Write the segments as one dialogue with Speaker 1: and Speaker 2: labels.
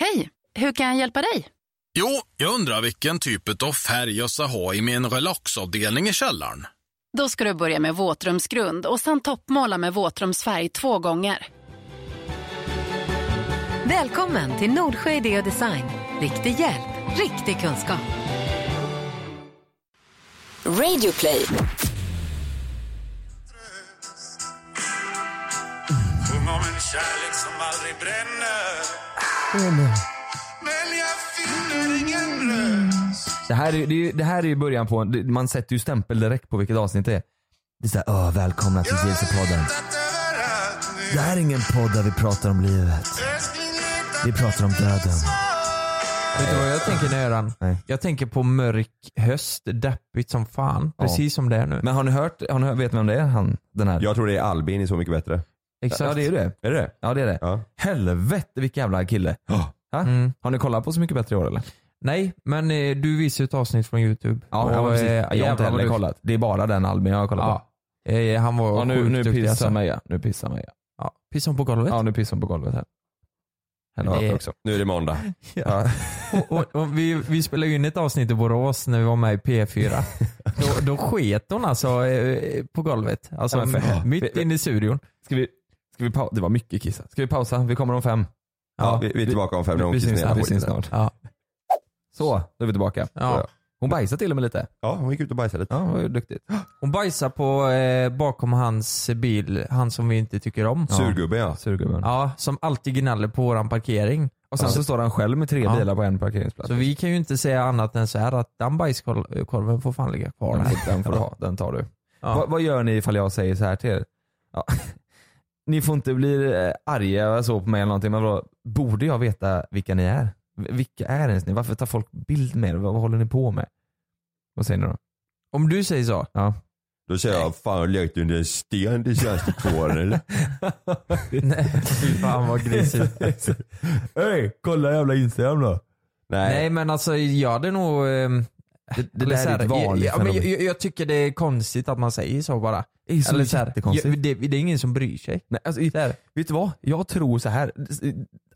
Speaker 1: Hej, hur kan jag hjälpa dig?
Speaker 2: Jo, jag undrar vilken typ av färg jag ska ha i min relaxavdelning i källaren.
Speaker 1: Då ska du börja med våtrumsgrund och sen toppmåla med våtrumsfärg två gånger.
Speaker 3: Välkommen till Nordsjö Idé och Design. Riktig hjälp, riktig kunskap.
Speaker 4: Radio play.
Speaker 5: Sjung om en kärlek som aldrig bränner Men jag finner ingen röst
Speaker 6: Det här, är, det, är ju- det här är ju början på, det- man sätter ju stämpel direkt på vilket avsnitt det är. Det är såhär, öh välkomna till vilsepodden.
Speaker 5: Letat överallt nu
Speaker 6: Det här är ingen podd där vi pratar om livet.
Speaker 5: Älskling, letat
Speaker 6: Vi pratar om döden.
Speaker 7: Vet du vad jag tänker när Göran?
Speaker 6: Nej.
Speaker 7: Jag tänker på mörk höst, deppigt som fan.
Speaker 6: Ja.
Speaker 7: Precis som det är nu.
Speaker 6: Men har ni hört, har ni hört vet ni vem det är? Han, den här?
Speaker 8: Jag tror det är Albin i Så Mycket Bättre.
Speaker 7: Exakt.
Speaker 6: Ja det är det.
Speaker 8: Är det det?
Speaker 6: Ja det är det.
Speaker 8: Ja.
Speaker 6: Helvete vilken jävla kille. Ha?
Speaker 7: Mm.
Speaker 6: Har ni kollat på Så Mycket Bättre i år eller?
Speaker 7: Nej, men eh, du visade ett avsnitt från youtube.
Speaker 6: Ja, ja,
Speaker 7: Och,
Speaker 6: precis.
Speaker 7: eh,
Speaker 6: jag har
Speaker 7: jävlar
Speaker 6: inte
Speaker 7: vad
Speaker 6: heller
Speaker 7: du-
Speaker 6: kollat. Det är bara den Albin jag har kollat på.
Speaker 7: Ja. Eh, han var
Speaker 6: Ja, nu,
Speaker 7: sjukt
Speaker 6: nu
Speaker 7: duktig
Speaker 6: pissar
Speaker 7: alltså.
Speaker 6: Meja. Nu pissar Meja.
Speaker 7: Ja, pissar hon på golvet?
Speaker 6: Ja nu pissar hon på golvet här. Henne
Speaker 7: Det-
Speaker 6: det... också.
Speaker 8: Nu är det måndag.
Speaker 6: Ja.
Speaker 7: Och, och, och vi, vi spelade ju in ett avsnitt i Borås när vi var med i P4. Då, då sket hon alltså eh, på golvet. Alltså
Speaker 6: Ja, men för-
Speaker 7: mitt inne i studion.
Speaker 6: Ska vi, ska vi pausa? Det var mycket kissa. Ska vi pausa? Vi kommer om fem.
Speaker 8: Ja, vi, vi är tillbaka om fem
Speaker 6: Vi,
Speaker 8: minuter.
Speaker 6: vi syns snart. Vi syns snart.
Speaker 7: Ja.
Speaker 6: Så, då är vi tillbaka.
Speaker 7: Ja.
Speaker 6: Hon bajsade till och med lite.
Speaker 8: Ja, hon gick ut och bajsade.
Speaker 6: Ja, det var ju duktigt.
Speaker 7: Hon bajsar på eh, bakom hans bil, han som vi inte tycker om.
Speaker 8: Surgubben ja.
Speaker 6: Surgubben.
Speaker 7: Ja, som alltid gnäller på våran parkering.
Speaker 6: Och sen så står han själv med tre
Speaker 7: Ja.
Speaker 6: bilar på en parkeringsplats.
Speaker 7: Så vi kan ju inte säga annat än så här att den bajskorven får fan ligga kvar
Speaker 6: Den
Speaker 7: där.
Speaker 6: får, den får du ha, den tar du. Vad,
Speaker 7: Ja.
Speaker 6: vad gör ni ifall jag säger så här till er? Ja. Ni får inte bli eh, arga eller så på mig eller någonting, men vadå? borde jag veta vilka ni är? V- Vilka är ens ni? Varför tar folk bild med er? Vad, vad håller ni på med? Vad säger ni då?
Speaker 7: Om du säger så.
Speaker 6: Ja.
Speaker 8: Då säger jag, fan jag lekte under en sten de senaste två åren eller?
Speaker 7: Nej, fy fan vad grisigt.
Speaker 8: Hej, kolla jävla Instagram då. Nej.
Speaker 7: Nej men alltså jag hade nog... ehm,
Speaker 6: Det, det
Speaker 7: eller
Speaker 6: där
Speaker 7: så
Speaker 6: är
Speaker 7: här,
Speaker 6: ett vanligt
Speaker 7: ja, men jag,
Speaker 6: fenomen.
Speaker 7: jag, jag tycker det är konstigt att man säger så bara.
Speaker 6: Det är så
Speaker 7: Eller så här,
Speaker 6: jättekonstigt.
Speaker 7: jag, det, det är ingen som bryr sig.
Speaker 6: Nej, alltså, i-
Speaker 7: Så här,
Speaker 6: Vet du vad? Jag tror så här.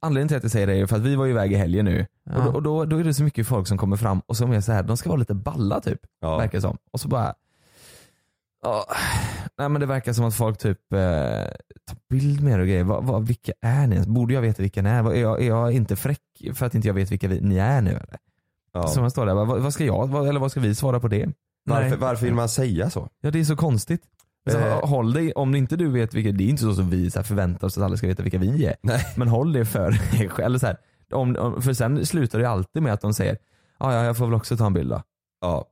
Speaker 6: Anledningen till att jag säger det är för att vi var ju iväg i helgen nu. Och,
Speaker 7: Ja.
Speaker 6: då, och då, då är det så mycket folk som kommer fram och som är så här. de ska vara lite balla typ.
Speaker 8: Ja.
Speaker 6: Verkar det som. Och så bara... Ja. Nej men det verkar som att folk typ eh, tar bild med er och grejer. Vad- vad- vilka är ni ens? Borde jag veta vilka ni är? Vad- Är jag, är jag inte fräck för att inte jag vet vilka vi, ni är nu eller?
Speaker 8: Ja.
Speaker 6: Så man står där, bara, vad, vad ska jag, vad, eller vad ska vi svara på det?
Speaker 8: Varför,
Speaker 7: nej.
Speaker 8: varför vill man säga så?
Speaker 6: Ja det är så konstigt. Så,
Speaker 8: Eh.
Speaker 6: Håll dig, om inte du vet vilka, det är inte så som vi så här, förväntar oss att alla ska veta vilka vi är. Men håll det för dig själv. Eller Så här, om, om, för sen slutar det ju alltid med att de säger ja ja jag får väl också ta en bild då.
Speaker 8: Ja.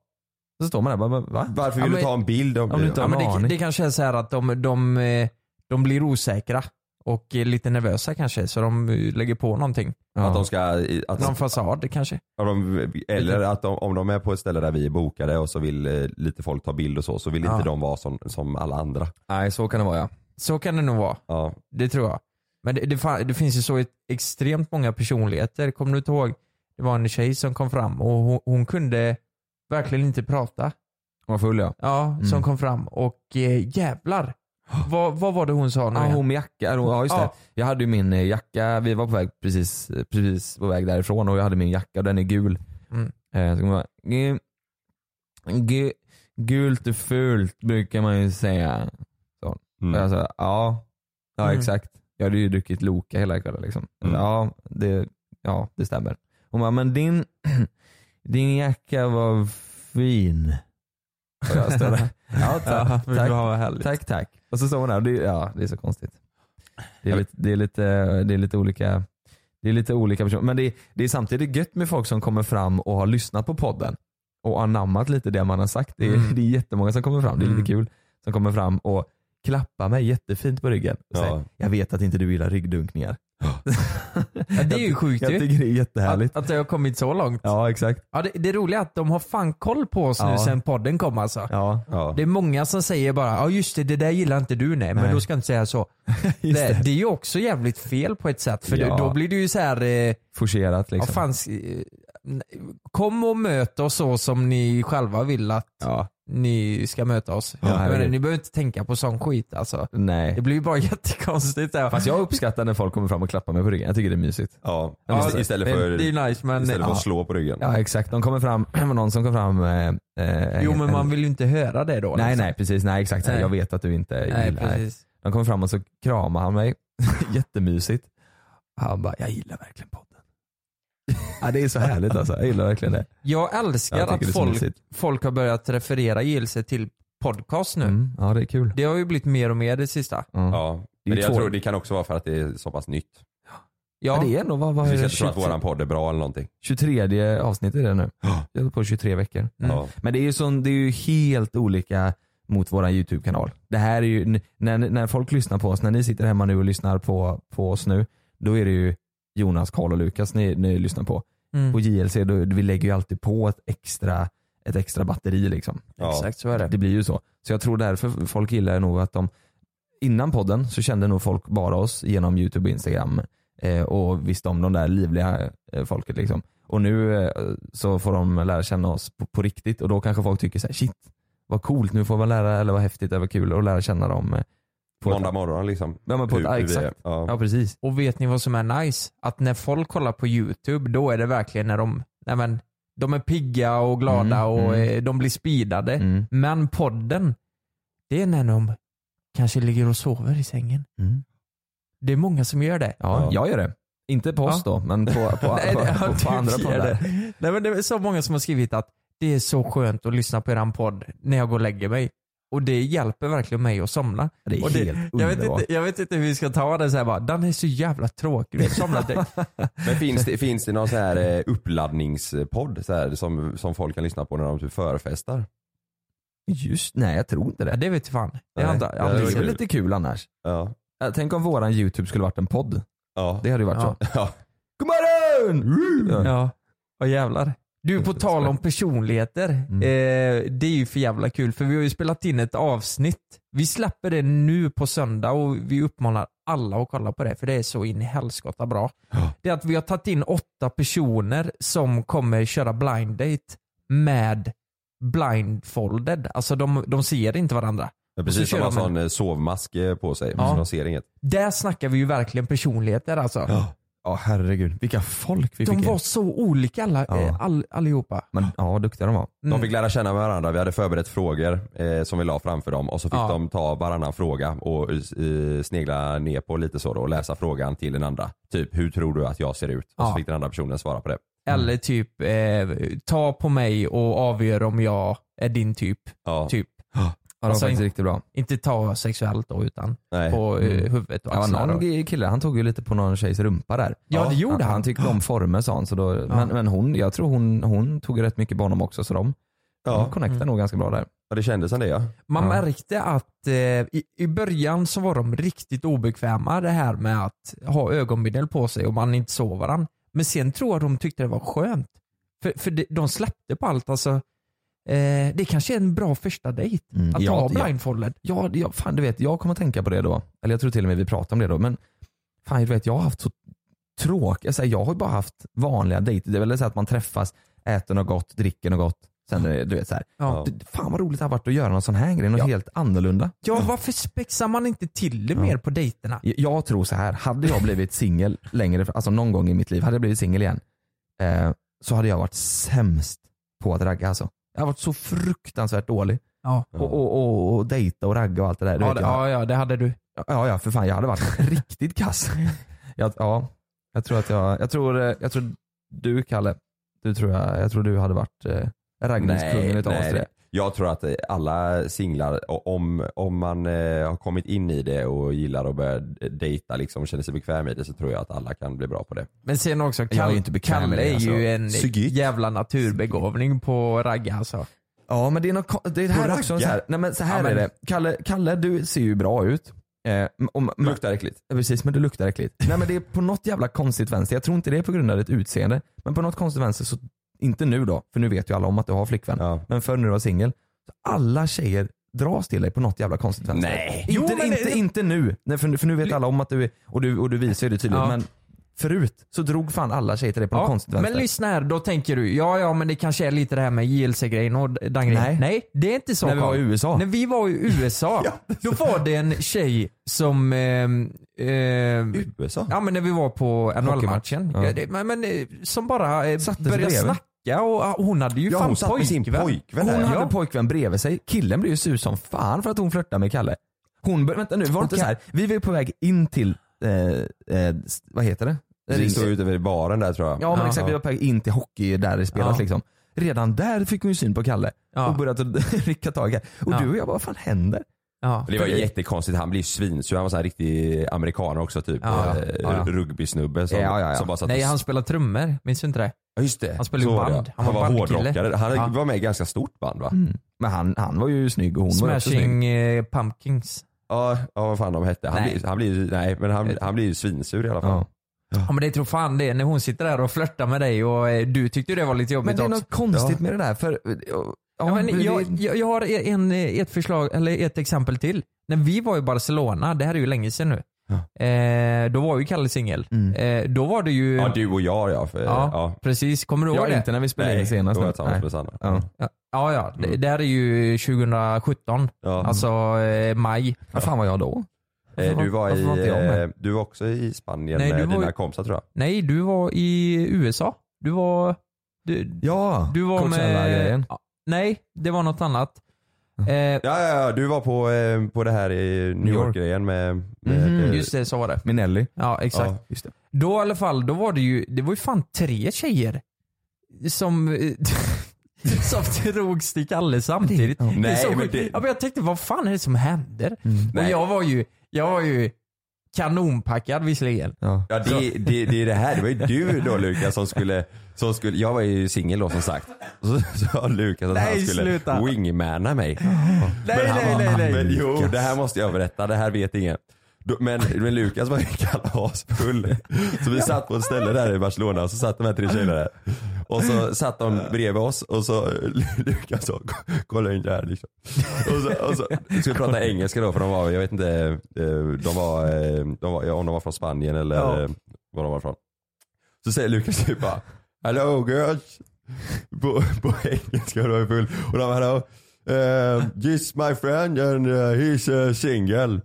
Speaker 6: Så står man där bara, va?
Speaker 8: Varför vill
Speaker 7: Ja, men-
Speaker 8: du ta en bild om,
Speaker 6: Om du inte
Speaker 7: Ja,
Speaker 6: har-
Speaker 7: men det,
Speaker 6: aning.
Speaker 7: det kanske är så här att de, de, eh, de blir osäkra och eh, lite nervösa kanske så de eh, lägger på någonting.
Speaker 8: att de ska, att
Speaker 7: Någon
Speaker 8: de,
Speaker 7: fasad kanske.
Speaker 8: att de, eller att de, om de är på ett ställe där vi är bokade och så vill eh, lite folk ta bild och så, så vill
Speaker 7: Ja.
Speaker 8: inte de vara som, som alla andra.
Speaker 6: Nej så kan det vara ja.
Speaker 7: Så kan det nog vara.
Speaker 8: Ja.
Speaker 7: Det tror jag. Men det, det, fa- det finns ju så ett, extremt många personligheter. Kommer du inte ihåg? Det var en tjej som kom fram och hon, hon kunde verkligen inte prata.
Speaker 6: Hon var full ja.
Speaker 7: Ja, som
Speaker 6: Mm.
Speaker 7: kom fram och eh, jävlar. Vad, vad var det hon sa nu
Speaker 6: Ja,
Speaker 7: igen?
Speaker 6: hon med jacka, eller hon- ja just det.
Speaker 7: Ja.
Speaker 6: Jag hade ju min eh, jacka, vi var på väg precis, eh, precis på väg därifrån och jag hade min jacka och den är gul.
Speaker 7: Mm.
Speaker 6: Eh, så kommer jag bara, "Gu- gu- gult är fult brukar man ju säga.
Speaker 8: Mm.
Speaker 6: Och jag sa, ja, ja
Speaker 7: Mm.
Speaker 6: exakt. Jag hade ju druckit Loka hela kvällen liksom.
Speaker 8: Mm.
Speaker 6: Ja, det, ja, det stämmer. Hon bara, men din, din jacka var fin. Och jag står där. Ja,
Speaker 7: Ja,
Speaker 6: tack,
Speaker 7: men
Speaker 6: tack,
Speaker 7: vad härligt.
Speaker 6: tack, tack. Och så står hon där och det, ja, det är så konstigt. Det är lite, det är lite, det är lite olika det är lite olika personer. Men det är, det är samtidigt gött med folk som kommer fram och har lyssnat på podden och anammat lite det man har sagt. Det är,
Speaker 7: Mm.
Speaker 6: det är jättemånga som kommer fram, det är lite kul, som kommer fram och klappar mig jättefint på ryggen och säger
Speaker 8: Ja.
Speaker 6: jag vet att inte du gillar ryggdunkningar.
Speaker 7: Ja, det är ju sjukt
Speaker 6: Jag
Speaker 7: ju.
Speaker 6: tycker det är jättehärligt.
Speaker 7: Att, att det har kommit så långt. Ja.
Speaker 6: Ja exakt.
Speaker 7: det, det roliga är att de har fan koll på oss nu
Speaker 6: Ja.
Speaker 7: sen podden kom alltså.
Speaker 6: Ja.
Speaker 8: Ja.
Speaker 7: Det är många som säger bara ja just det, det där gillar inte du nej,
Speaker 6: Nej.
Speaker 7: men då ska jag inte säga så. det,
Speaker 6: Just
Speaker 7: det.
Speaker 6: det.
Speaker 7: är ju också jävligt fel på ett sätt för
Speaker 6: Ja.
Speaker 7: det, då blir det ju så här eh,
Speaker 6: Forcerat liksom.
Speaker 7: Ja, fan, s- eh, kom och möt oss så som ni själva vill att
Speaker 6: Ja.
Speaker 7: ni ska möta oss.
Speaker 6: Ja,
Speaker 7: Jag menar,
Speaker 6: herregud.
Speaker 7: ni behöver inte tänka på sån skit alltså. Det
Speaker 6: Nej.
Speaker 7: blir ju bara jättekonstigt. Där.
Speaker 6: Fast jag uppskattar när folk kommer fram och klappar mig på ryggen. Jag tycker det är mysigt.
Speaker 8: Ja,
Speaker 6: Ja,
Speaker 8: ist- istället
Speaker 7: det,
Speaker 8: för,
Speaker 7: det är nice men...
Speaker 8: istället för
Speaker 7: ja.
Speaker 8: att slå på ryggen.
Speaker 6: Ja exakt. De kommer fram, det var någon som kom fram. Eh, eh,
Speaker 7: Jo
Speaker 6: en-
Speaker 7: men
Speaker 6: en-
Speaker 7: man vill ju inte höra det då.
Speaker 6: Nej
Speaker 7: liksom.
Speaker 6: nej precis, nej exakt.
Speaker 7: Nej.
Speaker 6: Jag vet att du inte
Speaker 7: Nej,
Speaker 6: gillar det.
Speaker 7: precis.
Speaker 6: De kom fram och så kramade han mig. Jättemysigt. Han bara, jag gillar verkligen podden. ja, det är så härligt alltså. Jag gillar verkligen det.
Speaker 7: Jag älskar
Speaker 6: Jag tycker det
Speaker 7: att
Speaker 6: är så
Speaker 7: folk,
Speaker 6: mysigt.
Speaker 7: folk har börjat referera Gilse till podcast nu.
Speaker 6: Mm. Ja det är kul.
Speaker 7: Det har ju blivit mer och mer det sista.
Speaker 6: Ja. Ja.
Speaker 8: Ja.
Speaker 6: Det är
Speaker 8: Men
Speaker 6: ju
Speaker 8: jag
Speaker 6: två-
Speaker 8: tror det kan också vara för att det är så pass nytt.
Speaker 7: Ja,
Speaker 6: det är ändå, vad, vad
Speaker 8: Det
Speaker 6: är
Speaker 8: känns
Speaker 6: det?
Speaker 8: inte som att våran podd är bra eller någonting.
Speaker 6: 23 avsnitt är det nu.
Speaker 8: Ja. Mm.
Speaker 6: Jag håller på i 23 veckor.
Speaker 8: Ja.
Speaker 6: Men det är, ju sån, det är ju helt olika mot våran YouTube-kanal. Det här är ju, n- när, när folk lyssnar på oss, när ni sitter hemma nu och lyssnar på, på oss nu, då är det ju Jonas, Karl och Lukas ni, ni lyssnar på.
Speaker 7: mm.
Speaker 6: På JLC, då, vi lägger ju alltid på ett extra, ett extra batteri liksom.
Speaker 8: Ja.
Speaker 7: exakt så är det.
Speaker 6: Det blir ju så. Så jag tror därför folk gillar nog att de, innan podden så kände nog folk bara oss genom YouTube och Instagram eh, och visste om de där livliga eh, folket liksom. Och nu eh, så får de lära känna oss på, på riktigt och då kanske folk tycker så här, shit vad coolt, nu får man lära, eller vad häftigt, det var kul att lära känna dem. eh, På
Speaker 8: Måndag
Speaker 6: ett,
Speaker 8: morgon liksom.
Speaker 6: ja, men på
Speaker 8: Hur-
Speaker 6: ett, ja,
Speaker 8: hur vi är.
Speaker 6: exakt.
Speaker 8: Ja.
Speaker 6: Ja precis.
Speaker 7: Och vet ni vad som är nice? Att när folk kollar på YouTube, då är det verkligen när de, nej men, de är pigga och glada
Speaker 6: Mm,
Speaker 7: och
Speaker 6: mm.
Speaker 7: eh, de blir speedade.
Speaker 6: Mm.
Speaker 7: Men podden, det är när de kanske ligger och sover i sängen.
Speaker 6: Mm.
Speaker 7: Det är många som gör det.
Speaker 6: Ja,
Speaker 8: Ja.
Speaker 6: jag gör det. Inte på oss då, men på, på, på,
Speaker 7: Nej, det-
Speaker 6: på,
Speaker 7: ja,
Speaker 6: på,
Speaker 7: du
Speaker 6: andra
Speaker 7: gör
Speaker 6: poddar.
Speaker 7: det. Nej, men det är så många som har skrivit att det är så skönt att lyssna på eran podd när jag går och lägger mig. Och det hjälper verkligen mig att somna.
Speaker 6: Det är
Speaker 7: och
Speaker 6: helt
Speaker 7: jag, vet
Speaker 6: underbart.
Speaker 7: inte, jag vet inte hur vi ska ta det så här bara, den är så jävla tråkig, vi somnar direkt.
Speaker 8: Men finns det, finns det någon så här eh, uppladdningspodd så här, som, som folk kan lyssna på när de typ förfestar?
Speaker 6: Just, nej jag tror inte
Speaker 7: Ja,
Speaker 6: det.
Speaker 7: det vet fan. Det har
Speaker 8: Nej,
Speaker 7: inte,
Speaker 8: det
Speaker 7: jag
Speaker 8: är
Speaker 6: Det
Speaker 7: har aldrig
Speaker 6: är
Speaker 8: väl
Speaker 7: sett.
Speaker 6: väl
Speaker 8: kul.
Speaker 6: lite kul annars.
Speaker 8: Ja.
Speaker 6: Ja, Tänk om våran YouTube skulle varit en podd.
Speaker 8: Ja.
Speaker 6: Det hade ju varit
Speaker 7: Ja. Mm.
Speaker 6: så.
Speaker 8: ja.
Speaker 6: God morgon! Ja.
Speaker 7: Ja, vad jävlar. Du, på tal om personligheter.
Speaker 8: Mm.
Speaker 7: Eh, det är ju för jävla kul för vi har ju spelat in ett avsnitt. Vi släpper det nu på söndag och vi uppmanar alla att kolla på det för det är så in i helskotta bra. Det är att vi har tagit in åtta personer som kommer köra blind date med blindfolded. Alltså de, de ser inte varandra.
Speaker 8: Ja,
Speaker 7: Och så
Speaker 8: Precis,
Speaker 7: kör
Speaker 8: som en
Speaker 7: de en-
Speaker 8: sån eh, sovmask eh, på sig.
Speaker 7: Ja.
Speaker 8: Så de ser inget.
Speaker 7: Där snackar vi ju verkligen personligheter alltså.
Speaker 6: Ja herregud, vilka folk vi
Speaker 7: De
Speaker 6: fick
Speaker 7: var
Speaker 6: in.
Speaker 7: så olika alla,
Speaker 6: Ja.
Speaker 7: eh, all, allihopa.
Speaker 6: Men, ja vad duktiga de var.
Speaker 7: Mm.
Speaker 8: De fick lära känna varandra, vi hade förberett frågor eh, som vi la framför dem och så fick
Speaker 7: Ja.
Speaker 8: de ta varannan fråga och eh, snegla ner på lite så då och läsa frågan till den andra. Typ, hur tror du att jag ser ut? Och
Speaker 7: Ja.
Speaker 8: så fick den andra personen svara på det.
Speaker 6: Mm.
Speaker 7: Eller typ eh, ta på mig och avgör om jag är din typ.
Speaker 8: Ja,
Speaker 7: typ.
Speaker 6: Ja, de
Speaker 7: Alltså,
Speaker 6: var faktiskt
Speaker 7: in-
Speaker 6: riktigt bra.
Speaker 7: Inte ta sexuellt då utan
Speaker 8: nej.
Speaker 7: på eh,
Speaker 6: Mm.
Speaker 7: huvudet och
Speaker 6: Ja,
Speaker 7: axlarna.
Speaker 6: någon
Speaker 7: då.
Speaker 6: g- kille, han tog ju lite på någon tjejs rumpa där.
Speaker 7: Ja, det gjorde
Speaker 6: han.
Speaker 7: han.
Speaker 6: Han tyckte om former sa han. Så då, men, men hon, jag tror hon, hon tog rätt mycket på honom också så de, de
Speaker 8: ja.
Speaker 6: connectade
Speaker 7: Mm.
Speaker 6: nog ganska bra där.
Speaker 8: ja, det kändes som det ja.
Speaker 7: Man
Speaker 6: Ja.
Speaker 7: märkte att eh, i, i början så var de riktigt obekväma det här med att ha ögonbindel på sig och man inte såg varandra. Men sen tror jag de tyckte det var skönt. För, för de, de släppte på allt alltså. Eh, det kanske är en bra första dejt.
Speaker 6: Mm.
Speaker 7: Att
Speaker 6: Ja,
Speaker 7: ha
Speaker 6: ja.
Speaker 7: blindfolded.
Speaker 6: Ja, ja, fan du vet, jag kommer att tänka på det då. Eller jag tror till och med vi pratar om det då. Men fan du vet, jag har haft så tråkigt. Alltså, jag har ju bara haft vanliga dejter. Det är väl så att man träffas, äter något gott, dricker något gott. Sen är det, du vet så här.
Speaker 7: Ja.
Speaker 6: Du, fan vad roligt det har varit att göra någon sån här grej. Något
Speaker 7: Ja.
Speaker 6: helt annorlunda.
Speaker 7: ja, varför spexar man inte till det
Speaker 6: Ja.
Speaker 7: mer på dejterna?
Speaker 6: Jag- Jag tror så här, hade jag blivit singel längre, alltså någon gång i mitt liv, hade jag blivit singel igen. Eh, så hade jag varit sämst på att ragga alltså. Jag har varit så fruktansvärt dålig.
Speaker 7: Ja.
Speaker 6: Och, och, och, och dejta och ragga och allt det där. Du
Speaker 7: Ja,
Speaker 6: vet,
Speaker 7: det,
Speaker 6: jag-
Speaker 7: ja, ja, det hade du.
Speaker 6: Ja, ja för fan jag hade varit riktigt kass. Jag, ja, jag tror att jag, jag tror, eh, jag tror du Kalle, du tror jag, jag tror du hade varit eh, raggningskungen utav oss tre.
Speaker 8: Jag tror att eh, alla singlar, o- om, om man eh, har kommit in i det och gillar att börja dejta liksom, och känner sig bekväm i det så tror jag att alla kan bli bra på det.
Speaker 7: Men sen också,
Speaker 6: Jag är
Speaker 7: Kalle,
Speaker 6: ju inte bekväm med
Speaker 7: Kalle
Speaker 6: det,
Speaker 7: är
Speaker 6: alltså.
Speaker 7: ju en
Speaker 8: Psykiskt.
Speaker 7: jävla naturbegåvning på ragga alltså.
Speaker 6: Ja men det är något, ko- det här
Speaker 8: På
Speaker 6: är också
Speaker 8: ragga?
Speaker 6: så här, nej men så här
Speaker 7: Ja, men-
Speaker 6: är det. Kalle, Kalle du ser ju bra ut. Eh, om, men,
Speaker 8: Luktar äckligt.
Speaker 6: ja, precis men du luktar äckligt. Nej men det är på något jävla konstigt vänster, jag tror inte det är på grund av ditt utseende. Men på något konstigt vänster, så, inte nu då, för nu vet ju alla om att du har flickvän.
Speaker 8: Ja.
Speaker 6: Men förr när du var singel, så alla tjejer dras till dig på något jävla konstigt vänster.
Speaker 8: Nej.
Speaker 6: Inte,
Speaker 7: Jo, men det-
Speaker 6: inte, inte nu, Nej, för, för nu vet alla om att du är, och du, och du visar ju det tydligt.
Speaker 7: Ja.
Speaker 6: Men förut så drog fan alla tjejer till det på något
Speaker 7: Ja,
Speaker 6: konstigt
Speaker 7: men
Speaker 6: vänster.
Speaker 7: lyssna här, då tänker du, ja ja men det kanske är lite det här med JLC-grejen och den grejen.
Speaker 6: Nej.
Speaker 7: det är inte så
Speaker 6: När vi var
Speaker 7: Carl.
Speaker 6: i USA.
Speaker 7: När vi var i USA, då var det en tjej som... ehm, ehm,
Speaker 8: USA?
Speaker 7: ja men när vi var på NHL-matchen.
Speaker 6: Ja.
Speaker 7: Ja. det- men, men, eh, som bara eh,
Speaker 6: Satte sig
Speaker 7: började
Speaker 6: bredvid.
Speaker 7: snacka och ah, hon hade ju
Speaker 8: Ja,
Speaker 7: fan
Speaker 8: hon satt med sin pojkvän
Speaker 6: Hon
Speaker 8: där.
Speaker 6: hade
Speaker 8: Ja.
Speaker 6: en pojkvän bredvid sig, killen blev ju sur som fan för att hon flörtade med Kalle. Hon bör, vänta nu, var det inte
Speaker 7: Okej.
Speaker 6: så här? vi var ju på väg in till, eh, eh, s- vad heter det?
Speaker 8: Vi stod ute vid baren där tror jag.
Speaker 6: Ja men
Speaker 7: Jaha.
Speaker 6: exakt, vi var på väg in till hockey där det spelas
Speaker 7: Ja.
Speaker 6: liksom. Redan där fick hon ju syn på Kalle
Speaker 7: Ja.
Speaker 6: och började rycka tag i Kalle. Och
Speaker 7: Ja.
Speaker 6: du och jag bara, vad fan händer?
Speaker 7: Ja.
Speaker 8: Det var jättekonstigt, han blev ju svinsur. Han var så här riktig amerikaner också typ.
Speaker 7: Ja.
Speaker 8: Eh,
Speaker 6: Ja, ja.
Speaker 8: Rugbysnubbe som,
Speaker 6: Ja, ja, ja.
Speaker 8: som bara satt
Speaker 7: Nej
Speaker 8: och-
Speaker 7: han spelar trummor, minns du inte det?
Speaker 8: Ja, just det.
Speaker 7: han spelade ju
Speaker 8: Så var
Speaker 7: band.
Speaker 8: det.
Speaker 7: Han
Speaker 8: Han,
Speaker 7: var
Speaker 8: var,
Speaker 7: bandkille.
Speaker 8: hårdrockare. Han
Speaker 7: Ja.
Speaker 8: var med i ett ganska stort band va?
Speaker 6: Mm. Men han, han var ju snygg och hon var också snygg.
Speaker 7: Smashing eh, Pumpkins.
Speaker 8: Ja, ja, vad fan de hette. Han
Speaker 7: Nej.
Speaker 8: blir, han blir, ju- nej, men han, han blir ju svinsur i alla fall.
Speaker 6: Ja.
Speaker 7: Ja men det tror fan det, när hon sitter där och flörtar med dig och eh, du tyckte ju det var lite jobbigt
Speaker 6: Men det är
Speaker 7: också.
Speaker 6: något konstigt med det där för... Ja,
Speaker 7: Ja, men
Speaker 6: det-
Speaker 7: jag, jag, jag har e- en, eh, ett förslag, eller ett exempel till. När vi var i Barcelona, det här är ju länge sedan nu. Eh, då var ju Kalle singel.
Speaker 6: Mm.
Speaker 7: Eh, då var det ju...
Speaker 8: Ja, du och jag ja. För,
Speaker 7: Ja,
Speaker 8: ja.
Speaker 7: precis. Kommer du
Speaker 6: Ja,
Speaker 7: ihåg det?
Speaker 6: inte när vi spelade Mm. in senast.
Speaker 8: då var
Speaker 6: nu.
Speaker 8: jag tillsammans
Speaker 6: Nej.
Speaker 8: med Sanna.
Speaker 6: Ja.
Speaker 7: Ja, ja. Det, det här är ju 2017.
Speaker 8: Ja.
Speaker 7: Alltså eh, maj.
Speaker 6: Vad Mm. fan var jag då?
Speaker 8: Eh,
Speaker 6: Varför
Speaker 8: du var
Speaker 6: varför
Speaker 8: i,
Speaker 6: var inte jag med?
Speaker 8: eh, du var också i Spanien
Speaker 7: Nej, du
Speaker 8: med
Speaker 7: var
Speaker 8: dina
Speaker 7: ju-
Speaker 8: kompisar tror jag.
Speaker 7: Nej, du var i USA. Du var... Du,
Speaker 6: Ja,
Speaker 7: du var med...
Speaker 6: Coachella-grejen.
Speaker 7: Ja, Nej, det var något annat. Eh,
Speaker 8: Ja, ja, ja du var på, eh, på det här i New
Speaker 6: York.
Speaker 8: York-grejen med, med
Speaker 6: Mhm.
Speaker 8: eh,
Speaker 7: Just det, så var det.
Speaker 6: Med Nelly.
Speaker 7: Ja, exakt.
Speaker 8: Ja.
Speaker 6: Just det.
Speaker 7: Då i alla fall, då var det ju, det var ju fan tre tjejer som eh, som drogs till Kalle samtidigt.
Speaker 6: Ja.
Speaker 7: Det är
Speaker 8: Nej,
Speaker 7: så
Speaker 8: men
Speaker 7: sjukt.
Speaker 8: det- Mm.
Speaker 7: ja, men jag tänkte vad fan är det som händer? Och
Speaker 8: Nej.
Speaker 7: jag var ju, jag var ju kanonpackad visserligen.
Speaker 6: Ja.
Speaker 8: Ja det, det, det är det här, det var ju du då Lukas som skulle, som skulle jag var ju singel då som sagt. Så sa Lukas att
Speaker 7: Nej,
Speaker 8: han skulle
Speaker 7: sluta.
Speaker 8: wingmana mig.
Speaker 7: Nej,
Speaker 8: han
Speaker 7: nej,
Speaker 8: var-
Speaker 7: nej, nej.
Speaker 8: Men, jo, det här måste jag berätta, det här vet ingen. Då- Men, men Lukas var ju kalasfull. Så vi satt på ett ställe där i Barcelona och så satt de här tre tjejerna där. Och så satt de bredvid oss och så Lukas sa kolla in det här liksom. Och så, och så ska vi prata engelska då för de var, jag vet inte, eh, de var, eh, de var, ja, om de var från Spanien eller
Speaker 7: Ja.
Speaker 8: eh, var de var från. Så säger Lukas typ bara Hello girls. På, på engelska och de är full. Och de bara hello. Uh, this my friend and uh, he's uh, single.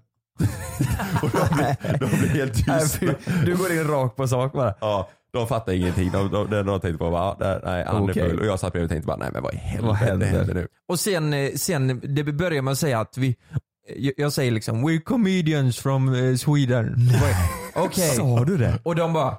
Speaker 8: och de blir, de blir helt tysta.
Speaker 6: Du går in rakt på sak bara.
Speaker 8: Ja, de fattar ingenting. De, de, de, de tänkte på bara, ah, där, nej han
Speaker 6: Okej.
Speaker 8: är full. Och jag satt bredvid och tänkte bara, nej men vad i
Speaker 6: Vad
Speaker 8: helvete
Speaker 6: händer?
Speaker 8: händer nu?
Speaker 7: Och sen, eh, sen det börjar med att säga att vi, jag, jag säger liksom we're comedians from eh, Sweden. Okej.
Speaker 6: Sa du det?
Speaker 7: Och de bara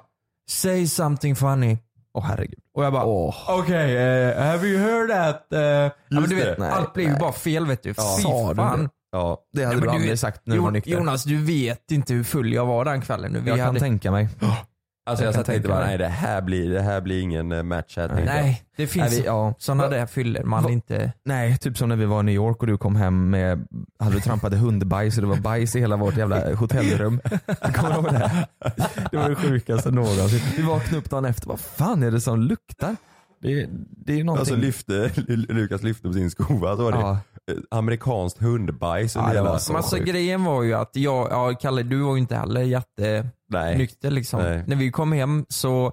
Speaker 7: say something funny.
Speaker 6: Åh herregud.
Speaker 7: Och jag bara
Speaker 6: Åh.
Speaker 7: Okej, eh, have you heard that? eh, ja, men du
Speaker 8: det.
Speaker 7: vet,
Speaker 6: Nej,
Speaker 7: allt blir ju bara fel vet du. Fy
Speaker 6: Sa du
Speaker 7: fan.
Speaker 6: det?
Speaker 8: Ja,
Speaker 6: Det hade
Speaker 7: Men
Speaker 6: du
Speaker 7: du-
Speaker 6: aldrig sagt när du
Speaker 7: Jo-
Speaker 6: var nykter.
Speaker 7: Jonas, du vet inte hur full jag var den kvällen. Nu. Vi
Speaker 6: jag kan
Speaker 7: hade...
Speaker 6: tänka mig.
Speaker 8: alltså jag,
Speaker 6: kan
Speaker 8: satt och tänkte
Speaker 6: tänka
Speaker 8: bara,
Speaker 6: mig.
Speaker 8: nej det här blir, det här blir ingen eh, match här. tänkte jag.
Speaker 7: Nej, det finns
Speaker 6: Nej, vi- ja.
Speaker 7: sådana där fyller man
Speaker 6: Va-
Speaker 7: inte.
Speaker 6: Nej, typ som när vi var i New York och du kom hem med, hade du trampat i hundbajs och det var bajs i hela vårt jävla hotellrum. Kommer du ihåg det? Det var det sjukaste någonsin. Vi vaknade upp dagen efter, vad fan är det som luktar? Det, det är ju någonting.
Speaker 8: Alltså lyfte, Lukas lyfte på sin skova så var det
Speaker 6: Ja.
Speaker 8: eh, amerikanskt hundbajs under
Speaker 6: Ja, det
Speaker 8: hela...
Speaker 6: var så
Speaker 7: Men alltså
Speaker 6: sjukt.
Speaker 7: grejen var ju att jag, ja Kalle du var ju inte heller jättenykter
Speaker 8: Nej.
Speaker 7: liksom.
Speaker 8: Nej.
Speaker 7: När vi kom hem så,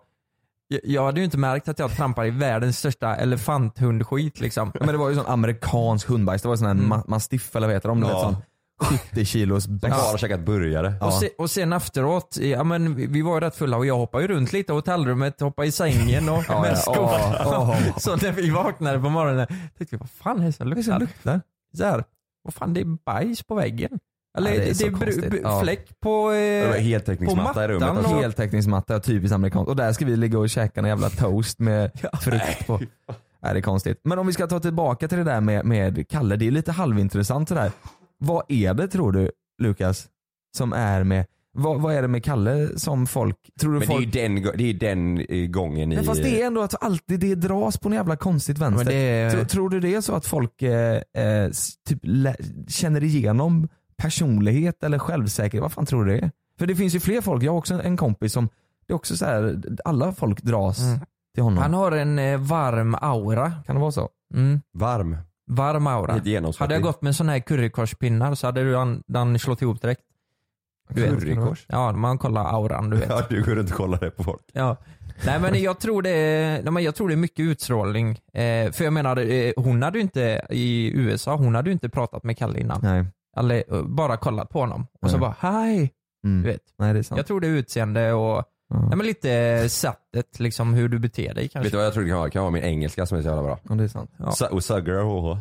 Speaker 7: jag, jag hade ju inte märkt att jag trampade i världens största elefanthundskit liksom.
Speaker 6: Ja, Men det var ju sån amerikansk hundbajs, det var sån här ma- mastiff eller vad heter de? Du vet,
Speaker 8: Mm. Ja.
Speaker 6: sån 70 kilos bäst.
Speaker 8: Bara käkat burgare.
Speaker 7: Och, se, och sen efteråt, ja men vi- vi var ju rätt fulla och jag hoppade ju runt lite i hotellrummet, hoppade i sängen och
Speaker 6: Ja,
Speaker 7: med
Speaker 6: ja.
Speaker 7: skor.
Speaker 6: Ja, ja.
Speaker 7: Så när vi vaknade på morgonen tänkte vi, vad fan är det som luktar?
Speaker 6: luktar?
Speaker 7: Så här, vad fan det är bajs på väggen. Eller
Speaker 6: Ja, det är
Speaker 7: det är,
Speaker 6: så konstigt.
Speaker 7: br-
Speaker 6: Ja.
Speaker 7: fläck på...
Speaker 8: Det var
Speaker 7: Eh,
Speaker 8: heltäckningsmatta i
Speaker 7: på
Speaker 8: rummet.
Speaker 7: mattan
Speaker 8: Alltså.
Speaker 7: och-
Speaker 6: Heltäckningsmatta, typiskt amerikanskt. Och där ska vi ligga och käka en jävla toast med frukt på. Nej, det är konstigt. Men om vi ska ta tillbaka till det där med, med Kalle, det är lite halvintressant det där. Vad är det tror du Lukas, som är med, vad, vad är det med Kalle som folk, tror du
Speaker 8: Men det är
Speaker 6: folk
Speaker 8: ju den, det är ju den eh, gången i...
Speaker 6: Men fast det är ändå att alltid det dras på en jävla konstigt vänster.
Speaker 7: men det är-
Speaker 8: Eh.
Speaker 6: tror, tror du det är så att folk eh, eh, s- typ lä- känner igenom personlighet eller självsäkerhet? Vad fan tror du det är? För det finns ju fler folk, jag har också en- en kompis som, det är också så här, alla folk dras
Speaker 7: Mm.
Speaker 6: till honom.
Speaker 7: han har en eh, varm aura.
Speaker 6: Kan det vara så?
Speaker 7: Mm,
Speaker 8: Varm.
Speaker 7: varm aura.
Speaker 8: Helt genomskinlig.
Speaker 7: Hade jag gått med sådana här currykorspinnar så hade du an, den slått ihop direkt. Du vet.
Speaker 8: Currykors?
Speaker 7: Ja, man kollar auran du vet.
Speaker 8: Ja, du går runt och kollar det på folk.
Speaker 7: Ja. Nej men jag tror det är, nej, men jag tror det är mycket utstrålning. Eh, för jag menar, eh, hon hade ju inte, i USA, hon hade ju inte pratat med Kalle innan.
Speaker 6: Nej.
Speaker 7: Eller eh, bara kollat på honom. Och så
Speaker 6: Nej.
Speaker 7: bara hej,
Speaker 6: Mm.
Speaker 7: du vet.
Speaker 6: Nej det är sant.
Speaker 7: Jag tror det är utseende och
Speaker 6: Ja.
Speaker 7: nej, men lite sättet liksom hur du beter dig
Speaker 8: Vet
Speaker 7: kanske.
Speaker 8: du vad jag tror det kan vara? Det kan vara min engelska som är så jävla bra.
Speaker 6: Ja, det är sant.
Speaker 7: Ja.
Speaker 8: Su- Och suggar och hå.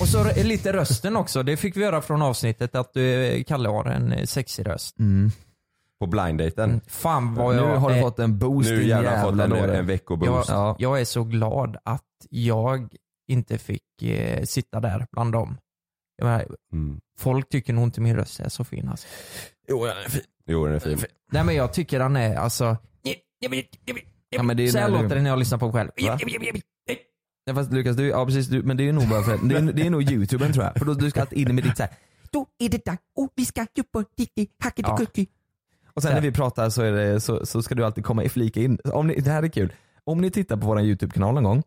Speaker 7: Och så r- lite rösten också. Det fick vi höra från avsnittet att eh, Kalle har en eh, sexig röst.
Speaker 6: Mm.
Speaker 8: På blinddejten.
Speaker 7: Mm. Fan vad
Speaker 6: nu
Speaker 7: jag
Speaker 6: har du
Speaker 7: är-
Speaker 6: fått en boost
Speaker 8: Eh, Nu
Speaker 6: din
Speaker 8: jävlar har jag fått en,
Speaker 6: låda.
Speaker 8: en
Speaker 7: jag,
Speaker 8: veckoboost.
Speaker 6: Ja.
Speaker 7: jag är så glad att jag inte fick eh, sitta där bland dem. Jag menar,
Speaker 8: Mm.
Speaker 7: folk tycker nog inte min röst är så fin alltså.
Speaker 8: Jo den är fin.
Speaker 7: Nej men jag tycker han är alltså... Ja,
Speaker 6: men det är
Speaker 7: så här
Speaker 6: när du-
Speaker 7: låter det när jag lyssnar på mig själv.
Speaker 6: Va? Ja, fast Lukas, du, ja, precis, du, men det är nog bara för att, det, är, det är nog youtuben tror jag. För då du ska alltid in med ditt såhär, då är det dags och vi ska jobba dikti, hackity
Speaker 7: Ja.
Speaker 6: kucki. Och sen när vi pratar så, är det, så, så ska du alltid komma i flika in. Om ni, det här är kul. Om ni tittar på våran YouTube-kanal någon gång,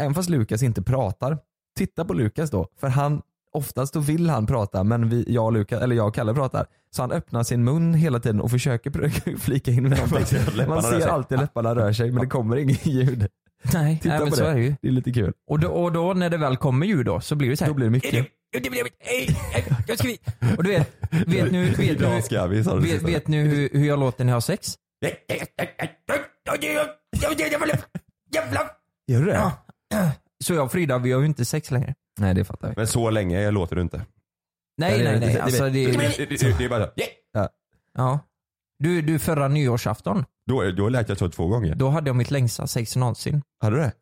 Speaker 6: även fast Lukas inte pratar, titta på Lukas då. För han, oftast då vill han prata men vi, jag, och Lukas, eller jag och Kalle pratar. Så han öppnar sin mun hela tiden och försöker pr- flika in med någonting.
Speaker 8: Läpparna
Speaker 6: Man
Speaker 8: rör
Speaker 6: ser
Speaker 8: sig.
Speaker 6: alltid läpparna rör sig men det kommer inget ljud.
Speaker 7: Nej,
Speaker 6: Titta
Speaker 7: nej men
Speaker 6: på
Speaker 7: så
Speaker 6: det.
Speaker 7: är det ju.
Speaker 6: Det är lite kul.
Speaker 7: Och då, och då när det väl kommer ljud då så blir det så här.
Speaker 6: Då blir det mycket.
Speaker 7: Jag ska vi- Och du vet, vet nu, vet
Speaker 8: Idag
Speaker 7: nu,
Speaker 8: ska vi sa du
Speaker 7: vet,
Speaker 8: sista.
Speaker 7: vet nu hur, hur jag låter när jag har sex?
Speaker 6: Gör du det?
Speaker 7: Ja. Så jag och Frida, vi har ju inte sex längre.
Speaker 6: Nej det fattar jag.
Speaker 8: Men så länge låter du inte.
Speaker 7: Nej,
Speaker 6: Nej,
Speaker 7: nej,
Speaker 6: det-
Speaker 7: nej.
Speaker 6: det-
Speaker 7: Alltså,
Speaker 8: Det,
Speaker 7: det,
Speaker 8: det, det, det är bara så.
Speaker 7: ja. du, du, förra nyårsafton,
Speaker 8: Då, då lät jag så två gånger.
Speaker 7: då hade jag mitt längsta sex någonsin.
Speaker 8: Hade du det?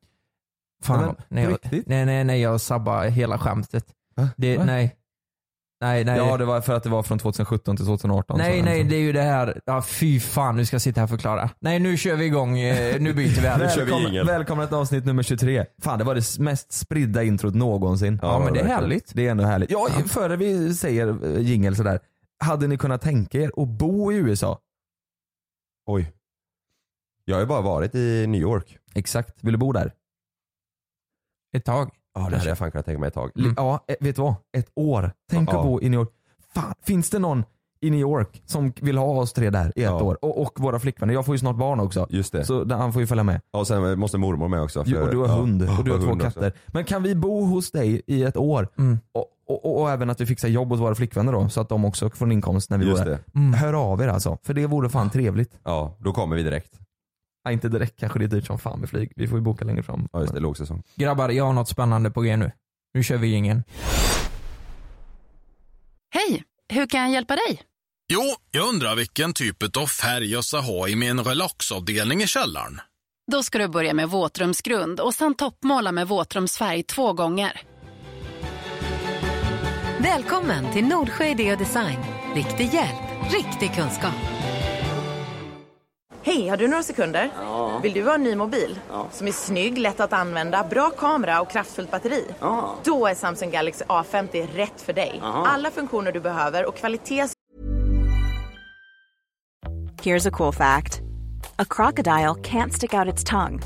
Speaker 7: Fan,
Speaker 6: Nej, men,
Speaker 7: nej,
Speaker 6: på
Speaker 7: jag,
Speaker 6: riktigt?
Speaker 7: nej, nej, nej, jag sabbade hela skämtet.
Speaker 6: Va?
Speaker 7: Det,
Speaker 6: Va?
Speaker 7: nej. Nej, nej.
Speaker 6: Ja det liksom. var för att det var från 2017 till 2018.
Speaker 7: Nej
Speaker 6: så-
Speaker 7: nej det är ju det här, ja, fy fan nu ska jag sitta här och förklara. Nej nu kör vi igång, eh, nu byter vi här.
Speaker 8: kör vi
Speaker 6: Välkommen,
Speaker 8: jingel.
Speaker 6: välkomna till avsnitt nummer 23. Fan det var det mest spridda introt någonsin.
Speaker 8: Ja, men det är
Speaker 6: verkligen.
Speaker 7: härligt.
Speaker 6: Det är ändå härligt. Ja, före vi säger eh, jingel sådär. Hade ni kunnat tänka er att bo i USA?
Speaker 8: Oj. Jag har ju bara varit i New York.
Speaker 6: Exakt. Vill du bo där?
Speaker 7: Ett tag.
Speaker 8: Ja det hade jag fan kunnat tänka mig ett tag.
Speaker 6: Li- Ja, eh, vet du vad? Ett år. Tänk
Speaker 8: Ja.
Speaker 6: att bo i New York. Fan, finns det någon i New York som vill ha oss tre där i ett
Speaker 8: Ja.
Speaker 6: år? Och, och våra flickvänner. Jag får ju snart barn också.
Speaker 8: Just det.
Speaker 6: Så han får ju följa med.
Speaker 8: Ja, Och sen måste mormor med också.
Speaker 6: Jo, och du har
Speaker 8: ja.
Speaker 6: hund
Speaker 8: Ja,
Speaker 6: och du har två
Speaker 8: hund också.
Speaker 6: katter. Men kan vi bo hos dig i ett år?
Speaker 7: Mm.
Speaker 6: Och, och, och även att vi fixar jobb åt våra flickvänner då så att de också får en inkomst när vi
Speaker 8: Just
Speaker 6: bor där.
Speaker 8: det.
Speaker 7: Mm.
Speaker 6: Hör av er alltså, för det vore fan trevligt.
Speaker 8: Ja, då kommer vi direkt.
Speaker 6: Ja, inte direkt kanske, det är dyrt som fan med flyg. Vi får ju boka längre fram.
Speaker 8: Ja just det, lågsäsong.
Speaker 7: Grabbar, jag har något spännande på g nu. Nu kör vi ingen.
Speaker 1: Hej, hur kan jag hjälpa dig?
Speaker 2: Jo, jag undrar vilken typ av färg jag ska ha i min relaxavdelning i källaren.
Speaker 1: Då ska du börja med våtrumsgrund och sen toppmåla med våtrumsfärg två gånger.
Speaker 3: Välkommen till Nordsjö Idé och Design. Riktig hjälp, riktig kunskap.
Speaker 4: Hej, har du några sekunder? Vill du ha en ny mobil? Som är snygg, lätt att använda, bra kamera och kraftfullt batteri? Då är Samsung Galaxy A50 rätt för dig. Alla funktioner du behöver och kvalitet
Speaker 9: Here's a cool fact a crocodile can't stick out its tongue.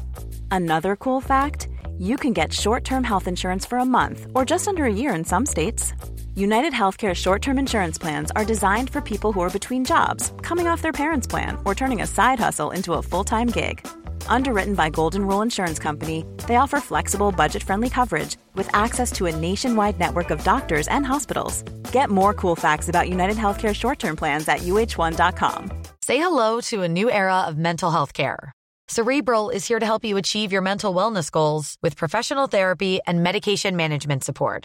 Speaker 9: Another cool fact you can get short term health insurance for a month or just under a year in some states. United Healthcare short term insurance plans are designed for people who are between jobs, coming off their parents' plan, or turning a side hustle into a full time gig. Underwritten by Golden Rule Insurance Company, they offer flexible, budget friendly coverage with access to a nationwide network of doctors and hospitals. Get more cool facts about United Healthcare short term plans at uh1.com.
Speaker 10: Say hello to a new era of mental health care. Cerebral is here to help you achieve your mental wellness goals with professional therapy and medication management support.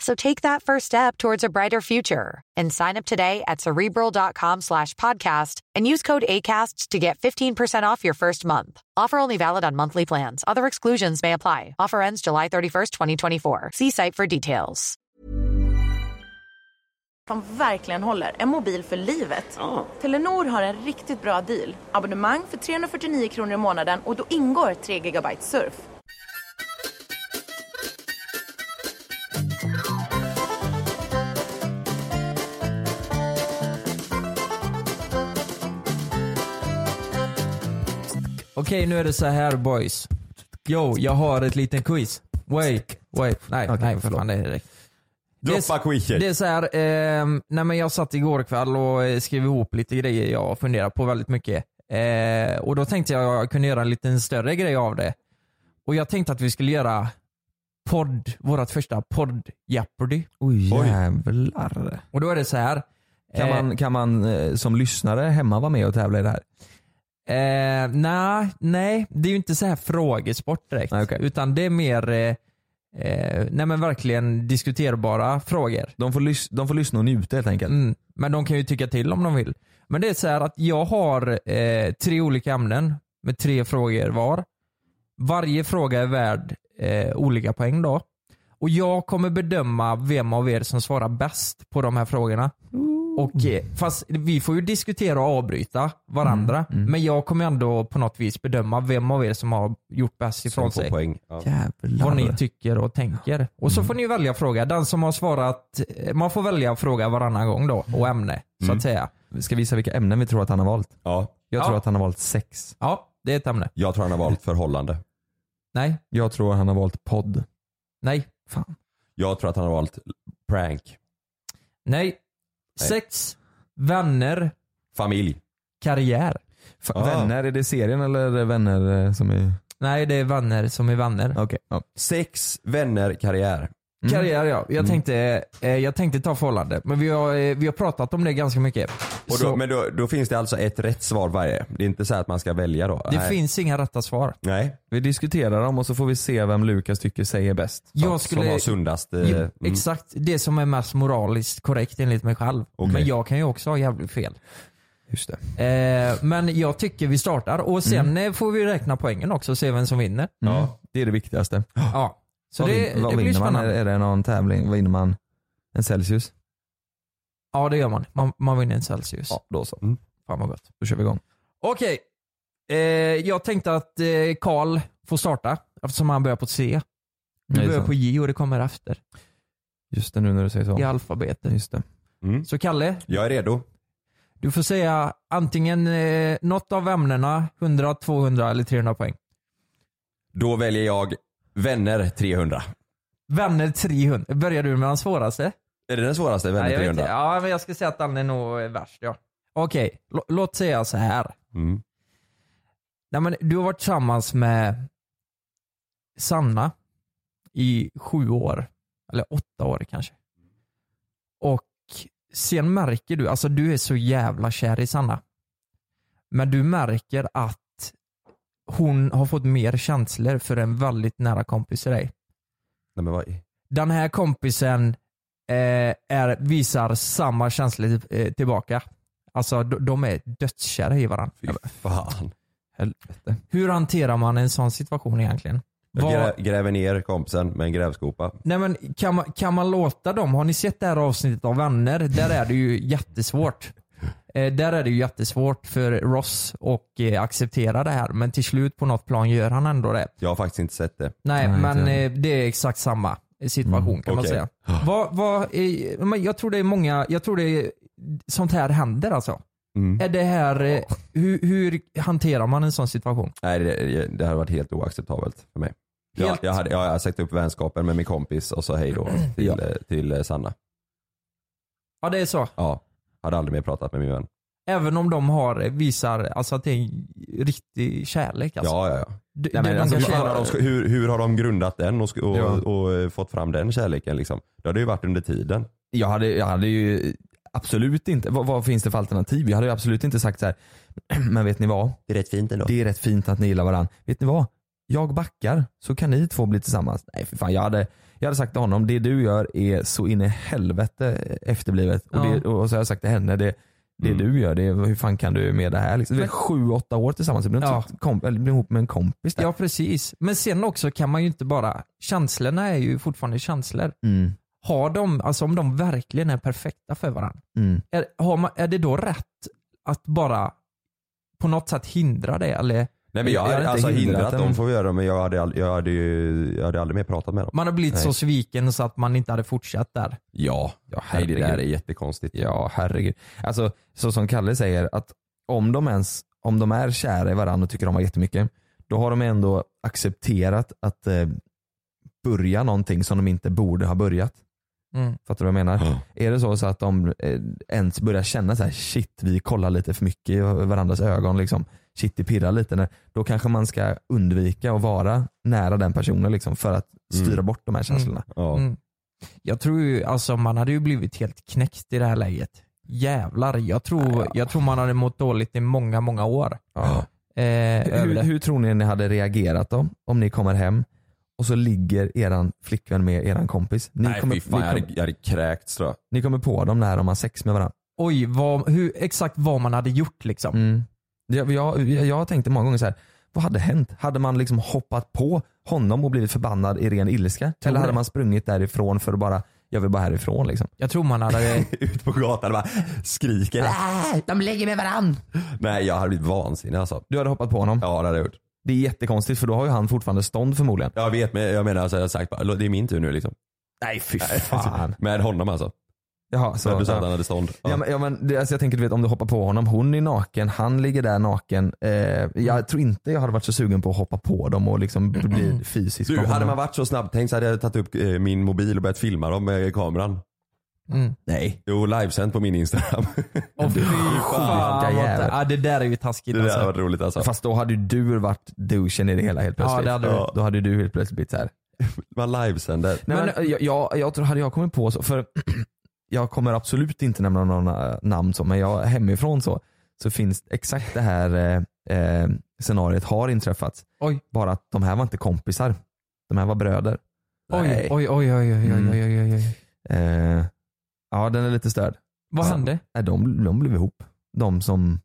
Speaker 10: So take that first step towards a brighter future and sign up today at cerebral.com slash podcast and use code ACAST to get 15% off your first month. Offer only valid on monthly plans. Other exclusions may apply. Offer ends July 31st, 2024. See site for details.
Speaker 4: som verkligen håller. En mobil för livet. Telenor har en riktigt bra deal. Abonnemang för 349 kronor i månaden och då ingår 3 GB surf.
Speaker 7: Okej, nu är det så här boys. Yo, jag har ett litet quiz. Wait, wait. Nej,
Speaker 6: Okej,
Speaker 7: nej för
Speaker 6: förlåt.
Speaker 7: fan det är direkt. Det är,
Speaker 8: Droppa quichen.
Speaker 7: det är så här, ehm, nej men jag satt igår kväll och eh, skrev ihop lite grejer jag funderar på väldigt mycket. Eh, och då tänkte jag att jag kunde göra en liten större grej av det. Och jag tänkte att vi skulle göra podd, vårt första podd Jeopardy.
Speaker 6: Oj jävlar.
Speaker 7: Och då är det så här.
Speaker 6: Kan
Speaker 7: eh,
Speaker 6: man, kan man eh, som lyssnare hemma vara med och tävla i det här?
Speaker 7: Eh, nej, nej, det är ju inte så här frågesport direkt.
Speaker 6: Nej, okej.
Speaker 7: Utan det är mer eh, eh, nej men verkligen diskuterbara frågor.
Speaker 6: De får, lys- de får lyssna och njuta helt enkelt.
Speaker 7: Mm. Men de kan ju tycka till om de vill. Men det är så här att jag har eh, tre olika ämnen med tre frågor var. Varje fråga är värd eh, olika poäng då. Och jag kommer bedöma vem av er som svarar bäst på de här frågorna. Och, eh, fast vi får ju diskutera och avbryta varandra.
Speaker 8: Mm,
Speaker 7: Men jag kommer ändå på något vis bedöma vem av er som har gjort bäst ifrån
Speaker 8: Som får
Speaker 7: sig
Speaker 8: poäng. Ja.
Speaker 6: Jävlar.
Speaker 7: vad ni tycker och tänker. Och
Speaker 6: Mm.
Speaker 7: så får ni välja fråga. Den som har svarat, man får välja fråga varannan gång då och ämne så att säga.
Speaker 6: Ska visa vilka ämnen Mm. vi tror att han har valt.
Speaker 8: ja.
Speaker 6: Jag
Speaker 7: Ja.
Speaker 6: tror att han har valt sex.
Speaker 7: Ja, det är ett ämne.
Speaker 8: Jag tror han har valt förhållande.
Speaker 7: Nej,
Speaker 6: Jag tror han har valt podd.
Speaker 7: nej,
Speaker 8: Jag tror att han har valt prank.
Speaker 7: nej. Sex, vänner,
Speaker 8: Familj.
Speaker 7: karriär.
Speaker 6: F-
Speaker 8: Ah.
Speaker 6: Vänner, är det serien eller är det vänner eh, som är...
Speaker 7: Nej, det är vänner som är vänner.
Speaker 6: Okej. Ja. Mm.
Speaker 8: Sex, vänner, karriär.
Speaker 7: Karriär ja. Jag tänkte, eh, jag tänkte ta förhållande. Men vi har, eh, vi har pratat om det ganska mycket.
Speaker 8: Och
Speaker 7: Så
Speaker 8: då, men då, då finns det alltså ett rätt svar varje. Det är inte så här att man ska välja då.
Speaker 7: det
Speaker 8: Nej.
Speaker 7: finns inga rätta svar.
Speaker 8: Nej.
Speaker 6: Vi diskuterar dem och så får vi se vem Lukas tycker säger bäst.
Speaker 7: Jag
Speaker 8: Som
Speaker 7: skulle,
Speaker 8: var sundast. eh,
Speaker 7: Jo,
Speaker 8: mm.
Speaker 7: Exakt, det som är mest moraliskt korrekt enligt mig själv.
Speaker 8: Okej.
Speaker 7: Men jag kan ju också ha jävligt fel.
Speaker 6: Just det.
Speaker 7: Eh, men jag tycker vi startar och sen
Speaker 6: Mm.
Speaker 7: eh, får vi räkna poängen också och se vem som vinner.
Speaker 6: Ja, Mm. det är det viktigaste.
Speaker 7: Ja. Så
Speaker 6: Ah. vad
Speaker 7: det,
Speaker 6: vin- vad
Speaker 7: det blir
Speaker 6: vinner man? Är,
Speaker 7: spännande.
Speaker 6: är det någon tävling? Vinner man en Celsius?
Speaker 7: Ja det gör man. Man, man vinner en Celsius.
Speaker 6: Ja, då så.
Speaker 7: Fan vad gott.
Speaker 6: Då kör vi igång.
Speaker 7: Okej. Eh, jag tänkte att eh, Karl får starta eftersom han börjar på C.
Speaker 6: Nej,
Speaker 7: Du börjar
Speaker 6: sant.
Speaker 7: på J och det kommer efter
Speaker 6: Just det, nu när du säger så.
Speaker 7: i alfabetet.
Speaker 6: Just det.
Speaker 8: Mm.
Speaker 7: Så Kalle,
Speaker 8: Jag är redo.
Speaker 7: du får säga antingen eh, något av ämnena, 100, 200 eller 300 poäng.
Speaker 8: Då väljer jag vänner 300.
Speaker 7: Vänner 300. Börjar du med den svåraste?
Speaker 8: Är det den svåraste? Vänner
Speaker 7: Nej, jag vet inte.
Speaker 8: 300?
Speaker 7: Ja, men jag ska säga att den är nog eh, värst. Ja. Okej, lå- låt säga så här.
Speaker 8: Mm.
Speaker 7: Nej, men du har varit tillsammans med Sanna i sju år. Eller åtta år kanske. Och sen märker du, alltså du är så jävla kär i Sanna. Men du märker att hon har fått mer känslor för en väldigt nära kompis till dig
Speaker 8: Nej, men vad...
Speaker 7: den här kompisen eh, är, visar samma känslor eh, tillbaka. Alltså de, de är dödskära i varandra.
Speaker 8: Fy fan.
Speaker 6: Helvete.
Speaker 7: Hur hanterar man en sån situation egentligen?
Speaker 8: Jag
Speaker 7: Vad-
Speaker 8: grä, gräver ner kompisen med en grävskopa.
Speaker 7: nej men, kan, man, kan man låta dem, har ni sett det här avsnittet av Vänner? Där är det ju jättesvårt. Eh, där är det ju jättesvårt för Ross att eh, acceptera det här men till slut på något plan gör han ändå det.
Speaker 8: Jag har faktiskt inte sett det.
Speaker 7: Nej,
Speaker 6: Nej,
Speaker 7: men
Speaker 6: inte.
Speaker 7: eh, det är exakt samma situation kan man
Speaker 8: okej.
Speaker 7: säga. Vad, vad är, men jag tror det är många, jag tror det är, sånt här händer alltså.
Speaker 8: Mm.
Speaker 7: Är det här, eh, hur, hur hanterar man en sån situation?
Speaker 8: Nej, det, det hade varit helt oacceptabelt för mig. Jag,
Speaker 7: Helt-
Speaker 8: jag, hade, jag har sagt upp vänskapen med min kompis och så hej då till,
Speaker 7: Ja.
Speaker 8: eh, till eh, Sanna.
Speaker 7: Ja det är så.
Speaker 8: Ja, hade aldrig mer pratat med min vän.
Speaker 7: Även om de har, visar alltså att det är en riktig kärlek alltså.
Speaker 8: Ja, ja, ja.
Speaker 7: Du,
Speaker 6: Nej, men
Speaker 7: du,
Speaker 6: alltså,
Speaker 7: de
Speaker 8: Hur
Speaker 7: kan
Speaker 8: fan har de,
Speaker 7: känna,
Speaker 8: sk- hur, hur har de grundat den och, sk- och,
Speaker 6: Ja.
Speaker 8: och, eh, fått fram den kärleken? Liksom? Det hade ju varit under tiden.
Speaker 6: jag hade, jag hade ju absolut inte, vad, vad finns det för alternativ? Jag hade ju absolut inte sagt så här. men vet ni vad?
Speaker 8: Det är rätt fint ändå.
Speaker 6: Det är rätt fint att ni gillar varandra. Vet ni vad? Jag backar så kan ni två bli tillsammans. Nej för fan, jag hade, jag hade sagt till honom, det du gör är så in i helvete eh, efterblivet. Och,
Speaker 7: Ja.
Speaker 6: det, och så har jag sagt till henne, det, det
Speaker 8: Mm.
Speaker 6: du gör, det, hur fan kan du med det här? Liksom, det är
Speaker 7: Men-
Speaker 6: sju, åtta år tillsammans, du blir, inte
Speaker 7: Ja.
Speaker 6: så komp- eller blir ihop med en kompis där.
Speaker 7: ja precis. Men sen också kan man ju inte bara, känslorna är ju fortfarande känslor.
Speaker 6: Mm.
Speaker 7: Har de, alltså om de verkligen är perfekta för varandra,
Speaker 6: Mm.
Speaker 7: är, har man, är det då rätt att bara på något sätt hindra det? Eller
Speaker 8: Nej men jag hade
Speaker 6: Jag hade inte
Speaker 8: alltså
Speaker 6: hindrat
Speaker 8: hindrat
Speaker 6: dem.
Speaker 8: dem får göra det men jag hade, ald- jag hade ju, jag hade aldrig mer pratat med dem.
Speaker 7: man har blivit
Speaker 8: Nej.
Speaker 7: så sviken så att man inte hade fortsatt där?
Speaker 8: Ja,
Speaker 6: Ja,
Speaker 8: nej, det där är
Speaker 6: herregud.
Speaker 8: jättekonstigt.
Speaker 6: Ja, herregud. Alltså, så som Kalle säger, att om de ens, om de är kära i varandra och tycker om varandra jättemycket, då har de ändå accepterat att eh, börja någonting som de inte borde ha börjat.
Speaker 7: Mm.
Speaker 6: Fattar du vad jag menar? Är det så, så att de eh, ens börjar känna så här, shit vi kollar lite för mycket i varandras ögon, liksom. shit det pirrar lite, när, då kanske man ska undvika att vara nära den personen liksom, för att styra
Speaker 8: Mm.
Speaker 6: bort de här känslorna.
Speaker 8: Ja.
Speaker 7: Mm. Jag tror ju, alltså man hade ju blivit helt knäckt i det här läget. Jävlar, jag tror, jag tror man hade mått dåligt i många, många år.
Speaker 6: Ja.
Speaker 7: Eh, över
Speaker 6: Hur,
Speaker 7: det.
Speaker 6: hur tror ni ni hade reagerat då? Om ni kommer hem och så ligger eran flickvän med eran kompis. Ni,
Speaker 8: Nej
Speaker 6: kommer,
Speaker 8: fy fan,
Speaker 6: ni,
Speaker 8: jag
Speaker 6: kommer,
Speaker 8: hade, jag hade kräkts tror jag.
Speaker 6: ni kommer på dem när de har sex med varandra.
Speaker 7: Oj, vad, hur, exakt vad man hade gjort liksom.
Speaker 6: Mm. Jag, jag, jag tänkte många gånger så här. vad hade hänt? Hade man liksom hoppat på honom och blivit förbannad i ren ilska?
Speaker 7: Tror
Speaker 6: Eller hade
Speaker 7: det.
Speaker 6: man sprungit därifrån för att bara, jag vill bara härifrån liksom?
Speaker 7: Jag tror man hade...
Speaker 8: Ut på gatan och bara skriker.
Speaker 7: De lägger med varann.
Speaker 8: Nej jag hade blivit vansinnig alltså.
Speaker 6: Du hade hoppat på honom.
Speaker 8: Ja det hade jag gjort.
Speaker 6: Det är jättekonstigt för då har ju han fortfarande stånd förmodligen.
Speaker 8: Jag vet men jag menar alltså, jag hade sagt bara, det är min tur nu liksom.
Speaker 6: Nej fy
Speaker 8: Med honom alltså.
Speaker 6: Jaha,
Speaker 8: Så,
Speaker 6: så,
Speaker 8: du sa att han hade stånd.
Speaker 6: Ja. men, ja, men det, alltså jag tänker du vet om du hoppar på honom, hon är naken, han ligger där naken. Eh, jag tror inte jag hade varit så sugen på att hoppa på dem och liksom bli fysisk
Speaker 8: Mm. Du,
Speaker 6: med
Speaker 8: hade
Speaker 6: honom.
Speaker 8: man varit så snabbtänkt så hade jag tagit upp eh, min mobil och börjat filma dem med kameran.
Speaker 7: Mm.
Speaker 8: Nej. Jo, livesänt på min Instagram.
Speaker 7: Och fy
Speaker 6: fan,
Speaker 7: fan.
Speaker 6: jävlar.
Speaker 7: vad- Ja, det där är ju taskigt
Speaker 8: Det där
Speaker 7: alltså.
Speaker 8: var roligt alltså.
Speaker 6: Fast då hade ju du varit douchen i det hela helt
Speaker 7: Ja,
Speaker 6: plötsligt.
Speaker 7: det hade du.
Speaker 6: Ja. Då hade ju du helt plötsligt blivit såhär.
Speaker 8: Man livesänder.
Speaker 6: Nej, men, eh, jag, jag, jag tror, hade jag kommit på så, för jag kommer absolut inte nämna några namn så, men jag, hemifrån så, så finns exakt det här eh, eh, scenariet har inträffat.
Speaker 7: Oj.
Speaker 6: Bara att de här var inte kompisar. De här var bröder.
Speaker 7: Oj,
Speaker 6: Nej.
Speaker 7: oj, oj, oj, oj, oj,
Speaker 6: Mm.
Speaker 7: oj, oj, oj.
Speaker 6: Eh, ja den är lite störd.
Speaker 7: Vad
Speaker 6: Ja.
Speaker 7: hände?
Speaker 6: Nej, de, de blev ihop. De som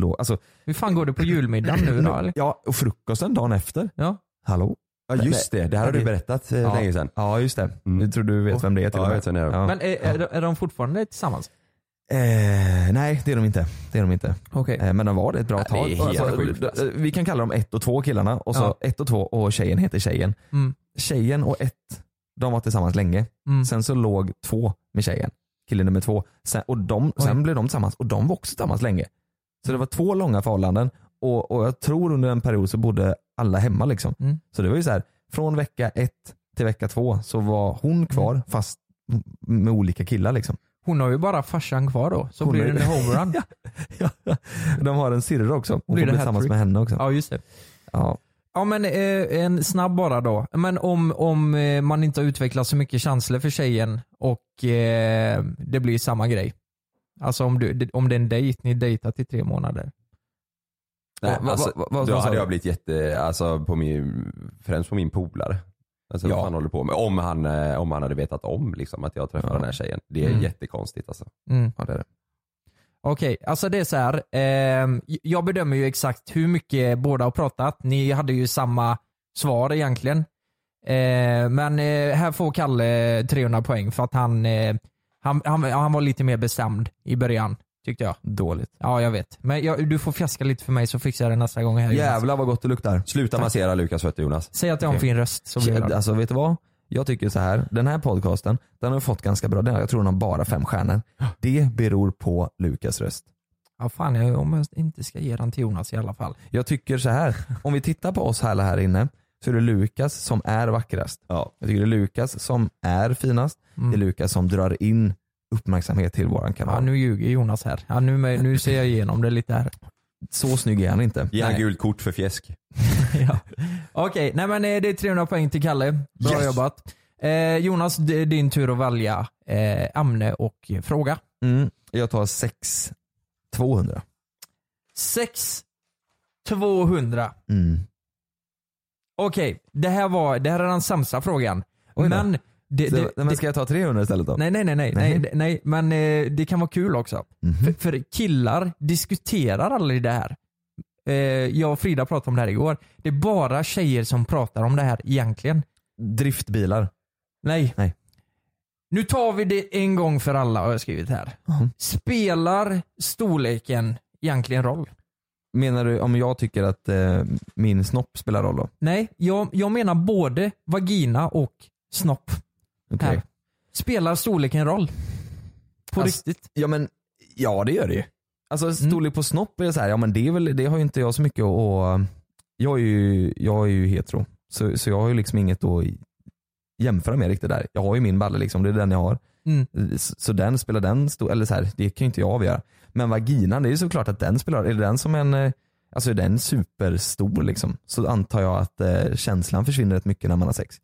Speaker 6: låg, alltså,
Speaker 7: Hur fan går det på julmiddagen nu då? Eller?
Speaker 6: ja, och frukosten dagen efter.
Speaker 7: Ja.
Speaker 6: Hallå?
Speaker 8: Ja just det, det här har du berättat eh,
Speaker 6: Ja.
Speaker 8: länge sedan.
Speaker 6: Ja just det.
Speaker 8: Mm.
Speaker 6: Jag tror du vet vem det är till
Speaker 8: Ja,
Speaker 6: och
Speaker 8: jag
Speaker 6: med.
Speaker 8: vet vem det är.
Speaker 6: Ja.
Speaker 7: Men är, är, de- är de fortfarande tillsammans?
Speaker 6: eh, nej det är de inte. Det är de inte.
Speaker 7: Okej.
Speaker 6: Eh, men de var det ett bra
Speaker 8: Ja, det är
Speaker 6: tag.
Speaker 8: helt sjukt, alltså.
Speaker 6: eh, vi kan kalla dem ett och två killarna och så
Speaker 7: Ja.
Speaker 6: ett och två och tjejen heter tjejen.
Speaker 7: Mm.
Speaker 6: Tjejen och ett, de var tillsammans länge.
Speaker 7: Mm.
Speaker 6: Sen så låg två med tjejen, kille nummer två. Sen, och de,
Speaker 7: Oj.
Speaker 6: sen blev de tillsammans och de var också tillsammans länge. Så det var två långa förhållanden och, och jag tror under en period så bodde alla hemma. Liksom.
Speaker 7: Mm.
Speaker 6: Så det var ju så här, från vecka ett till vecka två så var hon
Speaker 7: Mm.
Speaker 6: kvar fast med olika killar. Liksom.
Speaker 7: Hon har ju bara farsan kvar då, så
Speaker 6: Hon
Speaker 7: blir
Speaker 6: är-
Speaker 7: det en homerun. ja.
Speaker 6: De har en syrra också, hon får
Speaker 7: Blir
Speaker 6: bli
Speaker 7: det
Speaker 6: tillsammans
Speaker 7: hattrick?
Speaker 6: med henne också.
Speaker 7: ja, just det.
Speaker 6: Ja.
Speaker 7: Ja men eh, en snabb bara då. Men om, om eh, man inte har utvecklat så mycket känslor för tjejen och eh, det blir samma grej. Alltså om, du, det- om det är en dejt, ni dejtat i tre månader.
Speaker 8: Nej,
Speaker 6: Vad-
Speaker 8: alltså,
Speaker 6: vad- vad-
Speaker 8: då
Speaker 6: vad sa
Speaker 8: hade
Speaker 6: du?
Speaker 8: jag blivit jätte, alltså på min, främst på min polare. Alltså
Speaker 6: Ja.
Speaker 8: vad han håller på med. Om han, eh, om han hade vetat om liksom, att jag träffade
Speaker 6: Ja.
Speaker 8: den här tjejen. Det är
Speaker 7: Mm.
Speaker 8: jättekonstigt alltså.
Speaker 7: Mm.
Speaker 6: Ja, det är det.
Speaker 7: Okej, alltså det är så här. ehm, jag bedömer ju exakt hur mycket båda har pratat. Ni hade ju samma svar egentligen. Eh, men eh, här får Kalle 300 poäng för att han, eh, han, han, han var lite mer bestämd i början tyckte jag.
Speaker 6: Dåligt.
Speaker 7: Ja, jag vet. Men jag, du får fjäska lite för mig så fixar jag det nästa gång. Här, Jonas.
Speaker 6: Jävlar vad gott det luktar.
Speaker 8: Sluta massera Lukas fötter Jonas.
Speaker 7: Säg att jag har en
Speaker 8: Okej.
Speaker 7: fin röst så blir jag
Speaker 6: Ja,
Speaker 7: glad.
Speaker 6: Alltså vet du vad? Jag tycker så här. den här podcasten, den har fått ganska bra, den, jag tror den har bara fem stjärnor. Det beror på Lukas röst.
Speaker 7: Ja, fan, jag, om jag inte ska ge den till Jonas i alla fall.
Speaker 6: Jag tycker så här. om vi tittar på oss alla här inne, så är det Lukas som är vackrast.
Speaker 8: Ja.
Speaker 6: Jag tycker det är Lukas som är finast,
Speaker 7: Mm.
Speaker 6: det är Lukas som drar in uppmärksamhet till våran kanal.
Speaker 7: Ja, nu ljuger Jonas här. Ja, nu, nu ser jag igenom det lite här.
Speaker 6: Så snygg är han inte.
Speaker 8: Ge han
Speaker 6: Nej.
Speaker 8: gult kort för fjäsk.
Speaker 7: ja. Okej, nej men eh, det är 300 poäng till Kalle. Bra
Speaker 8: Yes.
Speaker 7: jobbat. Eh, Jonas, det är din tur att välja eh, ämne och eh, fråga.
Speaker 6: Mm. Jag tar 6 200.
Speaker 7: 6 200.
Speaker 6: Mm.
Speaker 7: Okej, det här var det här är den sämsta frågan.
Speaker 6: Oj då.
Speaker 7: Men, det,
Speaker 6: Så,
Speaker 7: det,
Speaker 6: nej, men ska jag ta 300 istället då?
Speaker 7: Nej, nej, nej, nej,
Speaker 6: Nej.
Speaker 7: nej, det- nej men eh, det kan vara kul också.
Speaker 6: Mhm.
Speaker 7: För, för killar diskuterar aldrig det här. Eh, jag och Frida pratade om det här igår. Det är bara tjejer som pratar om det här egentligen.
Speaker 6: Driftbilar.
Speaker 7: Nej.
Speaker 6: Nej.
Speaker 7: Nu tar vi det en gång för alla har jag skrivit här.
Speaker 6: Mhm.
Speaker 7: Spelar storleken egentligen roll?
Speaker 6: Menar du om jag tycker att eh, min snopp spelar roll då?
Speaker 7: Nej, jag, jag menar både vagina och snopp.
Speaker 6: Okej.
Speaker 7: Här. Spelar storleken roll? På
Speaker 6: Alltså,
Speaker 7: riktigt? Mm.
Speaker 6: Ja men, ja det gör det ju. Alltså storlek på snopp är så här, ja men det, är väl, det har ju inte jag så mycket att- att, jag är ju, jag är ju hetero. Så, så jag har ju liksom inget att jämföra med riktigt där. Jag har ju min balle liksom, det är den jag har.
Speaker 7: Mm.
Speaker 6: Så, så den spelar den stor, eller så här, det kan ju inte jag avgöra. Men vaginan, det är ju såklart att den spelar, är det den som en, eh, alltså är den superstor liksom? Så antar jag att eh, känslan försvinner rätt mycket när man har sex.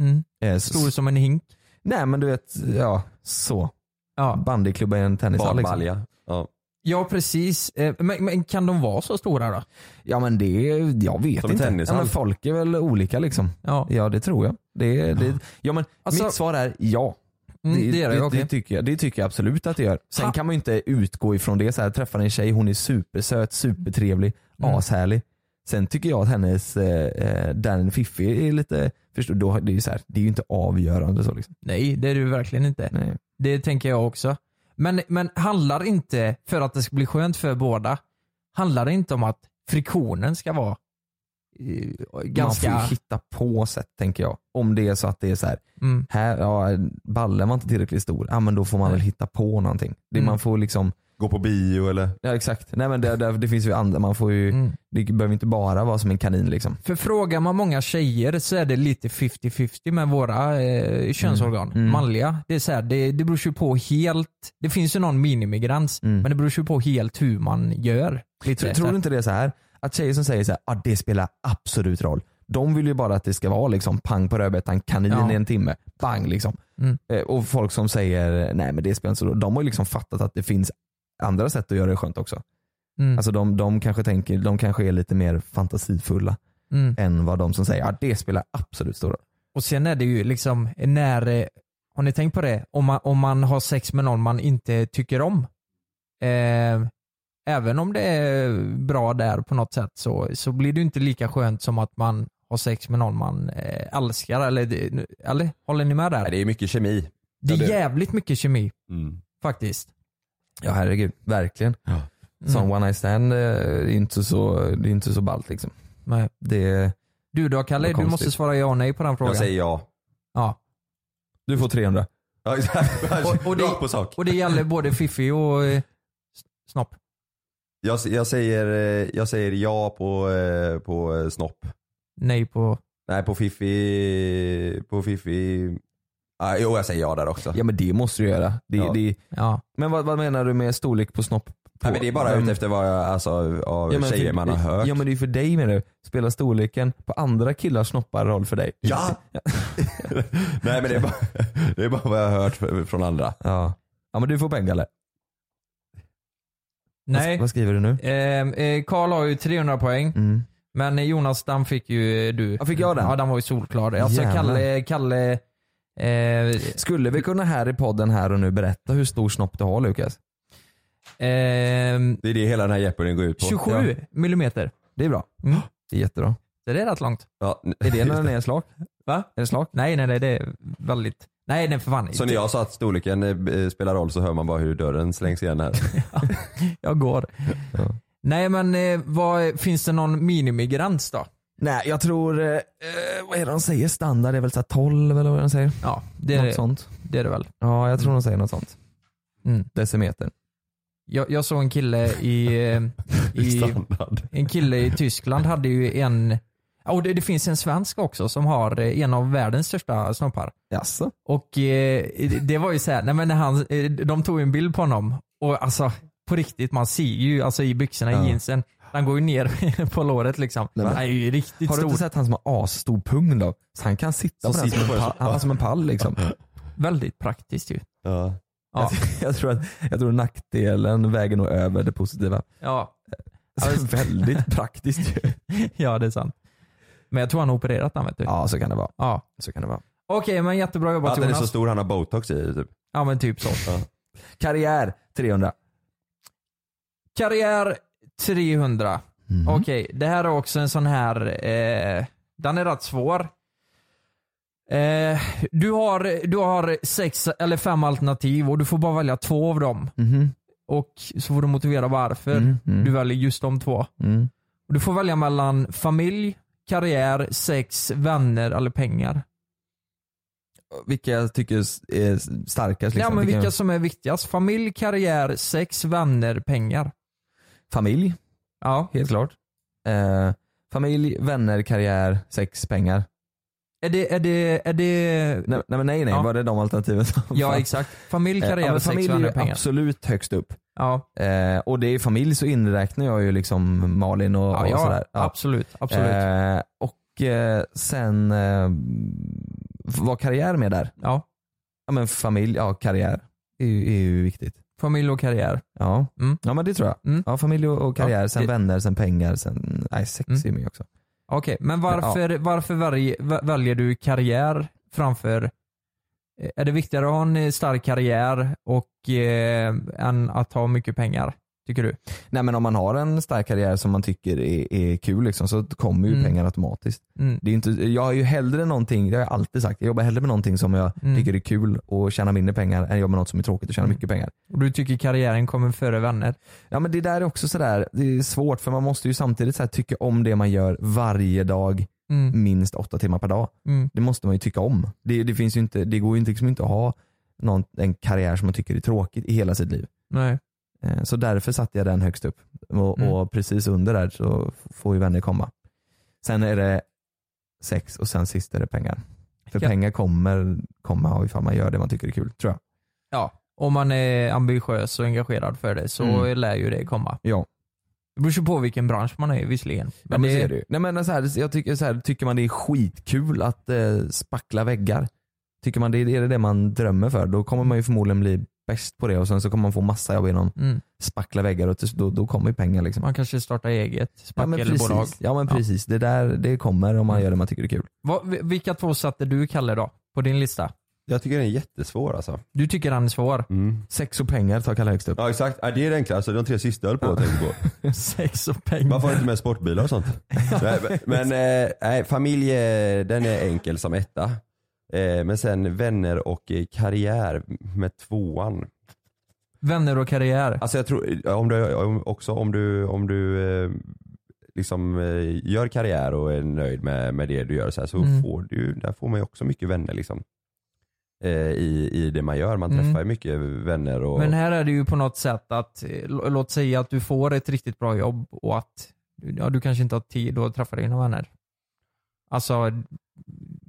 Speaker 7: Mm.
Speaker 6: Eh,
Speaker 7: Stor
Speaker 6: så,
Speaker 7: som en hink?
Speaker 6: nej men du vet, ja så.
Speaker 7: Ja.
Speaker 6: Bandyklubba i en tennishall liksom.
Speaker 8: Badbalja. Ja.
Speaker 7: Ja precis, Eh, men, men kan de vara så stora då?
Speaker 6: Ja men det, jag vet
Speaker 8: Som en
Speaker 6: inte. Ja,
Speaker 8: tennishall.
Speaker 6: men folk är väl olika liksom.
Speaker 7: Ja,
Speaker 6: Ja det tror jag. Det, det, ja, men
Speaker 7: Alltså-
Speaker 6: mitt svar är ja.
Speaker 7: mm, det är det.
Speaker 6: det,
Speaker 7: okej.
Speaker 6: tycker jag, det tycker jag absolut att det gör. Sen
Speaker 7: Ha.
Speaker 6: kan man ju inte utgå ifrån det. Så här, träffar en tjej, hon är supersöt, supertrevlig,
Speaker 7: Mm.
Speaker 6: ashärlig. Sen tycker jag att hennes, eh, eh, den fiffi är lite, förstår, då, det, är ju så här, det är ju inte avgörande så liksom.
Speaker 7: Nej, det är du verkligen inte.
Speaker 6: Nej.
Speaker 7: Det tänker jag också. Men, men handlar det inte, för att det ska bli skönt för båda, handlar det inte om att friktionen ska vara eh, ganska...
Speaker 6: Man får ju hitta på sätt tänker jag. Om det är så att det är så här,
Speaker 7: Mm,
Speaker 6: här ja, ballen var inte tillräckligt stor, ja men då får man väl hitta på någonting. Det,
Speaker 7: Mm.
Speaker 6: Man får liksom
Speaker 8: Gå på bio eller?
Speaker 6: Ja exakt. Nej men det, det, det finns ju andra, man får ju,
Speaker 7: mm.
Speaker 6: det behöver inte bara vara som en kanin liksom.
Speaker 7: För frågar man många tjejer så är det lite 50-50 med våra eh, könsorgan.
Speaker 6: Mm. Mm.
Speaker 7: Manliga. Det, är så här, det, det beror ju på helt, det finns ju någon minimigräns,
Speaker 6: Mm.
Speaker 7: men det beror ju på helt hur man gör. Lite,
Speaker 6: Tror,
Speaker 7: så
Speaker 6: tror
Speaker 7: här.
Speaker 6: du inte det är så här att tjejer som säger så här, ah, det spelar absolut roll. De vill ju bara att det ska vara liksom pang på rödbetan, kanin
Speaker 7: Ja.
Speaker 6: i en timme, bang liksom.
Speaker 7: Mm.
Speaker 6: Eh, och folk som säger nej men det spelar inte så roll. De har ju liksom fattat att det finns andra sätt att göra det skönt också.
Speaker 7: Mm.
Speaker 6: Alltså de, de kanske tänker, de kanske är lite mer fantasifulla
Speaker 7: Mm.
Speaker 6: än vad de som säger att ah, det spelar absolut stor roll.
Speaker 7: Och sen är det ju liksom när, eh, har ni tänkt på det? Om man, om man har sex med någon man inte tycker om. Eh, även om det är bra där på något sätt så, så blir det ju inte lika skönt som att man har sex med någon man eh, älskar. Eller, det- nu- eller håller ni med
Speaker 8: Nej,
Speaker 7: där?
Speaker 8: det är mycket kemi.
Speaker 7: Det
Speaker 8: ja,
Speaker 7: är
Speaker 8: det-
Speaker 7: jävligt mycket kemi
Speaker 8: Mm.
Speaker 7: faktiskt.
Speaker 6: Ja herregud, verkligen.
Speaker 8: Ja.
Speaker 6: Sån
Speaker 7: Mm.
Speaker 6: one night stand eh, är inte så, det är inte så ballt liksom.
Speaker 7: Nej.
Speaker 6: Det,
Speaker 7: Du då Kalle,
Speaker 6: Vad
Speaker 7: du måste
Speaker 6: konstigt.
Speaker 7: svara ja och nej på den frågan.
Speaker 8: Jag säger ja.
Speaker 7: ja.
Speaker 6: du får 300.
Speaker 8: Ja, exakt.
Speaker 7: Och- och det-
Speaker 8: Rakt på sak.
Speaker 7: Och det gäller både Fiffi och eh, Snopp.
Speaker 8: Jag, jag, säger, eh, jag säger ja på, eh, på eh, snopp.
Speaker 7: Nej på...
Speaker 8: Nej på fiffi, på fiffi. Ah, jo jag säger ja där också.
Speaker 6: Ja men det måste du göra. Det,
Speaker 8: Ja.
Speaker 6: det,
Speaker 7: Ja.
Speaker 6: men vad, vad menar du med storlek på snopp? På,
Speaker 8: Nej, men det är bara
Speaker 6: Vem-
Speaker 8: ute efter vad jag, alltså, av
Speaker 6: men
Speaker 8: tjejer
Speaker 6: för-
Speaker 8: man har hört.
Speaker 6: Ja men det är för dig menar du. Spelar storleken på andra killars snoppar roll för dig?
Speaker 8: Ja! Nej men det är, bara, det är bara vad jag har hört f- från andra.
Speaker 6: Ja, ja men du får pengar eller?
Speaker 7: Nej.
Speaker 6: Vad, vad skriver du nu?
Speaker 7: Ehm, eh, Karl har ju 300 poäng,
Speaker 6: Mm.
Speaker 7: men Jonas den fick ju eh, du.
Speaker 6: Ja, fick jag den?
Speaker 7: Ja den var ju solklar. Alltså
Speaker 6: Jävlar.
Speaker 7: Kalle, Kalle eh,
Speaker 6: Skulle vi kunna här i podden här och nu berätta hur stor snopp du har Lukas?
Speaker 7: ehm,
Speaker 8: Det är det hela den här jeopardy går ut på.
Speaker 7: 27 millimeter.
Speaker 6: Det är bra.
Speaker 7: Mm.
Speaker 6: Det är jättebra.
Speaker 7: Så det är rätt långt.
Speaker 8: Ja.
Speaker 6: Är det när den är slak?
Speaker 7: Va?
Speaker 6: Är det slak?
Speaker 7: Nej nej nej det är väldigt. Nej nej för fan.
Speaker 8: Så när jag sa att storleken eh, spelar roll så hör man bara hur dörren slängs igen här.
Speaker 7: Jag går.
Speaker 6: Ja.
Speaker 7: Nej men eh, vad, finns det någon minimigräns då?
Speaker 6: Nej jag tror, eh, eh, vad är det de säger? Standard är väl så här 12 eller vad de säger?
Speaker 7: Ja det
Speaker 6: Något
Speaker 7: är,
Speaker 6: sånt.
Speaker 7: det, är det väl.
Speaker 6: Ja jag tror de säger något sånt.
Speaker 7: Mm.
Speaker 6: Decimeter.
Speaker 7: Jag, jag såg en kille i, eh, i
Speaker 8: Standard.
Speaker 7: En kille i Tyskland hade ju en, ja, och det, det finns en svensk också som har eh, en av världens största snoppar.
Speaker 6: Jaså?
Speaker 7: Och eh, det- det var ju så här, nej men när han, eh, de tog ju en bild på honom och alltså på riktigt man ser ju alltså i byxorna,
Speaker 6: Ja.
Speaker 7: i jeansen, han går ju ner på låret liksom.
Speaker 6: Nej, men-
Speaker 7: han är ju riktigt
Speaker 6: Har du
Speaker 7: stor.
Speaker 6: inte sett han som har asstor pung då? Så han kan sitta
Speaker 8: Han
Speaker 6: på den
Speaker 8: sitter
Speaker 6: som
Speaker 8: på
Speaker 6: en,
Speaker 8: den
Speaker 6: pall,
Speaker 8: så-
Speaker 6: alltså, han var som en pall liksom.
Speaker 7: Väldigt praktiskt ju.
Speaker 8: Ja.
Speaker 7: Ja.
Speaker 6: jag, tror att, jag tror nackdelen väger nog över det positiva.
Speaker 7: Ja.
Speaker 6: Så väldigt praktiskt ju.
Speaker 7: ja, det är sant. Men jag tror han har opererat den vet du.
Speaker 6: Ja så kan det vara.
Speaker 7: Ja.
Speaker 6: Så kan det vara.
Speaker 7: Okej, men jättebra jobbat
Speaker 8: Att den är så
Speaker 7: Jonas.
Speaker 8: stor han har botox i typ.
Speaker 7: Ja men typ så.
Speaker 6: Karriär 300.
Speaker 7: Karriär 300.
Speaker 6: Mm.
Speaker 7: Okej, det här är också en sån här, eh, den är rätt svår. Eh, du, har, du har sex eller fem alternativ och du får bara välja två av dem.
Speaker 6: Mhm.
Speaker 7: Och så får du motivera varför
Speaker 6: Mm, mm.
Speaker 7: du väljer just de två.
Speaker 6: Mm.
Speaker 7: Och Du får välja mellan familj, karriär, sex, vänner eller pengar.
Speaker 6: Vilka jag tycker s- är starkast? Liksom.
Speaker 7: Ja men vilka som är viktigast. Familj, karriär, sex, vänner, pengar.
Speaker 6: Familj,
Speaker 7: Ja.
Speaker 6: helt klart. Eh, familj, vänner, karriär, sex, pengar.
Speaker 7: Är det, är det, är det...
Speaker 6: Nej nej, men nej, nej.
Speaker 7: Ja.
Speaker 6: var det de alternativen som
Speaker 7: Ja
Speaker 6: fanns?
Speaker 7: exakt. Familj,
Speaker 6: Eh,
Speaker 7: karriär,
Speaker 6: ja, men
Speaker 7: sex,
Speaker 6: familj
Speaker 7: vänner,
Speaker 6: är ju
Speaker 7: pengar.
Speaker 6: absolut högst upp.
Speaker 7: Ja,
Speaker 6: Eh, och det är familj så inräknar jag ju liksom Malin och,
Speaker 7: ja,
Speaker 6: och
Speaker 7: ja
Speaker 6: sådär. Ja.
Speaker 7: absolut. absolut.
Speaker 6: Eh, och eh, sen eh, var karriär med där?
Speaker 7: Ja.
Speaker 6: Ja men familj, ja karriär är ju, är ju viktigt.
Speaker 7: Familj och karriär.
Speaker 6: Ja.
Speaker 7: Mm.
Speaker 6: ja men det tror jag.
Speaker 7: Mm.
Speaker 6: Ja, familj och och karriär,
Speaker 7: Ja,
Speaker 6: sen
Speaker 7: det-
Speaker 6: vänner, sen pengar, sen nej, sex
Speaker 7: Mm.
Speaker 6: är ju med också.
Speaker 7: Okej, men varför, varför välj- vä- väljer du karriär framför... eh, Är det viktigare att ha en eh, stark karriär och, eh, än att ha mycket pengar? Tycker du?
Speaker 6: Nej men om man har en stark karriär som man tycker är, är kul liksom, så kommer ju
Speaker 7: Mm.
Speaker 6: pengar automatiskt.
Speaker 7: Mm.
Speaker 6: Det är ju inte, jag har ju hellre någonting, det har jag alltid sagt, jag jobbar hellre med någonting som jag
Speaker 7: Mm.
Speaker 6: tycker är kul och tjänar mindre pengar än jag jobbar med något som är tråkigt och tjänar mycket pengar.
Speaker 7: Och du tycker karriären kommer före vänner?
Speaker 6: Ja men det där är också sådär, det är svårt för man måste ju samtidigt så här, tycka om det man gör varje dag
Speaker 7: Mm.
Speaker 6: minst åtta timmar per dag.
Speaker 7: Mm.
Speaker 6: Det måste man ju tycka om. Det, det, finns ju inte, det går ju inte, liksom inte att ha någon, en karriär som man tycker är tråkigt i hela sitt liv.
Speaker 7: Nej.
Speaker 6: Eh, Så därför satte jag den högst upp. Och,
Speaker 7: Mm.
Speaker 6: och precis under där så f- får ju vänner komma. Sen är det sex och sen sist är det pengar. För
Speaker 7: Ja.
Speaker 6: pengar kommer komma ifall man gör det man tycker är kul tror jag.
Speaker 7: Ja, om man är ambitiös och engagerad för det så
Speaker 6: Mm.
Speaker 7: lär ju det komma.
Speaker 6: Ja.
Speaker 7: Det beror ju på vilken bransch man är i visserligen.
Speaker 6: Men det, är det ju. Nej, men så här, jag tycker, så här, tycker man det är skitkul att eh, spackla väggar, tycker man det är det det man drömmer för, då kommer man ju förmodligen bli bäst på det och sen så kommer man få massa jobb inom
Speaker 7: Mm.
Speaker 6: spackla väggar och till- då, då kommer ju pengar. Liksom.
Speaker 7: Man kanske startar eget
Speaker 6: Ja men
Speaker 7: spackelbolag.
Speaker 6: precis, ja, Mm. men
Speaker 7: Ja.
Speaker 6: precis. det där det kommer om man gör det man tycker är kul.
Speaker 7: Vad- vi- vilka två satte du Kalle då? På din lista?
Speaker 8: Jag tycker den är jättesvår alltså.
Speaker 7: Du tycker den är svår.
Speaker 6: Sex och pengar tar Kalle högst upp.
Speaker 8: Ja exakt, ja, det är det enklaste. Alltså, De tre sista jag höll på att tänka på.
Speaker 7: Sex och pengar.
Speaker 8: Varför har du inte med sportbilar och sånt? nej, men eh, nej, familj, eh, den är enkel som etta. Eh, men sen vänner och eh, karriär med tvåan.
Speaker 7: Vänner och karriär.
Speaker 8: Alltså jag tror, eh, om du, om, också om du, om du eh, liksom eh, gör karriär och är nöjd med, med det du gör så, här, så
Speaker 7: Mm.
Speaker 8: får du, där får man ju också mycket vänner liksom. Eh, I, I det man gör, man
Speaker 7: Mm.
Speaker 8: träffar ju mycket vänner och
Speaker 7: Men här är det ju på något sätt att, eh, lå- låt säga att du får ett riktigt bra jobb och att ja, du kanske inte har tid att träffa dina vänner. Alltså,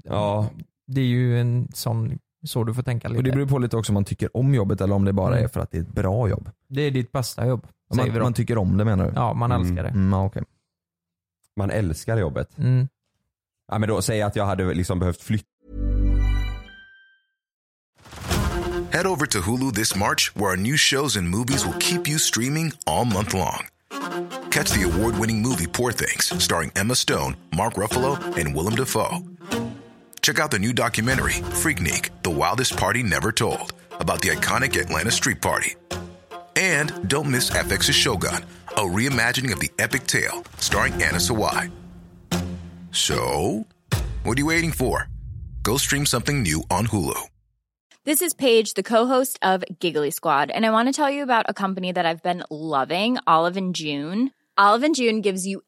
Speaker 8: ja,
Speaker 7: det är ju en sån, så du får tänka lite.
Speaker 6: Och det beror på lite också om man tycker om jobbet eller om det bara
Speaker 7: Mm.
Speaker 6: är för att det är ett bra jobb.
Speaker 7: Det är ditt bästa jobb, säger vi
Speaker 6: Man,
Speaker 7: då.
Speaker 6: man tycker om det menar du?
Speaker 7: ja, man
Speaker 8: Mm.
Speaker 7: älskar det.
Speaker 6: Mm, ja, okej.
Speaker 8: man älskar jobbet.
Speaker 7: Mm.
Speaker 8: Ja, men då, säg att jag hade liksom behövt flytta
Speaker 5: Head over to Hulu this March, where our new shows and movies will keep you streaming all month long. Catch the award winning movie Poor Things, starring Emma Stone, Mark Ruffalo, and Willem Dafoe. Check out the new documentary, Freaknik The Wildest Party Never Told, about the iconic Atlanta Street Party. And don't miss FX's Shogun, a reimagining of the epic tale, starring Anna Sawai. So, what are you waiting for? Go stream something new on Hulu.
Speaker 11: This is Paige, the co-host of Giggly Squad, and I want to tell you about a company that I've been loving, Olive and June. Olive and June gives you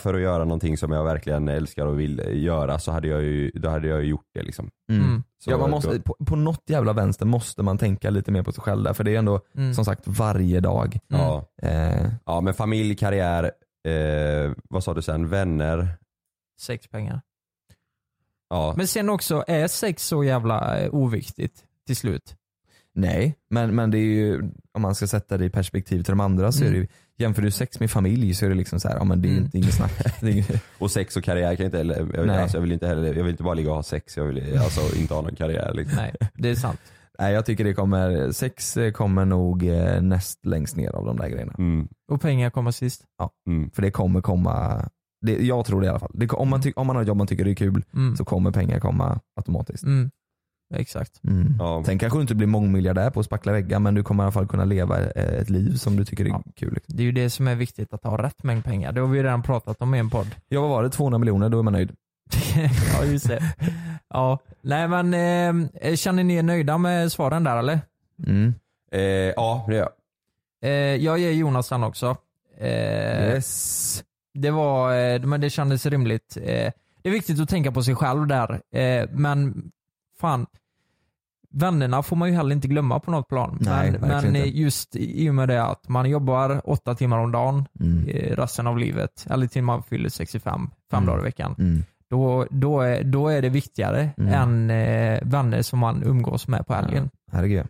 Speaker 8: för att göra någonting som jag verkligen älskar och vill eh, göra så hade jag ju, då hade jag ju gjort det liksom.
Speaker 6: Mm.
Speaker 7: Mm.
Speaker 8: Så
Speaker 6: Ja, man måste, på, på något jävla vänster måste man tänka lite mer på sig själv där, för det är ändå
Speaker 7: Mm.
Speaker 6: som sagt varje dag.
Speaker 8: då, ja,
Speaker 6: Eh,
Speaker 8: ja men familj, karriär, eh, vad sa du sen, vänner.
Speaker 7: Sex pengar.
Speaker 8: Ja.
Speaker 7: Men sen också, är sex så jävla eh, oviktigt till slut?
Speaker 8: Nej, men, men det är ju, om man ska sätta det i perspektiv till de andra så
Speaker 12: Mm.
Speaker 8: är det ju, jämför du sex med familj så är det liksom så här, ja men det är ju inte inget snack. Det är ju-
Speaker 12: Och sex och karriär kan jag inte heller, jag vill,
Speaker 8: Nej.
Speaker 12: alltså, jag vill inte heller, jag vill inte bara ligga och ha sex, jag vill alltså inte ha någon karriär liksom.
Speaker 7: Nej, det är sant.
Speaker 8: Nej jag tycker det kommer, sex eh, kommer nog eh, näst längst ner av de där grejerna.
Speaker 12: Mm,
Speaker 7: Och pengar kommer sist.
Speaker 12: mm.
Speaker 8: För det kommer komma, det, jag tror det i alla fall. Det, om, man ty, om man har ett jobb man tycker det är kul
Speaker 7: Mm.
Speaker 8: så kommer pengar komma automatiskt.
Speaker 7: Mm. Exakt.
Speaker 8: Mm.
Speaker 12: Ja.
Speaker 8: Sen kanske du inte blir mångmiljardär på att spackla väggar men du kommer i alla fall kunna leva eh, ett liv som du tycker är
Speaker 7: Ja.
Speaker 8: kul. Liksom.
Speaker 7: Det är ju det som är viktigt, att ha rätt mängd pengar. Det har vi ju redan pratat om i en podd.
Speaker 8: Ja vad var det, 200 miljoner, då är man nöjd.
Speaker 7: ja, just det. Ja. Nej men, eh, känner ni er nöjda med svaren där eller?
Speaker 8: Mm.
Speaker 12: Eh, ja, det gör jag.
Speaker 7: Eh, jag ger Jonas den också. Eh,
Speaker 8: Yes.
Speaker 7: Det var, eh, men det kändes rimligt. Eh, det är viktigt att tänka på sig själv där, eh, men fan. Vännerna får man ju heller inte glömma på något plan.
Speaker 8: Nej,
Speaker 7: men
Speaker 8: verkligen
Speaker 7: men eh,
Speaker 8: inte.
Speaker 7: just i och med det att man jobbar åtta timmar om dagen
Speaker 8: Mm.
Speaker 7: eh, resten av livet, eller till man fyller 65, fem
Speaker 8: Mm.
Speaker 7: dagar i veckan.
Speaker 8: Mm.
Speaker 7: Då, då, är, då är det viktigare
Speaker 8: Mm.
Speaker 7: än eh, vänner som man umgås med på helgen.
Speaker 8: Herregud.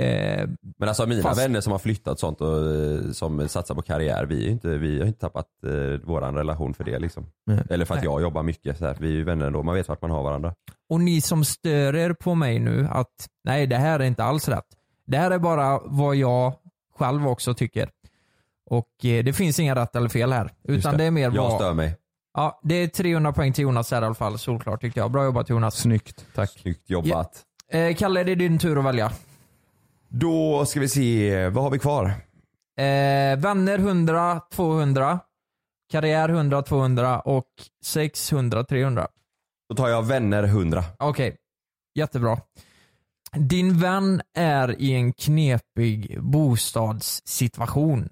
Speaker 7: Eh,
Speaker 12: Men alltså mina
Speaker 7: Fast-
Speaker 12: vänner som har flyttat och sånt och eh, som satsar på karriär, vi, är ju inte, vi har inte tappat eh, våran relation för det liksom.
Speaker 8: Nej.
Speaker 12: Eller för att
Speaker 7: Nej.
Speaker 12: jag jobbar mycket så här. vi är ju vänner ändå, man vet vart man har varandra.
Speaker 7: Och ni som stör er på mig nu att nej, det här är inte alls rätt. Det här är bara vad jag själv också tycker. Och eh, det finns inga rätt eller fel här.
Speaker 12: Just
Speaker 7: Utan det. är mer
Speaker 12: Jag
Speaker 7: vad...
Speaker 12: stör mig.
Speaker 7: Ja, det är 300 poäng till Jonas här i alla fall. Solklart tyckte jag. Bra jobbat Jonas.
Speaker 8: Snyggt, tack.
Speaker 12: Snyggt jobbat.
Speaker 7: Eh, Kalle, det är din tur att välja.
Speaker 12: Då ska vi se, vad har vi kvar?
Speaker 7: Eh, vänner 100, 200. Karriär 100, 200 och 600, 300.
Speaker 12: Då tar jag vänner 100.
Speaker 7: Okej, jättebra. Din vän är i en knepig bostadssituation.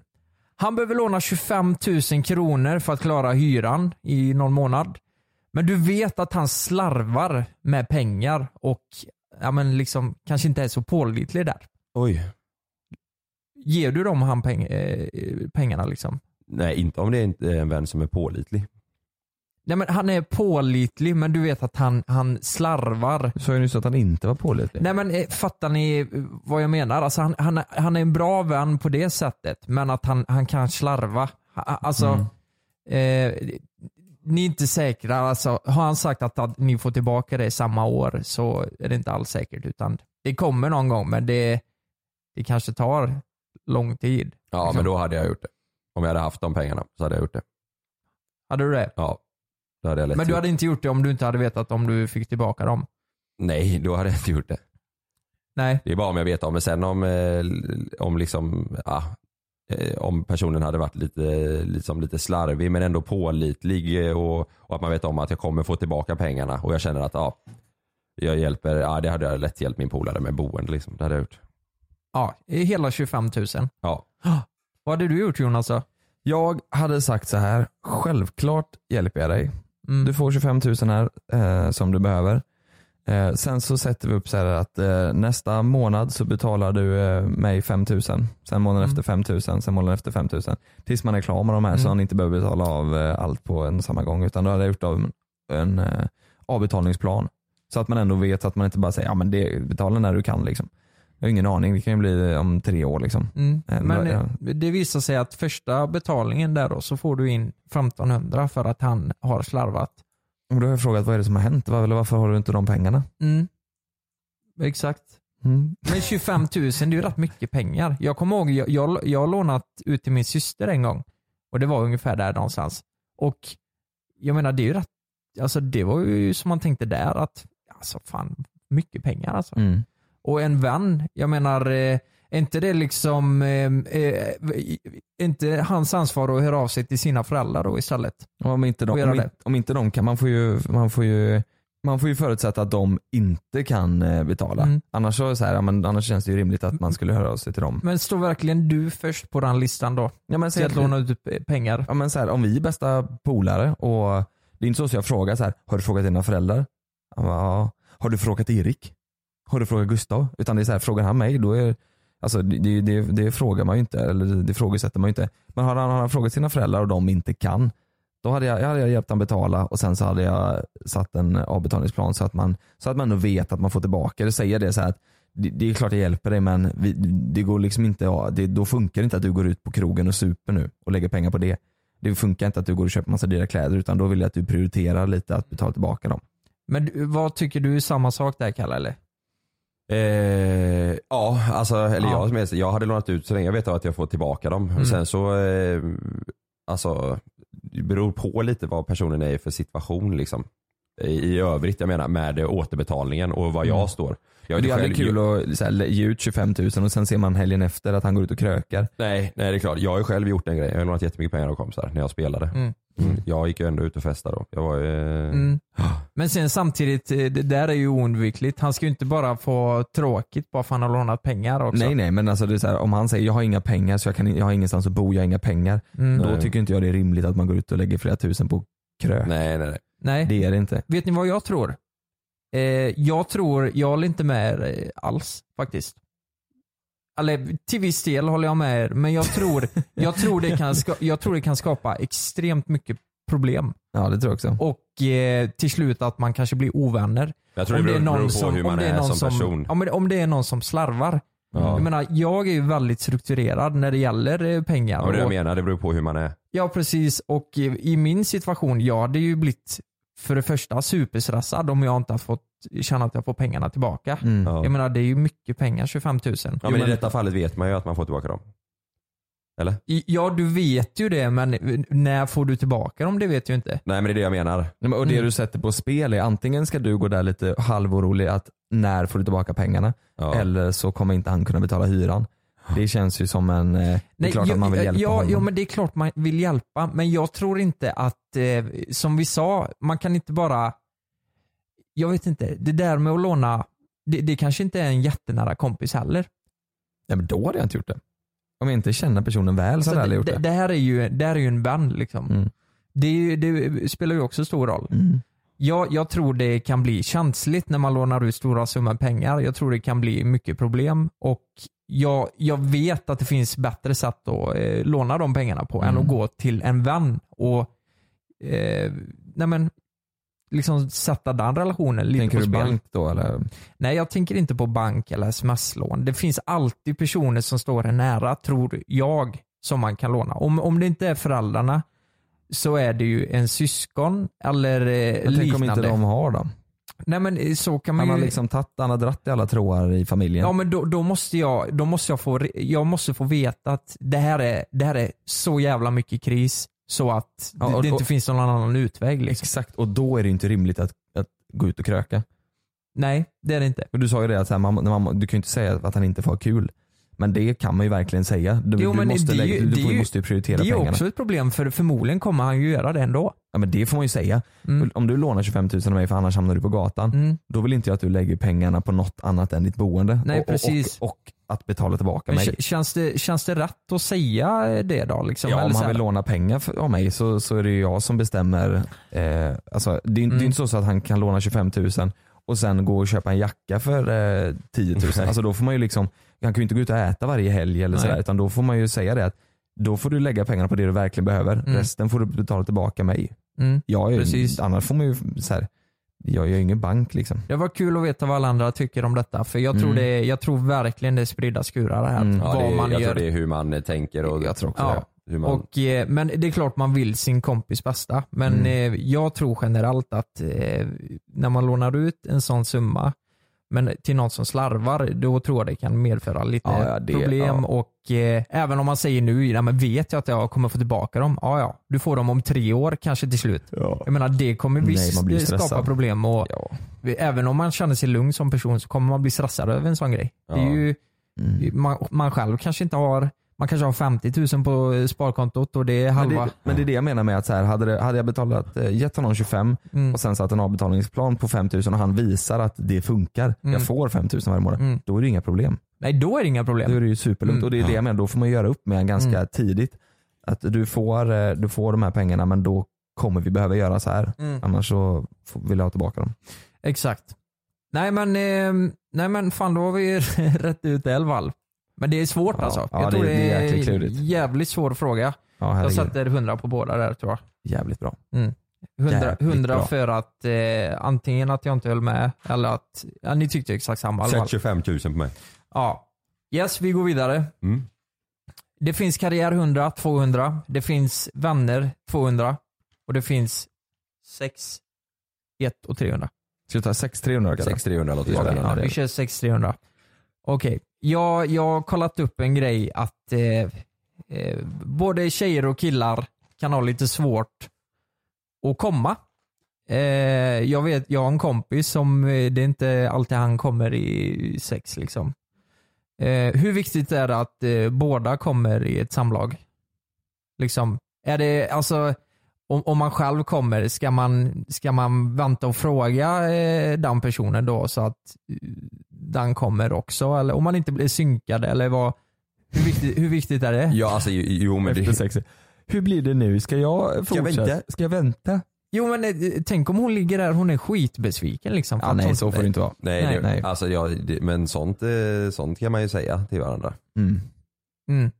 Speaker 7: Han behöver låna 25 000 kronor för att klara hyran i någon månad. Men du vet att han slarvar med pengar och ja, men liksom, kanske inte är så pålitlig där.
Speaker 12: Oj.
Speaker 7: Ger du dem han peng eh, pengarna liksom?
Speaker 12: Nej, inte om det är inte en vän som är pålitlig.
Speaker 7: Nej, men han är pålitlig men du vet att han, han slarvar
Speaker 8: Du sa ju nyss att han inte var
Speaker 12: typ.
Speaker 8: pålitlig.
Speaker 7: Nej men eh, fattar ni eh, vad jag menar? Alltså, han, han, han är en bra vän på det sättet, men att han, han kan slarva. Ha- ha- Alltså,
Speaker 12: Mm.
Speaker 7: eh, ni är inte säkra. Alltså, har han sagt att, att ni får tillbaka det samma år så är det inte alls säkert. Utan det kommer någon gång, men det, det kanske tar lång tid.
Speaker 12: Ja,
Speaker 8: Liksom.
Speaker 12: men då hade jag gjort det. Om jag hade haft de pengarna så hade jag gjort det.
Speaker 7: Hade du det?
Speaker 12: Ja. Då hade jag lätt
Speaker 7: Men du
Speaker 12: gjort
Speaker 7: hade inte gjort det om du inte hade vetat om du fick tillbaka dem?
Speaker 12: det. Nej, då hade jag inte gjort det.
Speaker 7: Nej.
Speaker 12: Det är bara om jag vet om det. Sen om, eh, om liksom, ah, eh, om personen hade varit lite, liksom lite slarvig men ändå pålitlig eh, och, och att man vet om att jag kommer få tillbaka pengarna och jag känner att ah, jag hjälper, ja det hade jag lätt hjälpt min polare med boende liksom. Det hade jag gjort.
Speaker 7: Ja, hela 25 000.
Speaker 12: Ja.
Speaker 7: Vad hade du gjort Jonas då?
Speaker 8: Jag hade sagt så här, självklart hjälper jag dig.
Speaker 7: Mm.
Speaker 8: Du får 25 000 här eh, som du behöver. Eh, sen så sätter vi upp så här att eh, nästa månad så betalar du eh, mig 5 000. Sen månaden
Speaker 7: Mm.
Speaker 8: efter 5 000, sen månaden efter 5 000. Tills man är klar med de här så
Speaker 7: Mm.
Speaker 8: han inte behöver betala av eh, allt på en samma gång. Utan då hade jag gjort av en, en eh, avbetalningsplan. Så att man ändå vet att man inte bara säger ja men det, betala när du kan liksom. Jag har ingen aning, det kan ju bli om tre år liksom.
Speaker 7: Mm.
Speaker 8: Eh,
Speaker 7: Men
Speaker 8: ja.
Speaker 7: eh, det visar sig att första betalningen där då så får du in 1500 för att han har slarvat.
Speaker 8: Och då har jag frågat vad är det som har hänt? Var- Eller varför har du inte de pengarna?
Speaker 7: Mm. Exakt. Men 25 000 det är ju rätt mycket pengar. Jag kommer ihåg, jag, jag, jag har lånat ut till min syster en gång och det var ungefär där någonstans. Och jag menar det är ju rätt, alltså det var ju som man tänkte där att alltså fan mycket pengar alltså.
Speaker 8: Mm.
Speaker 7: och en vän. Jag menar, eh, är inte det liksom eh, eh, är inte hans ansvar att höra av sig till sina föräldrar då istället?
Speaker 8: Och Om, inte
Speaker 7: Och
Speaker 8: de,
Speaker 7: göra
Speaker 8: om,
Speaker 7: det.
Speaker 8: inte, om inte de kan, man får, ju, man, får ju, man får ju förutsätta att de inte kan eh, betala.
Speaker 7: Mm.
Speaker 8: Annars, så är det så här, ja, men, annars känns det ju rimligt att man skulle höra av sig till dem.
Speaker 7: Men står verkligen du först på den listan då?
Speaker 8: Ja, men,
Speaker 7: Till
Speaker 8: säg
Speaker 7: att
Speaker 8: att,
Speaker 7: låna ut eh, pengar?
Speaker 8: ja, men, så här, om vi är bästa polare och det är inte så att jag frågar så här, har du frågat dina föräldrar? Han bara, ja. Har du frågat Erik? Har du frågat Gustav? Utan det är så här, frågar han mig då är Alltså det, det, det, det frågar man ju inte, eller det, det frågesätter man ju inte. Men har han, har han frågat sina föräldrar och de inte kan, då hade jag, jag hade jag hjälpt han betala och sen så hade jag satt en avbetalningsplan så att man, så att man ändå vet att man får tillbaka det. Säger det så här att det, det är klart det hjälper dig men vi, det går liksom inte, ja, det, då funkar det inte att du går ut på krogen och super nu och lägger pengar på det. Det funkar inte att du går och köper massa dyra kläder utan då vill jag att du prioriterar lite att betala tillbaka dem.
Speaker 7: Men du, vad tycker du är samma sak där Kalle eller?
Speaker 13: Eh, ja, alltså, eller
Speaker 7: Ja.
Speaker 13: jag som helst, jag hade lånat ut så länge jag vet att jag får tillbaka dem.
Speaker 7: Mm.
Speaker 13: Sen så, eh, alltså, det beror på lite vad personen är i för situation liksom. I, I övrigt, jag menar med eh, återbetalningen och var jag
Speaker 8: Mm.
Speaker 13: står. Jag
Speaker 8: Jag
Speaker 13: vet
Speaker 8: det är
Speaker 13: själv-
Speaker 8: aldrig kul att så här, ge ut 25 000 och sen ser man helgen efter att han går ut och krökar.
Speaker 13: Nej, nej det är klart. Jag har ju själv gjort en grej. Jag har lånat jättemycket pengar av kompisar när jag spelade.
Speaker 7: Mm.
Speaker 13: Mm. Jag gick ju ändå ut och festade då. Jag var ju... eh,
Speaker 7: Mm. Men sen samtidigt, eh, det där är ju oundvikligt. Han ska ju inte bara få tråkigt bara för han har lånat pengar också.
Speaker 8: Nej nej men alltså det är så här, om han säger jag har inga pengar så jag, kan, in- jag har ingenstans att bo, jag har inga pengar.
Speaker 7: Mm.
Speaker 8: Då tycker inte jag det är rimligt att man går ut och lägger flera tusen på krök.
Speaker 13: Nej, nej, nej.
Speaker 7: Nej.
Speaker 8: Det är det inte.
Speaker 7: Vet ni vad jag tror? Eh, jag tror, jag håller inte med er eh, alls faktiskt. Eller till viss del håller jag med er, men jag tror, jag tror, det, kan ska, jag tror det kan skapa extremt mycket problem.
Speaker 8: Ja det tror jag också.
Speaker 7: Och eh, till slut att man kanske blir ovänner.
Speaker 13: Jag tror det beror, beror på hur man
Speaker 7: om det
Speaker 13: är,
Speaker 7: någon
Speaker 13: som person.
Speaker 7: Ja, men om det är någon som slarvar.
Speaker 13: Ja.
Speaker 7: Jag menar, jag är ju väldigt strukturerad när det gäller eh, pengar.
Speaker 13: Ja, men det
Speaker 7: och-
Speaker 13: jag menar, det beror på hur man är.
Speaker 7: Ja precis och i i min situation, jag hade ju blivit för det första superstressad om jag inte har fått känna att jag får pengarna tillbaka.
Speaker 8: Mm.
Speaker 13: Ja.
Speaker 7: Jag menar det är ju mycket pengar, 25 000.
Speaker 13: Ja,
Speaker 7: Jo,
Speaker 13: men
Speaker 7: men-
Speaker 13: i detta fallet vet man ju att man får tillbaka dem. Eller?
Speaker 7: I- ja du vet ju det men när får du tillbaka dem det vet jag inte.
Speaker 13: Nej men det är det jag menar.
Speaker 8: Nej, men- Och det
Speaker 7: Mm.
Speaker 8: du sätter på spel är antingen ska du gå där lite halvorolig att när får du tillbaka pengarna
Speaker 13: Ja.
Speaker 8: eller så kommer inte han kunna betala hyran. Det känns ju som en, eh, det är klart
Speaker 7: jo,
Speaker 8: att man vill hjälpa
Speaker 7: ja,
Speaker 8: honom.
Speaker 7: Ja men det är klart man vill hjälpa men jag tror inte att, eh, som vi sa, man kan inte bara, jag vet inte, det där med att låna, det, det kanske inte är en jättenära kompis heller.
Speaker 8: Ja, men då hade jag inte gjort det. Om jag inte känner personen väl så
Speaker 7: Alltså,
Speaker 8: hade jag aldrig gjort
Speaker 7: det,
Speaker 8: det.
Speaker 7: det här är ju, det här är ju en vän liksom.
Speaker 8: Mm.
Speaker 7: Det, är ju- det spelar ju också stor roll.
Speaker 8: Mm.
Speaker 7: Jag, jag tror det kan bli känsligt när man lånar ut stora summor pengar. Jag tror det kan bli mycket problem och jag, jag vet att det finns bättre sätt att eh, låna de pengarna på än
Speaker 8: Mm.
Speaker 7: att gå till en vän och eh, nej men, liksom sätta den relationen lite
Speaker 8: Tänker
Speaker 7: på
Speaker 8: du
Speaker 7: spel.
Speaker 8: bank då eller?
Speaker 7: Nej, jag tänker inte på bank eller sms-lån. Det finns alltid personer som står en nära, tror jag, som man kan låna. Om, om det inte är föräldrarna så är det ju en syskon eller eh,
Speaker 8: Jag tänker om
Speaker 7: liknande.
Speaker 8: inte de har dem.
Speaker 7: Nej men eh, så kan man
Speaker 8: Han
Speaker 7: ju...
Speaker 8: har liksom tagit, han har dratt i alla trådar i familjen.
Speaker 7: Ja men då, då måste, jag, då måste jag, få, re- jag måste få veta att det här, är, det här är så jävla mycket kris så att
Speaker 8: Ja,
Speaker 7: det,
Speaker 8: och-
Speaker 7: det inte
Speaker 8: och-
Speaker 7: finns någon annan utväg. Liksom.
Speaker 8: Exakt, och då är det ju inte rimligt att, att gå ut och kröka.
Speaker 7: Nej, det är det inte.
Speaker 8: Och du sa ju det att så här, man, när man, du kan ju inte säga att han inte får ha kul. Men det kan man ju verkligen säga. Du,
Speaker 7: Jo,
Speaker 8: du,
Speaker 7: men
Speaker 8: måste,
Speaker 7: det är
Speaker 8: lägga,
Speaker 7: ju-
Speaker 8: du,
Speaker 7: det är
Speaker 8: får,
Speaker 7: ju-
Speaker 8: måste ju
Speaker 7: Det
Speaker 8: prioritera
Speaker 7: är ju
Speaker 8: pengarna.
Speaker 7: också ett problem för förmodligen kommer han ju göra det ändå.
Speaker 8: Ja, men det får man ju säga.
Speaker 7: Mm.
Speaker 8: Om du lånar 25 000 av mig för annars hamnar du på gatan.
Speaker 7: Mm.
Speaker 8: Då vill inte jag att du lägger pengarna på något annat än ditt boende.
Speaker 7: Nej,
Speaker 8: och,
Speaker 7: precis.
Speaker 8: Och, och, och att betala tillbaka
Speaker 7: Men
Speaker 8: mig.
Speaker 7: k- känns, det, känns det rätt att säga det då? Liksom?
Speaker 8: Ja,
Speaker 7: Eller
Speaker 8: om
Speaker 7: så
Speaker 8: han
Speaker 7: här-
Speaker 8: vill låna pengar för- av mig så, så är det ju jag som bestämmer. Eh, alltså, det, är- det är
Speaker 7: Mm.
Speaker 8: inte så, så att han kan låna 25 000 och sen gå och köpa en jacka för eh, 10 000.
Speaker 13: Nej.
Speaker 8: Alltså, då får man ju liksom, han kan ju inte gå ut och äta varje helg eller
Speaker 7: Nej.
Speaker 8: sådär, utan då får man ju säga det att då får du lägga pengarna på det du verkligen behöver.
Speaker 7: Mm.
Speaker 8: Resten får du betala tillbaka mig.
Speaker 7: mm.
Speaker 8: Jag är,
Speaker 7: Precis.
Speaker 8: Annars får man ju så här, jag är ju ingen bank liksom.
Speaker 7: Det var kul att veta vad alla andra tycker om detta för jag
Speaker 8: Mm.
Speaker 7: tror, det, jag tror verkligen det är spridda skurar här.
Speaker 8: Mm.
Speaker 13: Ja,
Speaker 7: Vad
Speaker 13: det,
Speaker 7: man
Speaker 13: jag
Speaker 7: gör.
Speaker 13: tror det är hur man eh, tänker och
Speaker 8: Jag tror också
Speaker 7: Ja.
Speaker 13: hur man...
Speaker 7: Och, eh, men det är klart man vill sin kompis bästa. Men
Speaker 8: Mm.
Speaker 7: eh, jag tror generellt att eh, när man lånar ut en sån summa men till någon som slarvar, då tror jag det kan medföra lite
Speaker 8: Ja, ja, det-
Speaker 7: problem.
Speaker 8: ja.
Speaker 7: Och eh, även om man säger nu, ja, men vet jag att jag kommer få tillbaka dem? Ja, ja, du får dem om tre år kanske till slut. Jag menar det kommer
Speaker 8: Nej,
Speaker 7: visst
Speaker 8: man blir
Speaker 7: skapa
Speaker 8: stressad.
Speaker 7: problem och
Speaker 8: Ja.
Speaker 7: även om man känner sig lugn som person så kommer man bli stressad över en sån grej. Det är
Speaker 13: Ja.
Speaker 7: ju,
Speaker 8: Mm.
Speaker 7: man, man själv kanske inte har man kanske har 50 000 på eh, sparkontot och det är
Speaker 8: Men,
Speaker 7: halva.
Speaker 8: det, men det är det jag menar med att så här, hade, det, hade jag betalat, eh, gett honom 25
Speaker 7: Mm.
Speaker 8: och sen satt en avbetalningsplan på 5000 och han visar att det funkar.
Speaker 7: Mm.
Speaker 8: Jag får 5000 varje månad.
Speaker 7: Mm.
Speaker 8: Då är det inga problem.
Speaker 7: Nej, då är det inga
Speaker 8: Då är
Speaker 7: problem.
Speaker 8: det ju superlugnt.
Speaker 7: Mm.
Speaker 8: Och det är det jag menar, då får man göra upp med en ganska
Speaker 7: Mm.
Speaker 8: tidigt. Att du får, eh, du får de här pengarna men då kommer vi behöva göra så här.
Speaker 7: Mm.
Speaker 8: Annars så får- vill jag ha tillbaka dem.
Speaker 7: Exakt. Nej men, eh, nej men fan då har vi rätt ut det i alla fall. Men det är svårt
Speaker 8: Ja.
Speaker 7: alltså.
Speaker 8: Ja,
Speaker 7: jag
Speaker 8: det-
Speaker 7: tror det,
Speaker 8: det är
Speaker 7: är
Speaker 8: jäkligt
Speaker 7: en
Speaker 8: klurigt.
Speaker 7: jävligt svår fråga.
Speaker 8: Ja,
Speaker 7: Jag
Speaker 8: herregud.
Speaker 7: sätter 100 på båda där tror jag.
Speaker 8: Jävligt bra.
Speaker 7: Mm. 100,
Speaker 6: Jävligt
Speaker 7: 100
Speaker 6: bra.
Speaker 7: för att eh, antingen att jag inte höll med eller att ja, ni tyckte exakt samma. i alla fall.
Speaker 6: Sätt 25 000 på mig.
Speaker 7: Ja. Yes, vi går vidare.
Speaker 6: Mm.
Speaker 7: Det finns Karriär 100, 200. Det finns Vänner, 200. Och det finns 6, 1 och 300.
Speaker 8: Ska vi ta 6300 kanske?
Speaker 6: 6300 låter
Speaker 7: Okej,
Speaker 6: spännande.
Speaker 7: ja, vi kör 6 300. Okej, jag, jag har kollat upp en grej att eh, eh, både tjejer och killar kan ha lite svårt att komma. Eh, jag vet, jag har en kompis som, eh, det är inte alltid han kommer i sex liksom. Eh, hur viktigt är det att eh, båda kommer i ett samlag? Liksom, är det, alltså, om, om man själv kommer, ska man, ska man vänta och fråga eh, den personen då så att eh, den kommer också? Eller om man inte blir synkad eller vad, hur viktigt, hur viktigt är det?
Speaker 6: Ja alltså jo- jo men
Speaker 8: Efter
Speaker 6: det,
Speaker 8: sex. Hur blir det nu? Ska jag fortsätta?
Speaker 6: jag vänta?
Speaker 8: Ska jag vänta?
Speaker 7: Jo men eh, tänk om hon ligger där, hon är skitbesviken liksom. för
Speaker 8: Ja,
Speaker 7: att
Speaker 8: nej
Speaker 7: hon-
Speaker 8: så får det inte vara.
Speaker 6: nej,
Speaker 7: Nej,
Speaker 6: det,
Speaker 7: nej.
Speaker 6: Alltså, ja, det, men sånt, eh, sånt kan man ju säga till varandra.
Speaker 8: Mm.
Speaker 7: Mm.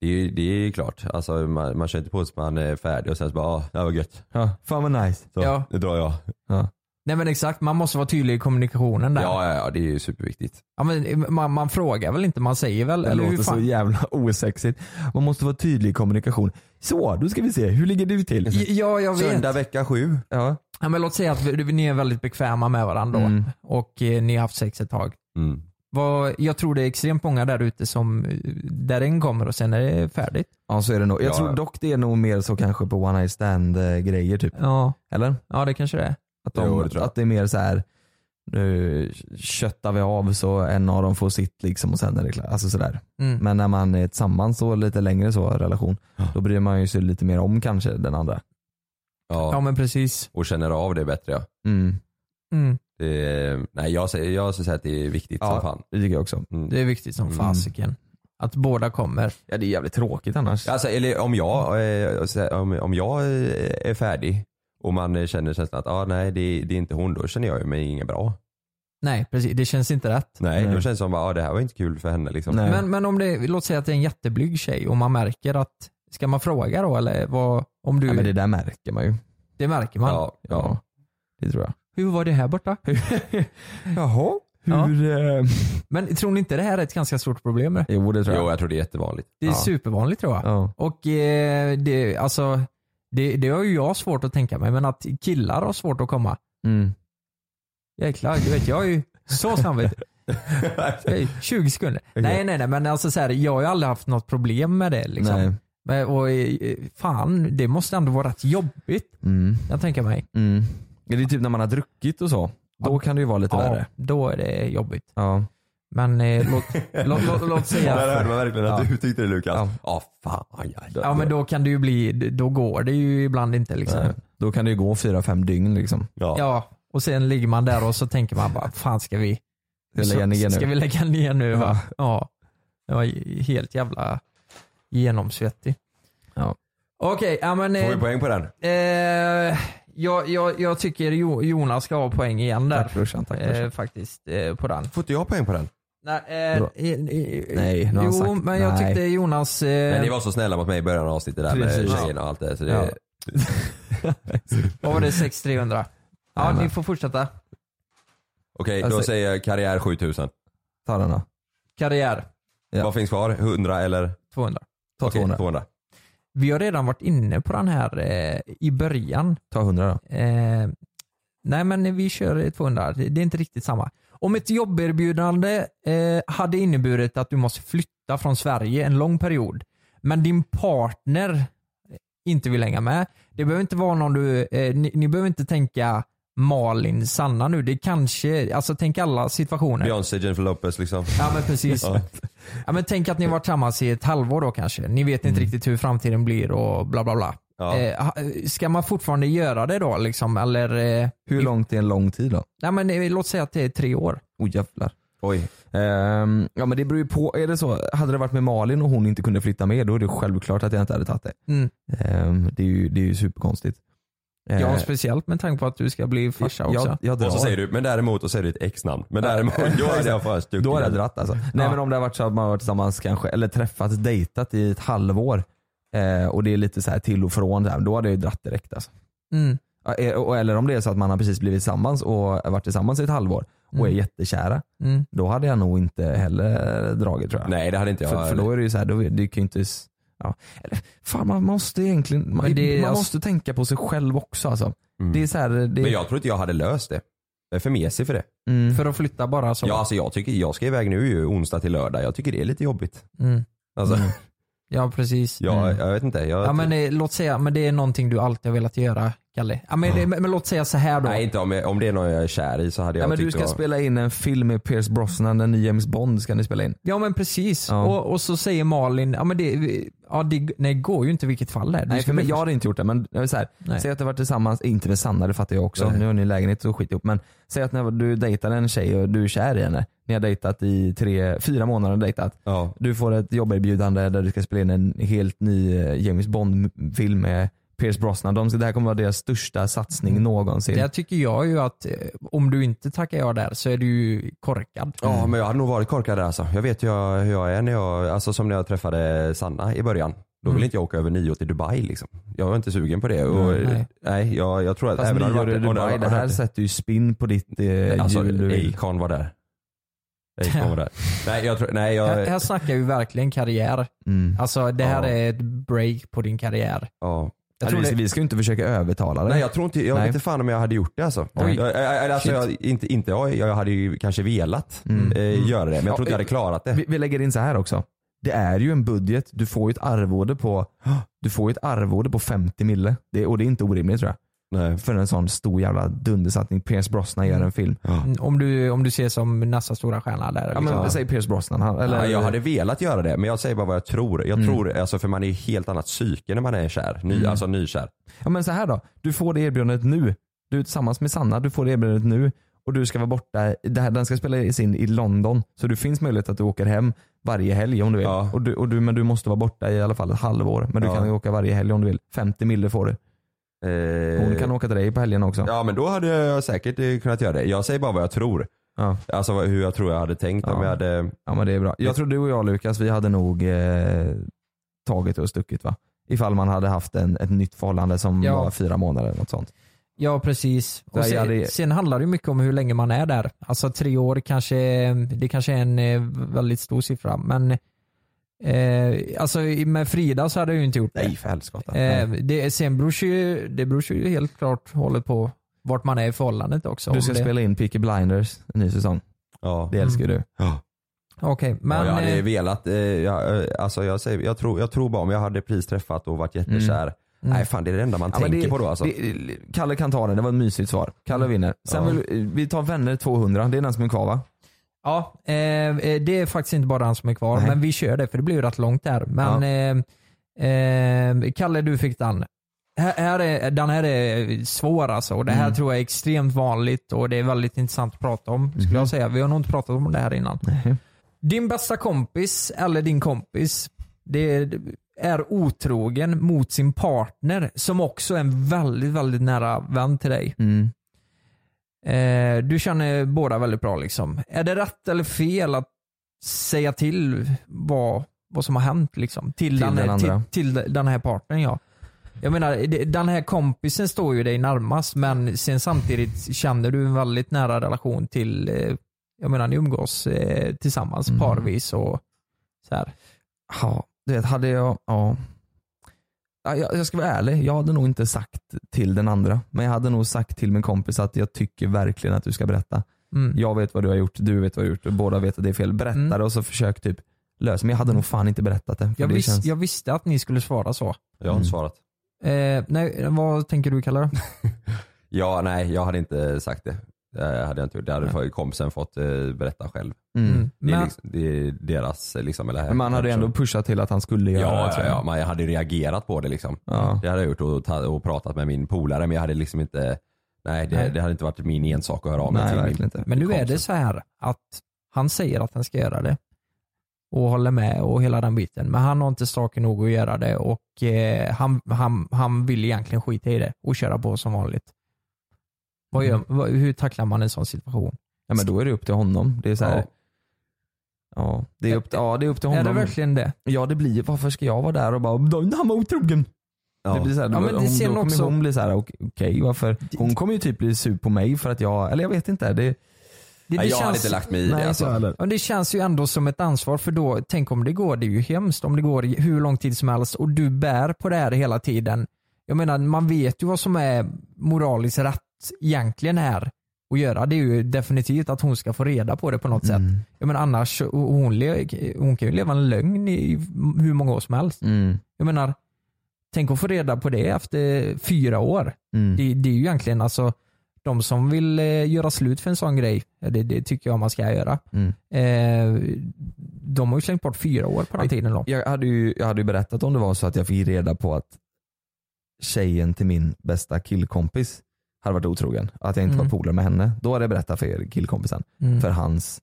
Speaker 6: Det är ju det är ju klart, alltså, man, man kör inte på tills man är färdig och sen så bara ah, det här var gött.
Speaker 8: Ja, fan vad nice.
Speaker 6: Så,
Speaker 7: Ja.
Speaker 6: Nu drar jag.
Speaker 7: Nej men exakt, man måste vara tydlig i kommunikationen där. Ja.
Speaker 6: Ja, ja, ja det är ju superviktigt.
Speaker 7: men, eh, man, man frågar väl inte, man säger väl?
Speaker 8: Det
Speaker 7: eller hur
Speaker 8: låter så
Speaker 7: fan?
Speaker 8: jävla osexigt. Man måste vara tydlig i kommunikation. Så, då ska vi se. Hur ligger du till?
Speaker 7: Ja, jag vet.
Speaker 6: Söndag vecka sju.
Speaker 8: Ja.
Speaker 7: Ja, men låt säga att vi- ni är väldigt bekväma med varandra då,
Speaker 8: Mm.
Speaker 7: och eh, ni har haft sex ett tag.
Speaker 6: Mm.
Speaker 7: Vad, jag tror det är extremt många där ute som, eh, där en kommer och sen är det färdigt.
Speaker 8: Ja så är det nog. Jag
Speaker 6: Ja,
Speaker 8: tror
Speaker 6: ja.
Speaker 8: dock det är nog mer så kanske på one night stand eh, grejer typ.
Speaker 7: Ja,
Speaker 8: Eller?
Speaker 7: ja det kanske det är.
Speaker 8: Att, de,
Speaker 6: Jo, det tror jag.
Speaker 8: att det är mer så här nu köttar vi av så en av dem får sitt liksom och sen är det klart. Alltså sådär.
Speaker 7: Mm.
Speaker 8: Men när man är tillsammans och lite längre så relation, då bryr man ju sig lite mer om kanske den andra.
Speaker 6: Ja.
Speaker 7: Ja men precis.
Speaker 6: Och känner av det bättre ja.
Speaker 8: Mm.
Speaker 7: Mm.
Speaker 6: Det, är- nej jag säger, jag säger att det är viktigt som
Speaker 8: Ja.
Speaker 6: fan.
Speaker 8: Det tycker jag också.
Speaker 6: Mm.
Speaker 7: Det är viktigt som
Speaker 6: Mm.
Speaker 7: fasiken. Att båda kommer.
Speaker 8: Ja det är jävligt tråkigt annars.
Speaker 6: Alltså, eller om jag, eh, så här, om, om jag eh, är färdig och man eh, känner känslan att ah, nej, det, det är inte hon, då känner jag ju mig inget bra.
Speaker 7: Nej precis, det känns inte rätt.
Speaker 6: Nej,
Speaker 8: Nej.
Speaker 6: då känns det som att ah, det här var inte kul för henne. Liksom.
Speaker 8: Nej.
Speaker 7: Men, men om det, låt säga att det är en jätteblyg tjej och man märker att, ska man fråga då eller vad, om du,
Speaker 8: Ja, men det
Speaker 7: det,
Speaker 8: där märker man ju.
Speaker 7: märker man.
Speaker 6: Ja, ja.
Speaker 8: Ja. Det tror jag.
Speaker 7: Hur var det här borta?
Speaker 8: Jaha.
Speaker 7: Ja.
Speaker 8: Hur... eh,
Speaker 7: Men tror ni inte det här är ett ganska stort problem? eller?
Speaker 8: Jo det tror jag.
Speaker 6: Jo, jag tror det är jättevanligt.
Speaker 7: Det är
Speaker 8: Ja.
Speaker 7: supervanligt tror jag.
Speaker 8: Ja.
Speaker 7: Och eh, det, alltså, det, det har ju jag svårt att tänka mig, men att killar har svårt att komma.
Speaker 8: Mm.
Speaker 7: Jäklar, du vet jag är ju så samvete. Hej, 20 sekunder. Nej nej nej men alltså så här, jag har ju aldrig haft något problem med det
Speaker 8: Nej.
Speaker 7: liksom. Men, och eh, fan, det måste ändå vara rätt jobbigt.
Speaker 8: Mm.
Speaker 7: Jag tänker mig.
Speaker 8: Mm. Ja, Det är typ när man har druckit och så. Då kan det ju vara lite värre.
Speaker 7: då är det jobbigt.
Speaker 8: Ja.
Speaker 7: Men eh, låt, låt, låt,
Speaker 6: Där
Speaker 7: låt
Speaker 6: hörde
Speaker 7: säga.
Speaker 6: man verkligen att
Speaker 8: Ja.
Speaker 6: du tyckte det Lukas.
Speaker 8: Ja.
Speaker 6: Ja, fan. Ja,
Speaker 7: Ja men då kan det ju bli, då går det ju ibland inte liksom.
Speaker 8: Nej. Då kan det ju gå fyra, fem dygn liksom.
Speaker 6: ja.
Speaker 7: Ja, och sen ligger man där och så tänker man bara, fan ska vi,
Speaker 8: Ska jag lägga ner nu?
Speaker 7: ska vi lägga ner nu va? Ja. Det var ju helt jävla genomsvettig.
Speaker 8: Ja.
Speaker 7: Okej, ja men
Speaker 6: Får vi
Speaker 7: eh,
Speaker 6: poäng på den?
Speaker 7: eh, jag, jag, jag tycker Jo- Jonas ska ha poäng igen
Speaker 8: Tack
Speaker 7: där.
Speaker 8: brorsan, tack
Speaker 7: Eh,
Speaker 8: brorsan.
Speaker 7: faktiskt, eh, på den.
Speaker 6: Får inte jag poäng på den?
Speaker 7: Nej, eh,
Speaker 8: Bra.
Speaker 7: eh, eh,
Speaker 8: Nej, nu har han
Speaker 7: jo,
Speaker 8: sagt
Speaker 7: men jag
Speaker 8: nej.
Speaker 7: tyckte Jonas... Eh,
Speaker 6: Men ni var så snälla mot mig i början av avsnittet där
Speaker 8: Precis.
Speaker 6: med tjejerna och allt det. Så det
Speaker 8: Ja.
Speaker 7: Vad var det? 6300? Ja,
Speaker 8: Jajamän.
Speaker 7: ni får fortsätta.
Speaker 6: Okej, då
Speaker 8: Alltså-
Speaker 6: säger jag karriär 7000.
Speaker 8: Ta den då.
Speaker 7: Karriär,
Speaker 8: Ja.
Speaker 6: Vad finns kvar? 100 eller?
Speaker 7: 200.
Speaker 8: Ta
Speaker 6: Okej,
Speaker 8: 200.
Speaker 6: 200.
Speaker 7: Vi har redan varit inne på den här eh, i början.
Speaker 8: Ta 100 då.
Speaker 7: Eh, nej men vi kör 200, det det är inte riktigt samma. Om ett jobberbjudande eh, hade inneburit att du måste flytta från Sverige en lång period, men din partner inte vill hänga med. Det behöver inte vara någon du, eh, ni, ni behöver inte tänka Malin, Sanna nu. Det kanske, alltså tänk alla situationer.
Speaker 6: Beyoncé, Jennifer Lopez liksom.
Speaker 7: Ja men precis.
Speaker 6: Ja.
Speaker 7: Ja, men tänk att ni har varit tillsammans i ett halvår då kanske. Ni vet inte riktigt hur framtiden blir och bla bla bla.
Speaker 6: Ja.
Speaker 7: Eh, ha- ska man fortfarande göra det då liksom? Eller? Eh,
Speaker 8: Hur långt är en lång tid då?
Speaker 7: Nej men eh, låt säga att det är tre år.
Speaker 8: Oh jävlar.
Speaker 6: Oj.
Speaker 8: Ehm, ja men det beror ju på. Är det så, hade det varit med Malin och hon inte kunde flytta med då är det självklart att jag inte hade tagit det.
Speaker 7: Mm.
Speaker 8: Ehm, det, är ju, det är ju superkonstigt. Ehm,
Speaker 7: Ja, speciellt med tanke på att du ska bli farsa också.
Speaker 8: Jag, jag drar.
Speaker 6: Och så säger du, men däremot, och säger du ett ex-namn. Men däremot, då hade jag först
Speaker 8: Äh. Då hade jag dratt alltså. Nej men om det har varit så att man har varit tillsammans kanske, eller träffats, dejtat i ett halvår eh, och det är lite så här till och från, så här, då hade jag ju dratt direkt alltså.
Speaker 7: Mm.
Speaker 8: Ja, e- och- Eller om det är så att man har precis blivit tillsammans och har varit tillsammans i ett halvår och är jättekära.
Speaker 7: Mm.
Speaker 8: Då hade jag nog inte heller dragit tror jag.
Speaker 10: Nej det hade inte jag
Speaker 8: för, för då är det ju så här, då, är- det kan ju inte... s- Ja. Eller, fan man måste egentligen, man,
Speaker 7: Men det är
Speaker 8: man
Speaker 7: alltså-
Speaker 8: måste tänka på sig själv också alltså.
Speaker 10: Mm.
Speaker 8: Det är så här, det,
Speaker 10: Men jag tror inte jag hade löst det. Jag är för mesig för det.
Speaker 8: mm.
Speaker 7: För att flytta bara så.
Speaker 10: Ja, alltså jag, tycker, jag ska iväg nu ju onsdag till lördag. Jag tycker det är lite jobbigt.
Speaker 7: Mm.
Speaker 10: Alltså,
Speaker 7: Ja, precis.
Speaker 10: jag,
Speaker 7: Mm.
Speaker 10: jag vet inte. Jag,
Speaker 7: Ja, men eh, låt säga, men det är någonting du alltid har velat göra, Kalle. Ja, men, eh, men, men låt säga så här då.
Speaker 10: nej, inte om, jag, om det är någon jag är kär i så hade jag
Speaker 8: Nej, men du
Speaker 10: tyckt
Speaker 8: ska
Speaker 10: det var-
Speaker 8: spela in en film med Pierce Brosnan, en ny James Bond ska ni spela in.
Speaker 7: Ja men precis.
Speaker 8: Ja.
Speaker 7: Och, och så säger Malin, ja men det, ja, det nej, går ju inte i vilket fall det är. Du
Speaker 8: Nej,
Speaker 7: ska
Speaker 8: för mig,
Speaker 7: väl-
Speaker 8: jag hade inte gjort det men jag vill så här,
Speaker 7: Nej.
Speaker 8: säg att du varit tillsammans, inte med Sanna det fattar jag också,
Speaker 10: Nej.
Speaker 8: nu har ni lägenhet och skit ihop men säg att när du dejtar en tjej och du är kär i henne, ni har dejtat i tre, fyra månader och dejtat.
Speaker 10: Ja.
Speaker 8: Du får ett jobberbjudande där du ska spela in en helt ny eh, James Bond-film med Pierce Brosnan. De, det här kommer vara deras största satsning
Speaker 10: Mm.
Speaker 8: någonsin.
Speaker 7: Där tycker jag ju att eh, om du inte tackar ja där så är du ju korkad.
Speaker 10: Ja men jag hade nog varit korkad där alltså. Jag vet ju jag- hur jag är när jag, alltså som när jag träffade Sanna i början. Då ville
Speaker 7: Mm.
Speaker 10: inte jag åka över nio till Dubai liksom. Jag var inte sugen på det. Och,
Speaker 7: Nej, nej.
Speaker 10: nej. jag, jag tror att
Speaker 8: Fast
Speaker 10: om det
Speaker 8: nyår i
Speaker 10: hade varit- om
Speaker 8: Dubai,
Speaker 10: hade
Speaker 8: det
Speaker 10: varit-
Speaker 8: här sätter ju spinn på ditt eh,
Speaker 10: Alltså
Speaker 8: jul du vill.
Speaker 10: Acon var där. Acon var där. Nej jag tror, nej
Speaker 7: Här,
Speaker 10: jag,
Speaker 7: här snackar vi verkligen karriär.
Speaker 8: Mm.
Speaker 7: Alltså det här
Speaker 10: Ja.
Speaker 7: är ett break på din karriär.
Speaker 10: ja.
Speaker 8: Jag tror vi, vi ska ju inte försöka övertala dig.
Speaker 10: Nej jag tror inte, jag
Speaker 8: Nej.
Speaker 10: vet inte fan om jag hade gjort det alltså.
Speaker 8: Oj.
Speaker 10: Jag, jag, jag, alltså jag, inte, inte jag, jag hade ju kanske velat
Speaker 8: Mm.
Speaker 10: eh, göra det men jag tror inte jag hade klarat det.
Speaker 8: Vi, vi lägger in så här också. Det är ju en budget, du får ju ett arvode på, du får ju ett arvode på 50 mille. Det, och det är inte orimligt tror jag.
Speaker 10: Nej.
Speaker 8: För en sån stor jävla dundersatsning. Pierce Brosnan gör en film.
Speaker 7: Mm, Om du, om du ser som nästa stora stjärna där.
Speaker 8: Ja,
Speaker 7: Liksom.
Speaker 8: men, säg Pierce Brosnan. Han, eller, Mm.
Speaker 10: ja, jag hade velat göra det men jag säger bara vad jag tror. Jag tror, alltså, för man är i helt annat psyke när man är kär. Ny, Alltså nykär.
Speaker 8: Ja men så här då, du får det erbjudandet nu. Du är tillsammans med Sanna, du får det erbjudandet nu och du ska vara borta, det här, den ska spelas in i London. Så det finns möjlighet att du åker hem varje helg om du vill.
Speaker 10: Ja.
Speaker 8: Och du, och du, men du måste vara borta i alla fall ett halvår. Men du
Speaker 10: Ja.
Speaker 8: kan ju åka varje helg om du vill. 50 mille får du.
Speaker 10: Eh,
Speaker 8: Hon kan åka till dig på helgen också.
Speaker 10: Ja men då hade jag säkert eh, kunnat göra det. Jag säger bara vad jag tror.
Speaker 8: Ja.
Speaker 10: Alltså vad- hur jag tror jag hade tänkt om
Speaker 8: Ja.
Speaker 10: jag hade...
Speaker 8: Ja men det är bra. Jag tror du och jag Lukas, vi hade nog eh, tagit och stuckit va? Ifall man hade haft en, ett nytt förhållande som
Speaker 7: Ja.
Speaker 8: var fyra månader eller något sånt.
Speaker 7: Ja precis.
Speaker 8: Där
Speaker 7: Och sen,
Speaker 8: jag hade-
Speaker 7: sen handlar det ju mycket om hur länge man är där. Alltså tre år kanske, det kanske är en eh, väldigt stor siffra men eh, alltså i- med Frida så hade jag ju inte gjort det.
Speaker 8: Nej för helskotta.
Speaker 7: Eh,
Speaker 8: Nej.
Speaker 7: det sen beror sig ju, det beror sig ju helt klart hållet på vart man är i förhållandet också.
Speaker 8: Du
Speaker 7: Om
Speaker 8: ska
Speaker 7: det...
Speaker 8: spela in Peaky Blinders, en ny säsong.
Speaker 10: Ja.
Speaker 8: Det älskar ju du.
Speaker 7: Okej,
Speaker 10: ja,
Speaker 7: men
Speaker 10: jag hade
Speaker 7: eh,
Speaker 10: velat, eh, jag, eh, alltså jag, säger, jag, tror, jag tror bara om jag hade precis träffat och varit jättekär. Nej fan det är det enda man
Speaker 8: Mm. Ja, men
Speaker 10: tänker
Speaker 8: det-
Speaker 10: på då alltså. Mm.
Speaker 8: det- Kalle kan ta den, det var ett mysigt svar. Kalle vinner. Sen
Speaker 10: Ja.
Speaker 8: vill, vi tar vänner 200, det är den som är kvar va?
Speaker 7: ja, eh, eh, det är faktiskt inte bara han som är kvar
Speaker 8: Nej.
Speaker 7: men vi kör det för det blir ju rätt långt där. Men eh, eh, Kalle du fick den. Här, här är, den här är svår alltså och det här tror jag är extremt vanligt och det är väldigt intressant att prata om skulle jag säga. Vi har nog inte pratat om det här innan. Din bästa kompis eller din kompis det är otrogen mot sin partner som också är en väldigt, väldigt nära vän till dig.
Speaker 8: Mm.
Speaker 7: Eh, du känner båda väldigt bra liksom. Är det rätt eller fel att säga till vad, vad som har hänt liksom? Till,
Speaker 8: Till
Speaker 7: här,
Speaker 8: den andra.
Speaker 7: Till, till den här partnern ja. Jag menar, det- den här kompisen står ju dig närmast men sen samtidigt känner du en väldigt nära relation till, eh, jag menar ni umgås eh, tillsammans
Speaker 8: Mm.
Speaker 7: parvis och så här.
Speaker 8: Ja, du vet hade jag, ja. Ja, Jag, jag ska vara ärlig, jag hade nog inte sagt till den andra. Men jag hade nog sagt till min kompis att jag tycker verkligen att du ska berätta.
Speaker 7: Mm.
Speaker 8: Jag vet vad du har gjort, du vet vad du har gjort och båda vet att det är fel. Berätta
Speaker 7: Mm.
Speaker 8: det och så försök typ lösa. Men jag hade nog fan inte berättat det. För
Speaker 7: Jag,
Speaker 8: det
Speaker 7: vis, jag visste att ni skulle svara så.
Speaker 10: Jag har
Speaker 8: Mm.
Speaker 10: inte svarat.
Speaker 7: Eh, nej, vad tänker du Kalle? då?
Speaker 10: Ja nej jag hade inte sagt det. Det hade jag inte gjort. Det hade kompisen fått eh, berätta själv.
Speaker 8: mm.
Speaker 7: Mm.
Speaker 10: Det är,
Speaker 7: Men-
Speaker 10: liksom, det är deras eh, liksom, eller
Speaker 8: Men man hade ju ändå pushat till att han skulle
Speaker 10: Ja,
Speaker 8: göra det.
Speaker 10: ja,
Speaker 8: tror
Speaker 10: ja,
Speaker 8: jag.
Speaker 10: ja, man hade ju reagerat på det liksom.
Speaker 8: Ja.
Speaker 10: Det hade jag gjort och, ta- och pratat med min polare men jag hade liksom inte, nej det,
Speaker 7: Nej.
Speaker 10: det hade inte varit min ensak att höra av mig
Speaker 8: Nej
Speaker 10: till.
Speaker 8: verkligen
Speaker 10: min,
Speaker 8: inte.
Speaker 7: Men nu är
Speaker 10: kompisen.
Speaker 7: det så här att han säger att han ska göra det och håller med och hela den biten. Men han har inte saker nog att göra det och eh, han, han, han vill egentligen skita i det och köra på som vanligt. Vad
Speaker 8: Mm.
Speaker 7: gör, vad, hur tacklar man en sån situation?
Speaker 8: Ja, men då är det upp till honom. Det är så här,
Speaker 7: Ja.
Speaker 8: ja. det är upp, ja, det är upp till
Speaker 7: Är
Speaker 8: honom.
Speaker 7: det verkligen det?
Speaker 8: Ja det blir varför ska jag vara där och bara "Då- han var otrogen. Det blir så här,
Speaker 7: Ja, men det
Speaker 8: hon,
Speaker 7: ser
Speaker 8: då
Speaker 7: man
Speaker 8: kommer
Speaker 7: också-
Speaker 8: hon bli såhär, okej varför? Hon kommer ju typ bli sur på mig för att jag, eller jag vet inte. Det,
Speaker 7: Det, det
Speaker 10: Nej, jag hade inte lagt mig i
Speaker 7: Nej,
Speaker 10: det alltså.
Speaker 7: så-
Speaker 8: heller.
Speaker 7: Ja, det känns ju ändå som ett ansvar för då, tänk om det går, det är ju hemskt om det går i hur lång tid som helst och du bär på det här hela tiden. Jag menar, man vet ju vad som är moraliskt rätt egentligen här att göra. Det är ju definitivt att hon ska få reda på det på något
Speaker 8: Mm.
Speaker 7: sätt. Jag menar annars, och hon, le- hon kan ju leva en lögn i hur många år som helst.
Speaker 8: Mm.
Speaker 7: Jag menar, tänk att få reda på det efter fyra år.
Speaker 8: Mm.
Speaker 7: Det, det är ju egentligen alltså de som vill eh, göra slut för en sån grej, ja, det, det tycker jag man ska göra.
Speaker 8: Mm.
Speaker 7: Eh, de har ju slängt bort fyra år på den tiden. Då.
Speaker 8: jag hade, ju, jag hade ju berättat om det var så att jag fick reda på att tjejen till min bästa killkompis hade varit otrogen. Att jag inte
Speaker 7: Mm.
Speaker 8: var polare med henne. Då hade jag berättat för er killkompisen.
Speaker 7: Mm.
Speaker 8: För hans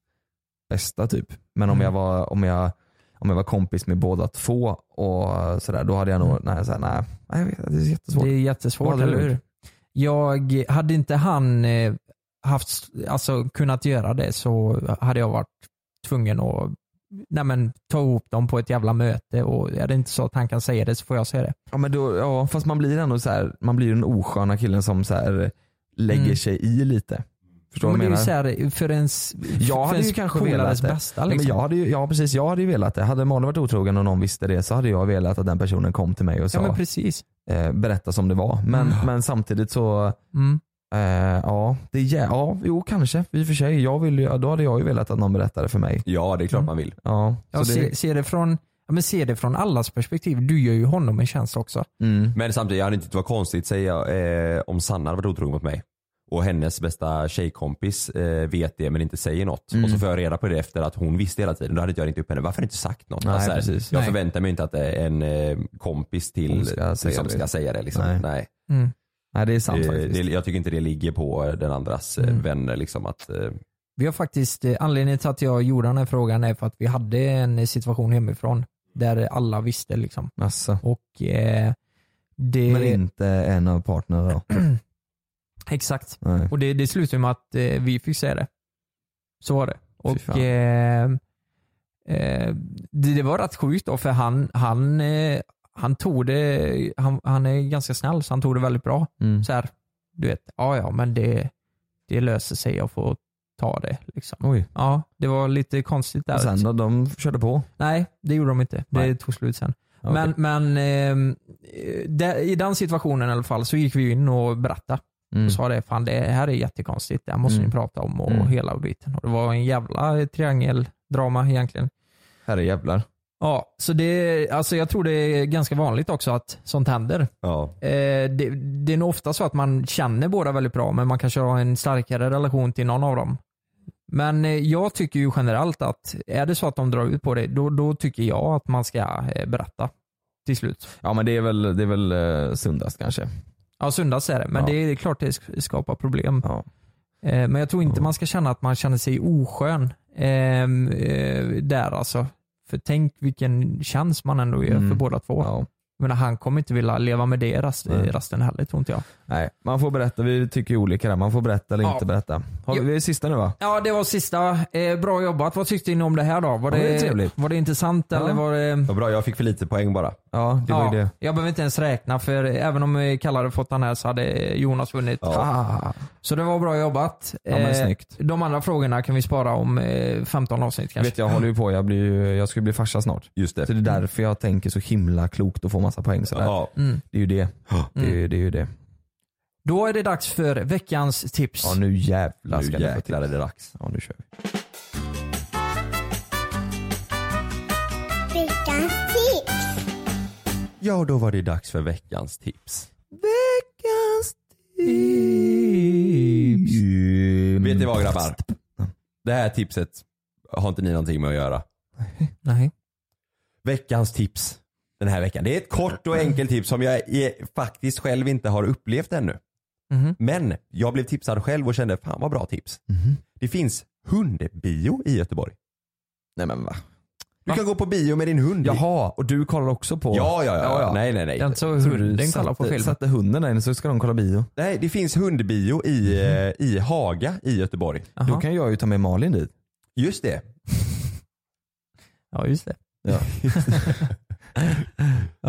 Speaker 8: bästa typ. Men om,
Speaker 7: Mm.
Speaker 8: jag var, om, jag, om jag var kompis med båda två och sådär, då hade jag nog, nej, såhär, nej, nej jag vet, det är jättesvårt.
Speaker 7: Mm. Det är jättesvårt,
Speaker 8: Vad hade
Speaker 7: eller
Speaker 8: du
Speaker 7: hur?
Speaker 8: gjort?
Speaker 7: Jag, hade inte han eh, haft, alltså, kunnat göra det så hade jag varit tvungen att nej, men, ta ihop dem på ett jävla möte och är det inte så att han kan säga det så får jag säga det.
Speaker 8: Ja, men då, ja fast man blir ändå så här, man blir den osköna killen som så här, lägger
Speaker 7: Mm.
Speaker 8: sig i lite. Förstår du
Speaker 7: men
Speaker 8: vad jag
Speaker 7: det är
Speaker 8: menar?
Speaker 7: ju så här, för ens,
Speaker 8: Jag
Speaker 7: för
Speaker 8: hade
Speaker 7: ens
Speaker 8: ju kanske
Speaker 7: polares
Speaker 8: velat det.
Speaker 7: bästa.
Speaker 8: Ja,
Speaker 7: Liksom.
Speaker 8: men jag hade ju, ja precis, jag hade ju velat det. Hade Malin varit otrogen och någon visste det så hade jag velat att den personen kom till mig och
Speaker 7: ja,
Speaker 8: sa,
Speaker 7: men precis.
Speaker 8: eh, berätta som det var. Men, men samtidigt så,
Speaker 7: Mm.
Speaker 8: eh, ja, det är, jä- ja, jo kanske i och för sig. Jag vill ju, då hade jag ju velat att någon berättade för mig. Mm.
Speaker 10: Ja det är klart man vill.
Speaker 8: Ja,
Speaker 7: Ja,
Speaker 8: så det,
Speaker 7: se, se, det från, ja, men se det från allas perspektiv. Du gör ju honom en tjänst också.
Speaker 8: mm,
Speaker 10: Men samtidigt, jag hade inte tyckt det var konstigt säga eh, om Sanna hade varit otrogen mot mig. Och hennes bästa tjejkompis eh, vet det men inte säger något.
Speaker 8: Mm.
Speaker 10: Och så får jag reda på det efter att hon visste hela tiden. Då hade inte jag ringt upp henne. Varför har du inte sagt något?
Speaker 8: Nej,
Speaker 10: så här,
Speaker 8: precis.
Speaker 10: jag
Speaker 7: Nej.
Speaker 10: förväntar mig inte att det är en eh, kompis
Speaker 8: Hon
Speaker 10: till
Speaker 8: ska säga
Speaker 10: som
Speaker 8: det.
Speaker 10: ska säga det. Liksom.
Speaker 8: Nej.
Speaker 10: Nej.
Speaker 7: Mm.
Speaker 8: nej det är sant
Speaker 10: Eh,
Speaker 8: faktiskt.
Speaker 10: det, jag tycker inte det ligger på den andras eh,
Speaker 7: Mm.
Speaker 10: vänner. Liksom, att, eh,
Speaker 7: Vi har faktiskt, eh, anledningen till att jag gjorde den här frågan är för att vi hade en situation hemifrån där alla visste liksom.
Speaker 8: Alltså.
Speaker 7: Och eh, det...
Speaker 8: Men inte en av partnerna då?
Speaker 7: Exakt.
Speaker 8: Nej.
Speaker 7: Och det, det slutade med att eh, vi fick säga det. Så var det. Och
Speaker 8: fan.
Speaker 7: eh, eh, det, det var rätt sjukt då för han, han, eh, han tog det, han, han är ganska snäll så han tog det väldigt bra.
Speaker 8: Mm.
Speaker 7: Så här, du vet, ja ja men det, det löser sig, jag får ta det. Liksom.
Speaker 8: Oj.
Speaker 7: Ja, det var lite konstigt där.
Speaker 8: Och sen då, de körde på? Mm.
Speaker 7: Nej, det gjorde de inte. Det
Speaker 8: Nej.
Speaker 7: tog slut sen.
Speaker 8: Okej.
Speaker 7: Men, men ehm, eh, där- i den situationen i alla fall så gick vi in och berättade
Speaker 8: Mm.
Speaker 7: och sa det, fan det här är jättekonstigt, det här måste
Speaker 8: Mm.
Speaker 7: ni prata om och
Speaker 8: Mm.
Speaker 7: hela biten. Och det var en jävla triangeldrama egentligen.
Speaker 8: Herrejävlar.
Speaker 7: Ja, så det, alltså jag tror det är ganska vanligt också att sånt händer.
Speaker 10: ja.
Speaker 7: Eh, det, det är nog ofta så att man känner båda väldigt bra men man kanske har en starkare relation till någon av dem. Men eh, jag tycker ju generellt att är det så att de drar ut på det då, då tycker jag att man ska eh, berätta till slut.
Speaker 8: Ja men det är väl, det är väl eh, sundast kanske.
Speaker 7: Ja, söndags är det, men
Speaker 8: Ja.
Speaker 7: det är klart det sk- skapar problem.
Speaker 8: Ja.
Speaker 7: Eh, men jag tror inte man ska känna att man känner sig oskön ehm, eh, där alltså. För tänk vilken chans man ändå ger
Speaker 8: Mm.
Speaker 7: för båda två.
Speaker 8: Ja.
Speaker 7: Jag menar, han kommer inte vilja leva med det rast,
Speaker 8: Nej.
Speaker 7: rasten heller tror inte jag.
Speaker 8: Nej, man får berätta. Vi tycker ju olika där. Man får berätta eller
Speaker 7: Ja.
Speaker 8: inte berätta. Har vi,
Speaker 7: Ja.
Speaker 8: vi är sista nu va?
Speaker 7: Ja, det var sista. Eh, bra jobbat. Vad tyckte ni om det här då? Var
Speaker 8: Ja,
Speaker 7: det,
Speaker 8: det är trevligt.
Speaker 7: Var det intressant eller var det...
Speaker 10: Vad bra, jag fick för lite poäng bara.
Speaker 8: Ja, det var ju det.
Speaker 7: Jag behöver inte ens räkna för även om eh, Kalle hade fått den här så hade Jonas vunnit.
Speaker 8: Ah,
Speaker 7: Så det var bra jobbat.
Speaker 8: Ja, men
Speaker 7: Eh,
Speaker 8: snyggt.
Speaker 7: De andra frågorna kan vi spara om eh, 15 avsnitt kanske.
Speaker 8: vet jag håller ju på. Jag, blir, ju- jag ska ju bli farsa snart.
Speaker 10: Just det.
Speaker 8: Så det är därför jag tänker så himla klokt och får massa poäng sådär.
Speaker 10: Ja.
Speaker 7: Mm.
Speaker 8: Det är ju det. Det är, ju- det är ju det.
Speaker 7: Då är det dags för veckans tips.
Speaker 8: Ja nu jävlar
Speaker 10: Nu
Speaker 8: ska ni få
Speaker 10: jäklar är
Speaker 8: tips.
Speaker 10: det dags.
Speaker 8: Ja nu kör vi.
Speaker 10: Ja, då var det dags för veckans tips.
Speaker 8: Veckans tips.
Speaker 10: Vet ni vad grabbar? Det här tipset har inte ni någonting med att göra.
Speaker 7: Nej.
Speaker 10: Veckans tips den här veckan. Det är ett kort och enkelt tips som jag i- faktiskt själv inte har upplevt ännu.
Speaker 7: Mhm.
Speaker 10: Men jag blev tipsad själv och kände fan vad bra tips. Det finns hundbio i Göteborg.
Speaker 8: Nej men va?
Speaker 10: Du kan gå på bio med din hund.
Speaker 8: Jaha, och du kollar också på?
Speaker 10: Ja, ja, ja. Nej, nej, nej.
Speaker 7: Den så hunden kollar på film.
Speaker 8: Satte hunden där inne så ska de kolla bio.
Speaker 10: Nej, det finns hundbio i, eh, i Haga i Göteborg.
Speaker 7: Jaha.
Speaker 8: Då kan jag ju ta med Malin dit.
Speaker 10: Just det.
Speaker 7: Ja, just det. Ja.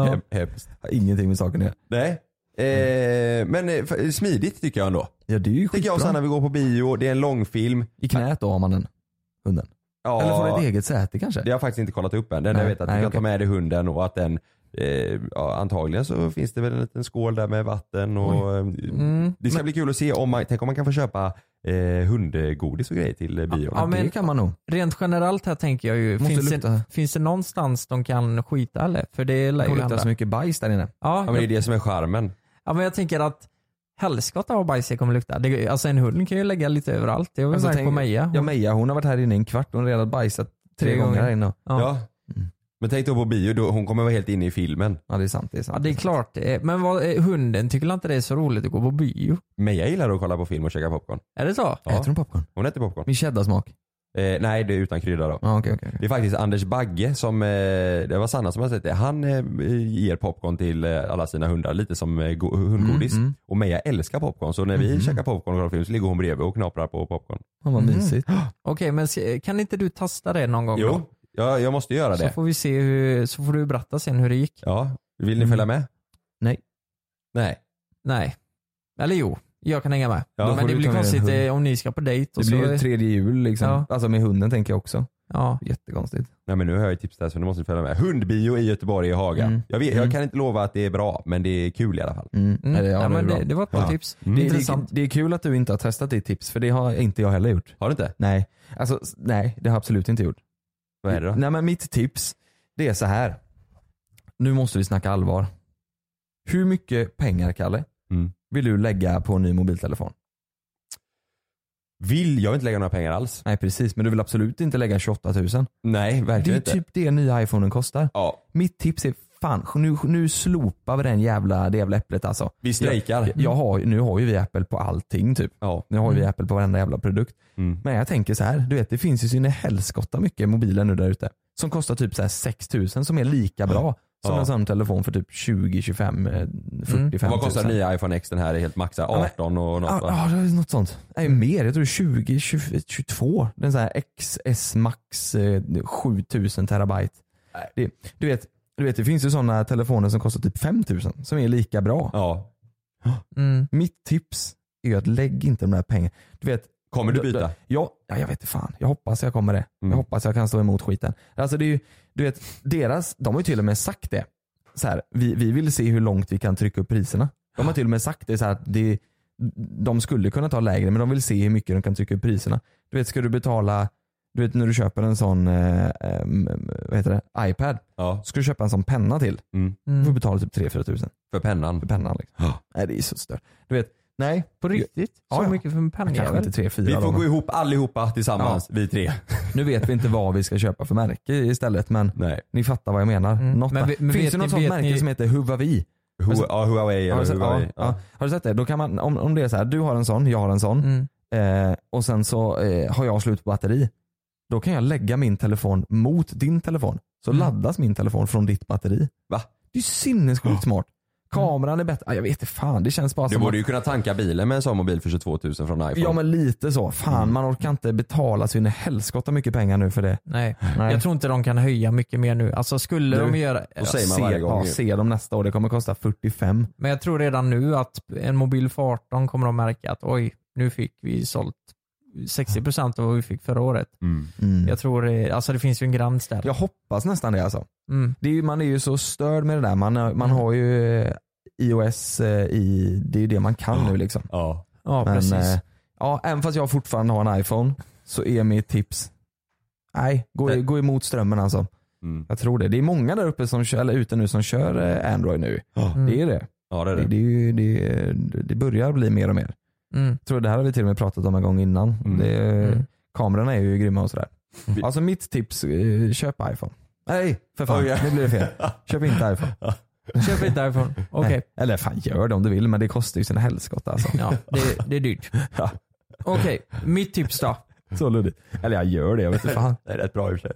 Speaker 10: Hem- Hemskt.
Speaker 8: Har Ingenting med saken att göra.
Speaker 10: Nej.
Speaker 8: Mm.
Speaker 10: Eh, men eh, f- smidigt tycker jag ändå.
Speaker 8: Ja det är ju
Speaker 10: Tycker jag och
Speaker 8: skitbra.
Speaker 10: Sanna, vi går på bio, det är en långfilm.
Speaker 8: I knät då har man den. Hunden.
Speaker 10: Ja,
Speaker 8: Eller får den ett eget säte kanske?
Speaker 10: Det har jag faktiskt inte kollat upp än. Den jag
Speaker 8: Nej,
Speaker 10: vet att
Speaker 8: nej,
Speaker 10: du kan
Speaker 8: okej.
Speaker 10: ta med dig hunden och att den eh, ja, antagligen så finns det väl en liten skål där med vatten och eh,
Speaker 7: Mm.
Speaker 10: det ska bli kul att se om man, tänk om man kan få köpa eh, hundgodis och grejer till eh, bio.
Speaker 8: Ja,
Speaker 7: men-
Speaker 8: det kan man nog.
Speaker 7: Rent generellt här tänker jag ju,
Speaker 8: Måste
Speaker 7: finns det,
Speaker 8: lukta.
Speaker 7: finns det någonstans de kan skita eller? För det
Speaker 8: Det
Speaker 7: lär ju
Speaker 8: kommer
Speaker 7: hända.
Speaker 8: lukta så mycket bajs där inne.
Speaker 7: Ja,
Speaker 10: Ja, men det är det som är charmen.
Speaker 7: Ja men jag tänker att helskotta vad bajs det kommer lukta. Det, alltså en hund kan ju lägga lite överallt. Det har vi
Speaker 8: Alltså,
Speaker 7: märkt
Speaker 8: tänk-
Speaker 7: på Meja.
Speaker 8: Ja Meja hon har varit här inne i en kvart och hon har redan bajsat tre,
Speaker 7: Tre
Speaker 8: gånger.
Speaker 7: gånger.
Speaker 8: här inne. Mm.
Speaker 10: Ja.
Speaker 7: Ja.
Speaker 10: Men tänk då på bio, då, hon kommer vara helt inne i filmen.
Speaker 8: Ja det är sant. Det är, sant,
Speaker 7: Ja det är klart. Eh, Men vad, eh, hunden tycker inte det är så roligt att gå på bio?
Speaker 10: Men jag gillar att kolla på film och käka popcorn.
Speaker 7: Är det så?
Speaker 10: Ja.
Speaker 8: Äter hon popcorn?
Speaker 10: Hon äter popcorn.
Speaker 8: Med cheddarsmak?
Speaker 10: Eh, nej, det är utan krydda då.
Speaker 8: Ja okej okej. okej.
Speaker 10: Det är faktiskt Anders Bagge som, eh, det var Sanna som har sett det, han eh, ger popcorn till eh, alla sina hundar lite som eh, go- hundgodis.
Speaker 8: Mm, mm.
Speaker 10: Och Meja älskar popcorn så när vi käkar popcorn och kollar film så ligger hon bredvid och knaprar på popcorn.
Speaker 8: Fan vad
Speaker 7: Mhm.
Speaker 8: mysigt.
Speaker 7: Okej men se- kan inte du testa det någon gång?
Speaker 10: Jo,
Speaker 7: då?
Speaker 10: jag, jag måste göra
Speaker 7: Så
Speaker 10: det.
Speaker 7: får vi se hur, så får du berätta sen hur det gick.
Speaker 10: Ja. Vill ni följa med?
Speaker 8: Nej.
Speaker 10: Nej.
Speaker 7: Nej. Eller jo, jag kan hänga med.
Speaker 10: Ja,
Speaker 8: får
Speaker 7: men det
Speaker 8: du
Speaker 7: blir
Speaker 8: ta med
Speaker 7: konstigt
Speaker 8: en hund.
Speaker 7: eh, om ni ska på dejt och
Speaker 8: Det blir
Speaker 7: så.
Speaker 8: ju tredje jul liksom.
Speaker 7: Ja.
Speaker 8: Alltså med hunden tänker jag också.
Speaker 7: ja.
Speaker 8: Jättekonstigt.
Speaker 10: Nej men nu har jag ju tips där så nu måste ni följa med. Hundbio i Göteborg i Haga.
Speaker 8: Mm.
Speaker 10: Jag, vet, jag
Speaker 8: Mm.
Speaker 10: kan inte lova att det är bra men det är kul i alla fall.
Speaker 8: Mm.
Speaker 7: Mm.
Speaker 8: Nej,
Speaker 7: det,
Speaker 8: det- ja,
Speaker 7: ja,
Speaker 8: det är
Speaker 7: men
Speaker 8: bra.
Speaker 7: det, det var ett bra
Speaker 10: Ja.
Speaker 7: tips.
Speaker 10: Mm.
Speaker 7: Det är
Speaker 8: Det,
Speaker 7: intressant.
Speaker 8: det, det är kul att du inte har testat ditt tips för det har inte jag heller gjort.
Speaker 10: Har du inte?
Speaker 8: Nej, alltså s- nej det har jag absolut inte gjort.
Speaker 10: Vad är det då?
Speaker 8: Nej men mitt tips, det är så här. Nu måste vi snacka allvar. Hur mycket pengar Kalle,
Speaker 10: Mm.
Speaker 8: vill du lägga på en ny mobiltelefon?
Speaker 10: Vill, jag vill inte lägga några pengar alls.
Speaker 8: Nej precis, men du vill absolut inte lägga 28 000.
Speaker 10: Nej,
Speaker 8: Det är
Speaker 10: verkligen
Speaker 8: ju
Speaker 10: inte.
Speaker 8: typ det nya iPhonen kostar.
Speaker 10: Ja,
Speaker 8: Mitt tips är fan, nu, nu slopar vi den jävla, det jävla äpplet alltså.
Speaker 10: vi strejkar.
Speaker 8: Jag har, ju- nu har ju vi Apple på allting typ.
Speaker 10: Ja.
Speaker 8: Nu har ju vi Apple på varenda jävla produkt.
Speaker 10: Mm.
Speaker 8: Men jag tänker så här, du vet det finns ju så in i helskotta mycket mobiler nu där ute. Som kostar typ så här 6 000 som är lika bra som
Speaker 10: Ja.
Speaker 8: en sån telefon för typ 20, 25, eh, 40,
Speaker 7: Mm.
Speaker 8: 50
Speaker 10: Vad kostar den nya iPhone X? Den här är helt maxad.
Speaker 8: men-
Speaker 10: 18 och något
Speaker 8: Ja,
Speaker 10: va? Mm.
Speaker 8: ja, det är något sånt. Nej, mer. Jag tror 20, 20 22. Den så här XS Max eh, 7000 terabyte. Det, du, vet, du vet, det finns ju sådana telefoner som kostar typ 5000 som är lika bra.
Speaker 10: Ja.
Speaker 7: Mm.
Speaker 8: Mitt tips är ju att lägg inte de där pengarna. Du vet,
Speaker 10: Kommer du byta?
Speaker 8: Ja, ja, jag vet inte fan. Jag hoppas jag kommer det.
Speaker 10: Mm.
Speaker 8: Jag hoppas jag kan stå emot skiten. Alltså det är ju, du vet, deras, de har ju till och med sagt det. Så här, vi, vi vill se hur långt vi kan trycka upp priserna. De har till och med sagt det så här att det, de skulle kunna ta lägre men de vill se hur mycket de kan trycka upp priserna. Du vet, ska du betala, du vet när du köper en sån, eh, eh, vad heter det, iPad.
Speaker 10: Ja.
Speaker 8: Ska du köpa en sån penna till, du får
Speaker 7: Mm.
Speaker 8: betala typ 3-4 tusen
Speaker 10: För pennan?
Speaker 8: för pennan. Liksom.
Speaker 10: Ja.
Speaker 8: Nej det är så stört. Du vet, nej.
Speaker 7: På riktigt? Så
Speaker 8: Ja, ja.
Speaker 7: mycket för en
Speaker 8: Kanske
Speaker 7: pennjävel?
Speaker 8: inte 3-4
Speaker 10: Vi får
Speaker 8: då, men-
Speaker 10: gå ihop allihopa tillsammans, vi tre.
Speaker 8: Nu vet vi inte vad vi ska köpa för märke istället men
Speaker 10: Nej.
Speaker 8: ni fattar vad jag menar.
Speaker 7: Mm.
Speaker 8: Något
Speaker 7: Men
Speaker 8: där.
Speaker 7: vi- men vet
Speaker 8: Finns det
Speaker 7: ni-
Speaker 8: något sånt
Speaker 7: vet
Speaker 8: märke
Speaker 7: ni-
Speaker 8: som heter Huawei?
Speaker 10: Hu-
Speaker 8: Alltså-
Speaker 10: ja, Huawei
Speaker 8: Har
Speaker 10: eller
Speaker 8: du sett, ja,
Speaker 10: Huawei.
Speaker 8: ja.
Speaker 10: Ja.
Speaker 8: Har du sett det? Då kan man, om, om det är så här, du har en sån, jag har en sån
Speaker 7: Mm.
Speaker 8: eh, och sen så eh, har jag slut på batteri. Då kan jag lägga min telefon mot din telefon. Så
Speaker 7: Mm.
Speaker 8: laddas min telefon från ditt batteri.
Speaker 10: Va? Mm.
Speaker 8: Det är ju sinnessjukt smart. Kameran är bättre. Ah, jag vet inte fan, det känns bara
Speaker 10: Du
Speaker 8: som
Speaker 10: borde ju kunna tanka bilen med en sån mobil för 22 000 från iPhone.
Speaker 8: Ja men lite så. Fan
Speaker 10: Mm.
Speaker 8: man orkar inte betala så in i helskotta mycket pengar nu för det.
Speaker 7: Nej.
Speaker 8: Nej.
Speaker 7: jag tror inte de kan höja mycket mer nu. Alltså skulle
Speaker 8: Du,
Speaker 7: de göra...
Speaker 10: då säger man
Speaker 8: se,
Speaker 10: varje gång
Speaker 8: ja,
Speaker 10: ju.
Speaker 8: se dem nästa år, det kommer kosta 45.
Speaker 7: Men jag tror redan nu att en mobil för 18 kommer de märka att oj, nu fick vi sålt 60% av vad vi fick förra året.
Speaker 10: Mm.
Speaker 8: Mm.
Speaker 7: Jag tror det, alltså det finns ju en gräns där.
Speaker 8: Jag hoppas nästan det alltså.
Speaker 7: Mm.
Speaker 8: Det är, ju- man är ju så störd med det där. Man, man
Speaker 7: Mm.
Speaker 8: har ju eh, iOS eh, i, det är ju det man kan nu liksom.
Speaker 10: Ja.
Speaker 7: Ja,
Speaker 8: Men,
Speaker 7: precis.
Speaker 8: eh, ja, även fast jag fortfarande har en iPhone så är mitt tips, nej, gå,
Speaker 10: Nej.
Speaker 8: gå emot strömmen alltså.
Speaker 10: Mm.
Speaker 8: Jag tror det. Det är många där uppe som kör, eller ute nu som kör eh, Android nu.
Speaker 7: Mm.
Speaker 8: Det är det.
Speaker 10: ja, det är
Speaker 8: Det,
Speaker 10: det.
Speaker 8: det, är ju, det, det börjar bli mer och mer.
Speaker 7: Mm.
Speaker 8: Jag tror det här har vi till och med pratat om en gång innan.
Speaker 10: Mm.
Speaker 8: Det,
Speaker 7: Mm.
Speaker 8: Kamerorna är ju grymma och sådär.
Speaker 10: Mm.
Speaker 8: Alltså mitt tips, eh, köp iPhone. Nej för fan,
Speaker 10: Oj, ja.
Speaker 8: nu blir det fel. Köp inte iPhone.
Speaker 7: Köp inte iPhone. Okej.
Speaker 8: Nej. Eller fan gör det om du vill men det kostar ju sina helskotta alltså.
Speaker 7: Ja, det, det är dyrt.
Speaker 8: Ja.
Speaker 7: Okej, mitt tips då.
Speaker 8: Så luddigt. Eller jag gör det, jag vet inte fan.
Speaker 10: Det är rätt bra i och för sig.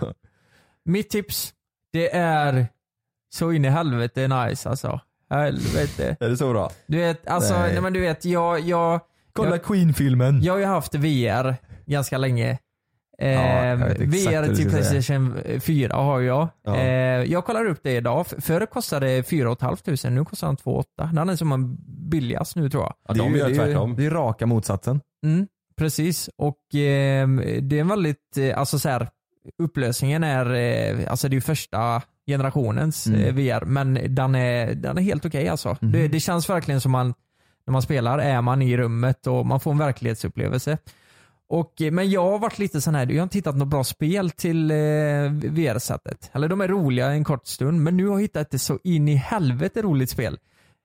Speaker 8: Ja.
Speaker 7: Mitt tips, det är så in i helvete nice alltså. Helvete.
Speaker 10: Är det så bra?
Speaker 7: Du vet, alltså,
Speaker 8: Nej.
Speaker 7: nej. men du vet, jag, jag,
Speaker 8: Kolla Queen-filmen.
Speaker 7: jag har ju haft VR ganska länge. Ehm,
Speaker 6: jag vet exakt vad
Speaker 7: VR
Speaker 6: du
Speaker 7: till
Speaker 6: ska säga.
Speaker 7: Playstation 4 har jag.
Speaker 6: Ja.
Speaker 7: Ehm, jag kollar upp det idag. F- Förr kostade 4 500, nu kostar den 2 800. Den är som man billigast nu tror jag.
Speaker 8: Ja, de
Speaker 6: ju-
Speaker 8: gör
Speaker 6: det är ju-
Speaker 8: tvärtom.
Speaker 6: Det är raka motsatsen.
Speaker 7: Mm, precis, och ehm, det är en väldigt, eh, alltså så här, upplösningen är, eh, alltså det är ju första generationens
Speaker 6: Mm.
Speaker 7: eh, VR, men den är, den är helt okej alltså. Det, det känns verkligen som man, när man spelar är man i rummet och man får en verklighetsupplevelse. Och, eh, men jag har varit lite sån här, jag har inte hittat något bra spel till eh, VR-sättet. Eller de är roliga en kort stund, men nu har jag hittat ett så in i helvete roligt spel.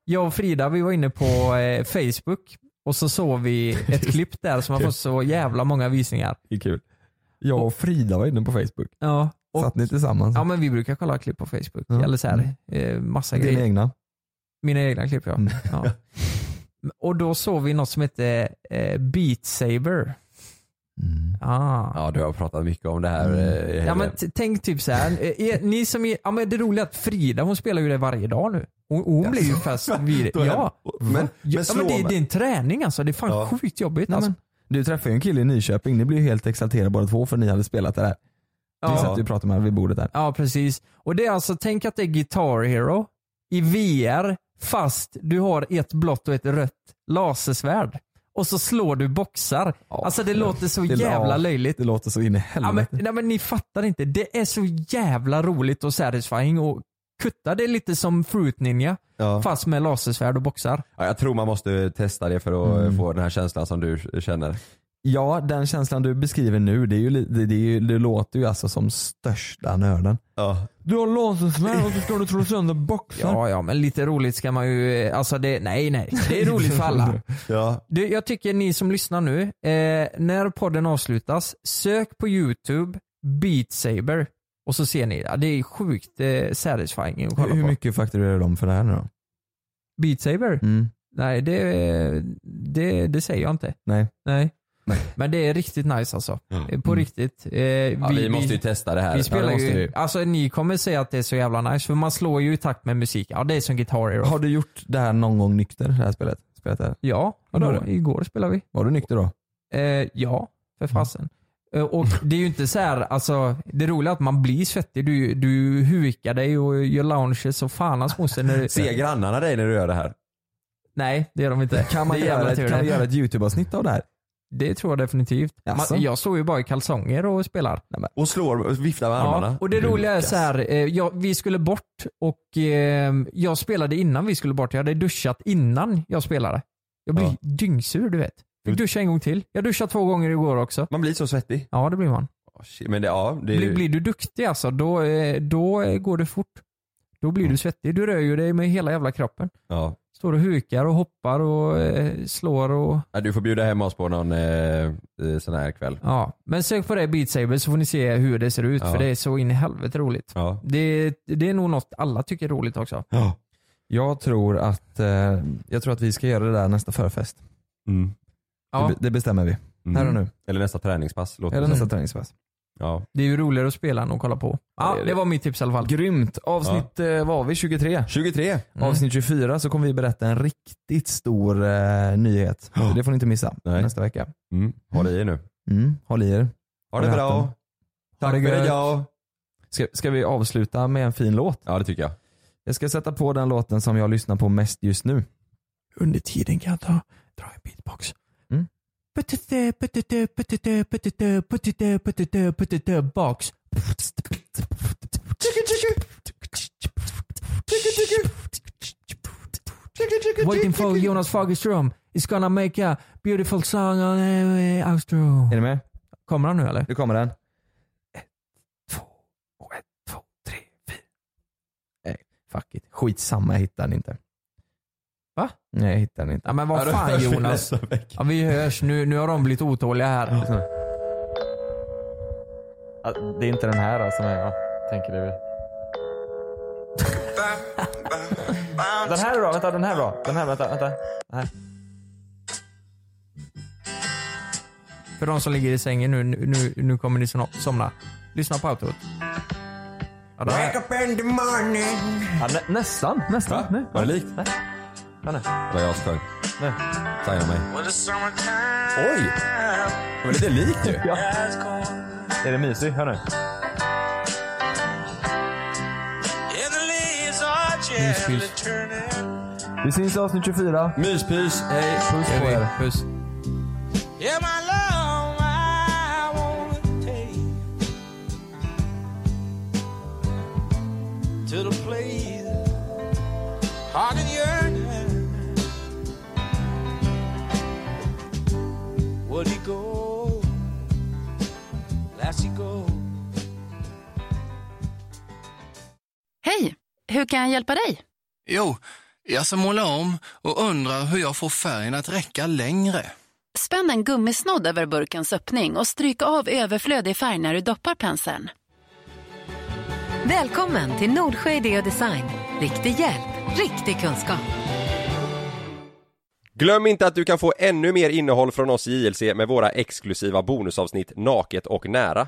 Speaker 7: Jag och Frida vi var inne på eh, Facebook och så såg vi ett klipp där som har fått så jävla många visningar.
Speaker 6: Det är kul. Jag och Frida var inne på Facebook.
Speaker 7: Ja, och,
Speaker 6: Satt ni tillsammans?
Speaker 7: ja men vi brukar kolla klipp på Facebook.
Speaker 6: Ja.
Speaker 7: Eller så här,
Speaker 8: Mm.
Speaker 7: eh, massa
Speaker 6: Dina
Speaker 7: grejer.
Speaker 6: egna?
Speaker 7: Mina egna klipp ja.
Speaker 6: Mm.
Speaker 7: ja. Och då såg vi något som hette eh, Beat Saber. Ah.
Speaker 8: Ja, du har pratat mycket om det här. eh,
Speaker 7: Mm. Ja, men t- tänk typ så här. eh, er- ni som är, ja, men det roliga är att Frida hon spelar ju det varje dag nu. Hon, hon blir ju fast vid
Speaker 8: Då är-
Speaker 7: Ja.
Speaker 8: Men,
Speaker 7: Ja,
Speaker 8: men slå
Speaker 7: men det, är- det är
Speaker 8: mig.
Speaker 7: en träning alltså. Det är fan
Speaker 8: Ja.
Speaker 7: sjukt jobbigt.
Speaker 6: Nej,
Speaker 7: Alltså.
Speaker 6: men, du träffade ju en kille i Nyköping, ni blev ju helt exalterade båda två för ni hade spelat det där. Vi satt ju och pratade med varandra vid bordet där.
Speaker 7: Ja, precis. Och det är alltså, tänk att det är Guitar Hero i VR fast du har ett blått och ett rött lasersvärd. Och så slår du boxar. alltså det låter så
Speaker 6: det-
Speaker 7: jävla
Speaker 6: ja.
Speaker 7: löjligt.
Speaker 6: Det låter så in i
Speaker 7: Ja, men,
Speaker 6: helvete.
Speaker 7: nej, men ni fattar inte. Det är så jävla roligt och satisfying och kutta. Det är lite som Fruit Ninja
Speaker 8: Ja.
Speaker 7: fast med lasersvärd och boxar.
Speaker 8: Ja, jag tror man måste testa det för att eh, få den här känslan som du känner.
Speaker 6: Ja, den känslan du beskriver nu, det, är ju, li- det, det, är ju, det låter ju alltså som största nörden.
Speaker 8: Ja.
Speaker 6: Du har lasersvärd och så ska du slå sönder boxar.
Speaker 7: Ja, ja, men lite roligt ska man ju... eh, Alltså det, nej, nej. Det är roligt för alla.
Speaker 8: Ja.
Speaker 7: Du, jag tycker ni som lyssnar nu, eh, när podden avslutas, sök på YouTube Beat Saber och så ser ni. Ja, det är sjukt eh, satisfying att kolla
Speaker 6: Hur
Speaker 7: på.
Speaker 6: mycket fakturerar de för det här nu då?
Speaker 7: Beat Saber?
Speaker 6: Mm.
Speaker 7: Nej, det, det, det säger jag inte.
Speaker 6: Nej.
Speaker 7: Nej. Men det är riktigt nice alltså. Eh, På riktigt. Eh,
Speaker 8: Mm. Ja, vi, måste ju testa det här.
Speaker 7: vi spelar
Speaker 8: ja, det måste
Speaker 7: ju,
Speaker 8: vi.
Speaker 7: alltså ni kommer säga att det är så jävla nice för man slår ju i takt med musik. Ja det är som Guitar Hero.
Speaker 6: Har du gjort det här någon gång nykter, det här spelet? spelet här?
Speaker 7: Ja,
Speaker 6: Ja, det har
Speaker 7: igår,
Speaker 6: du.
Speaker 7: igår spelade vi.
Speaker 6: Var du nykter då?
Speaker 7: Eh, ja,
Speaker 6: Mm.
Speaker 7: för fasen. Eh, Och det är ju inte så här, alltså det roliga är att man blir svettig. Du, du hukar dig och gör lounges och fan hans moster när du...
Speaker 8: Ser grannarna dig när du gör det här?
Speaker 7: Nej, det gör de inte.
Speaker 6: Kan, man
Speaker 7: det är jävla
Speaker 6: göra ett,
Speaker 7: tur
Speaker 6: kan
Speaker 7: det.
Speaker 6: vi göra ett YouTube-avsnitt av det här?
Speaker 7: Det tror jag definitivt.
Speaker 6: Jaså?
Speaker 7: Man, jag står ju bara i kalsonger och spelar.
Speaker 8: Och slår och viftar med
Speaker 7: Ja,
Speaker 8: armarna?
Speaker 7: och det roliga är
Speaker 8: Lukas.
Speaker 7: så här, eh, jag, vi skulle bort och eh, jag spelade innan vi skulle bort. Jag hade duschat innan jag spelade. Jag blir
Speaker 8: Ja.
Speaker 7: dyngsur du vet.
Speaker 6: Mm.
Speaker 7: Fick duscha en gång till. Jag duschade två gånger igår också.
Speaker 8: Man blir så svettig.
Speaker 7: Ja det blir man.
Speaker 8: Åh, shit, Men det, ja, det är
Speaker 7: Blir,
Speaker 8: ju...
Speaker 7: blir du duktig alltså, då, eh, då eh, går det fort. Då blir
Speaker 6: Mm.
Speaker 7: du svettig. Du rör ju dig med hela jävla kroppen.
Speaker 8: Ja.
Speaker 7: Står och hukar och hoppar och eh, slår och...
Speaker 8: Ja, Du får bjuda hem oss på någon eh, eh, sån här kväll.
Speaker 7: Ja. Men sök på det Beat Saber så får ni se hur det ser ut
Speaker 8: Ja.
Speaker 7: för det är så in i helvete roligt.
Speaker 8: Ja.
Speaker 7: Det, det är nog något alla tycker är roligt också.
Speaker 6: Jag tror att, eh, jag tror att vi ska göra det där nästa förfest.
Speaker 8: Mm.
Speaker 7: Ja,
Speaker 6: Det, be- det bestämmer vi.
Speaker 8: Mm.
Speaker 6: Här och nu.
Speaker 8: Eller nästa träningspass. Låter
Speaker 6: Eller
Speaker 8: det som.
Speaker 6: nästa träningspass.
Speaker 8: Ja.
Speaker 7: det är ju roligare att spela än att kolla på.
Speaker 6: Ja,
Speaker 7: Ja,
Speaker 6: det är
Speaker 7: det var mitt tips i alla fall.
Speaker 6: Grymt! Avsnitt eh, var vi 23.
Speaker 8: 23!
Speaker 7: Mm.
Speaker 6: Avsnitt 24 så kommer vi berätta en riktigt stor eh, nyhet. Så det får ni inte missa
Speaker 8: Nej.
Speaker 6: nästa vecka.
Speaker 8: Mm. Håll i er nu.
Speaker 6: Mm, håll i er.
Speaker 8: Ha det
Speaker 6: Håll i
Speaker 8: bra.
Speaker 6: hatten.
Speaker 8: Tack för
Speaker 6: gött.
Speaker 8: idag.
Speaker 6: Ska, ska vi avsluta med en fin låt?
Speaker 8: Ja det tycker jag.
Speaker 6: Jag ska sätta på den låten som jag lyssnar på mest just nu.
Speaker 7: Under tiden kan jag ta, dra en beatbox.
Speaker 6: Mm.
Speaker 7: Puttete, puttete, puttete, puttete, puttete, puttete, puttete, box. Waiting for Jonas Fagerström is gonna make a beautiful song on eh, eh, outro.
Speaker 6: Är ni med?
Speaker 7: Kommer han nu eller?
Speaker 6: Nu kommer den.
Speaker 7: Och ett, två, tre, fyra.
Speaker 6: Fuck it. Skitsamma, jag hittar den inte.
Speaker 7: Va?
Speaker 6: Nej, jag hittar den inte.
Speaker 7: Ja men vad fan Jonas. Ja, vi hörs nu. Nu har de blivit otåliga här.
Speaker 6: Ja, Det är inte den här alltså, men jag tänker det. Den här är bra, vänta, den här är bra. Den här, vänta, vänta. Den här.
Speaker 7: För de som ligger i sängen nu, nu, nu- nu kommer ni som- somna. Lyssna på outrot. Ja, det här-
Speaker 6: Ja, nä, nästan, nästan.
Speaker 8: Va?
Speaker 6: Nej.
Speaker 8: Var det likt?
Speaker 6: Vänta.
Speaker 8: Det var jag som sjöng.
Speaker 6: Nej.
Speaker 8: Signa mig. Oj! Det var lite likt ju.
Speaker 6: Ja.
Speaker 14: Är det mysig? Hör nu.
Speaker 7: Myspys.
Speaker 14: Vi syns i avsnitt 24.
Speaker 15: Myspys, hej.
Speaker 7: Puss på er. Puss.
Speaker 10: Yeah, my love, I wanna take to the place heart and yearning. Would he go? Last he go.
Speaker 1: Hej, hur kan jag hjälpa dig?
Speaker 2: Jo, jag ska måla om och undrar hur jag får färgen att räcka längre.
Speaker 1: Spänn en gummisnodd över burkens öppning och stryk av överflödig färg när du doppar penseln.
Speaker 16: Välkommen till Nordsjö Idé och Design. Riktig hjälp, riktig kunskap.
Speaker 8: Glöm inte att du kan få ännu mer innehåll från oss i JLC med våra exklusiva bonusavsnitt Naket och nära.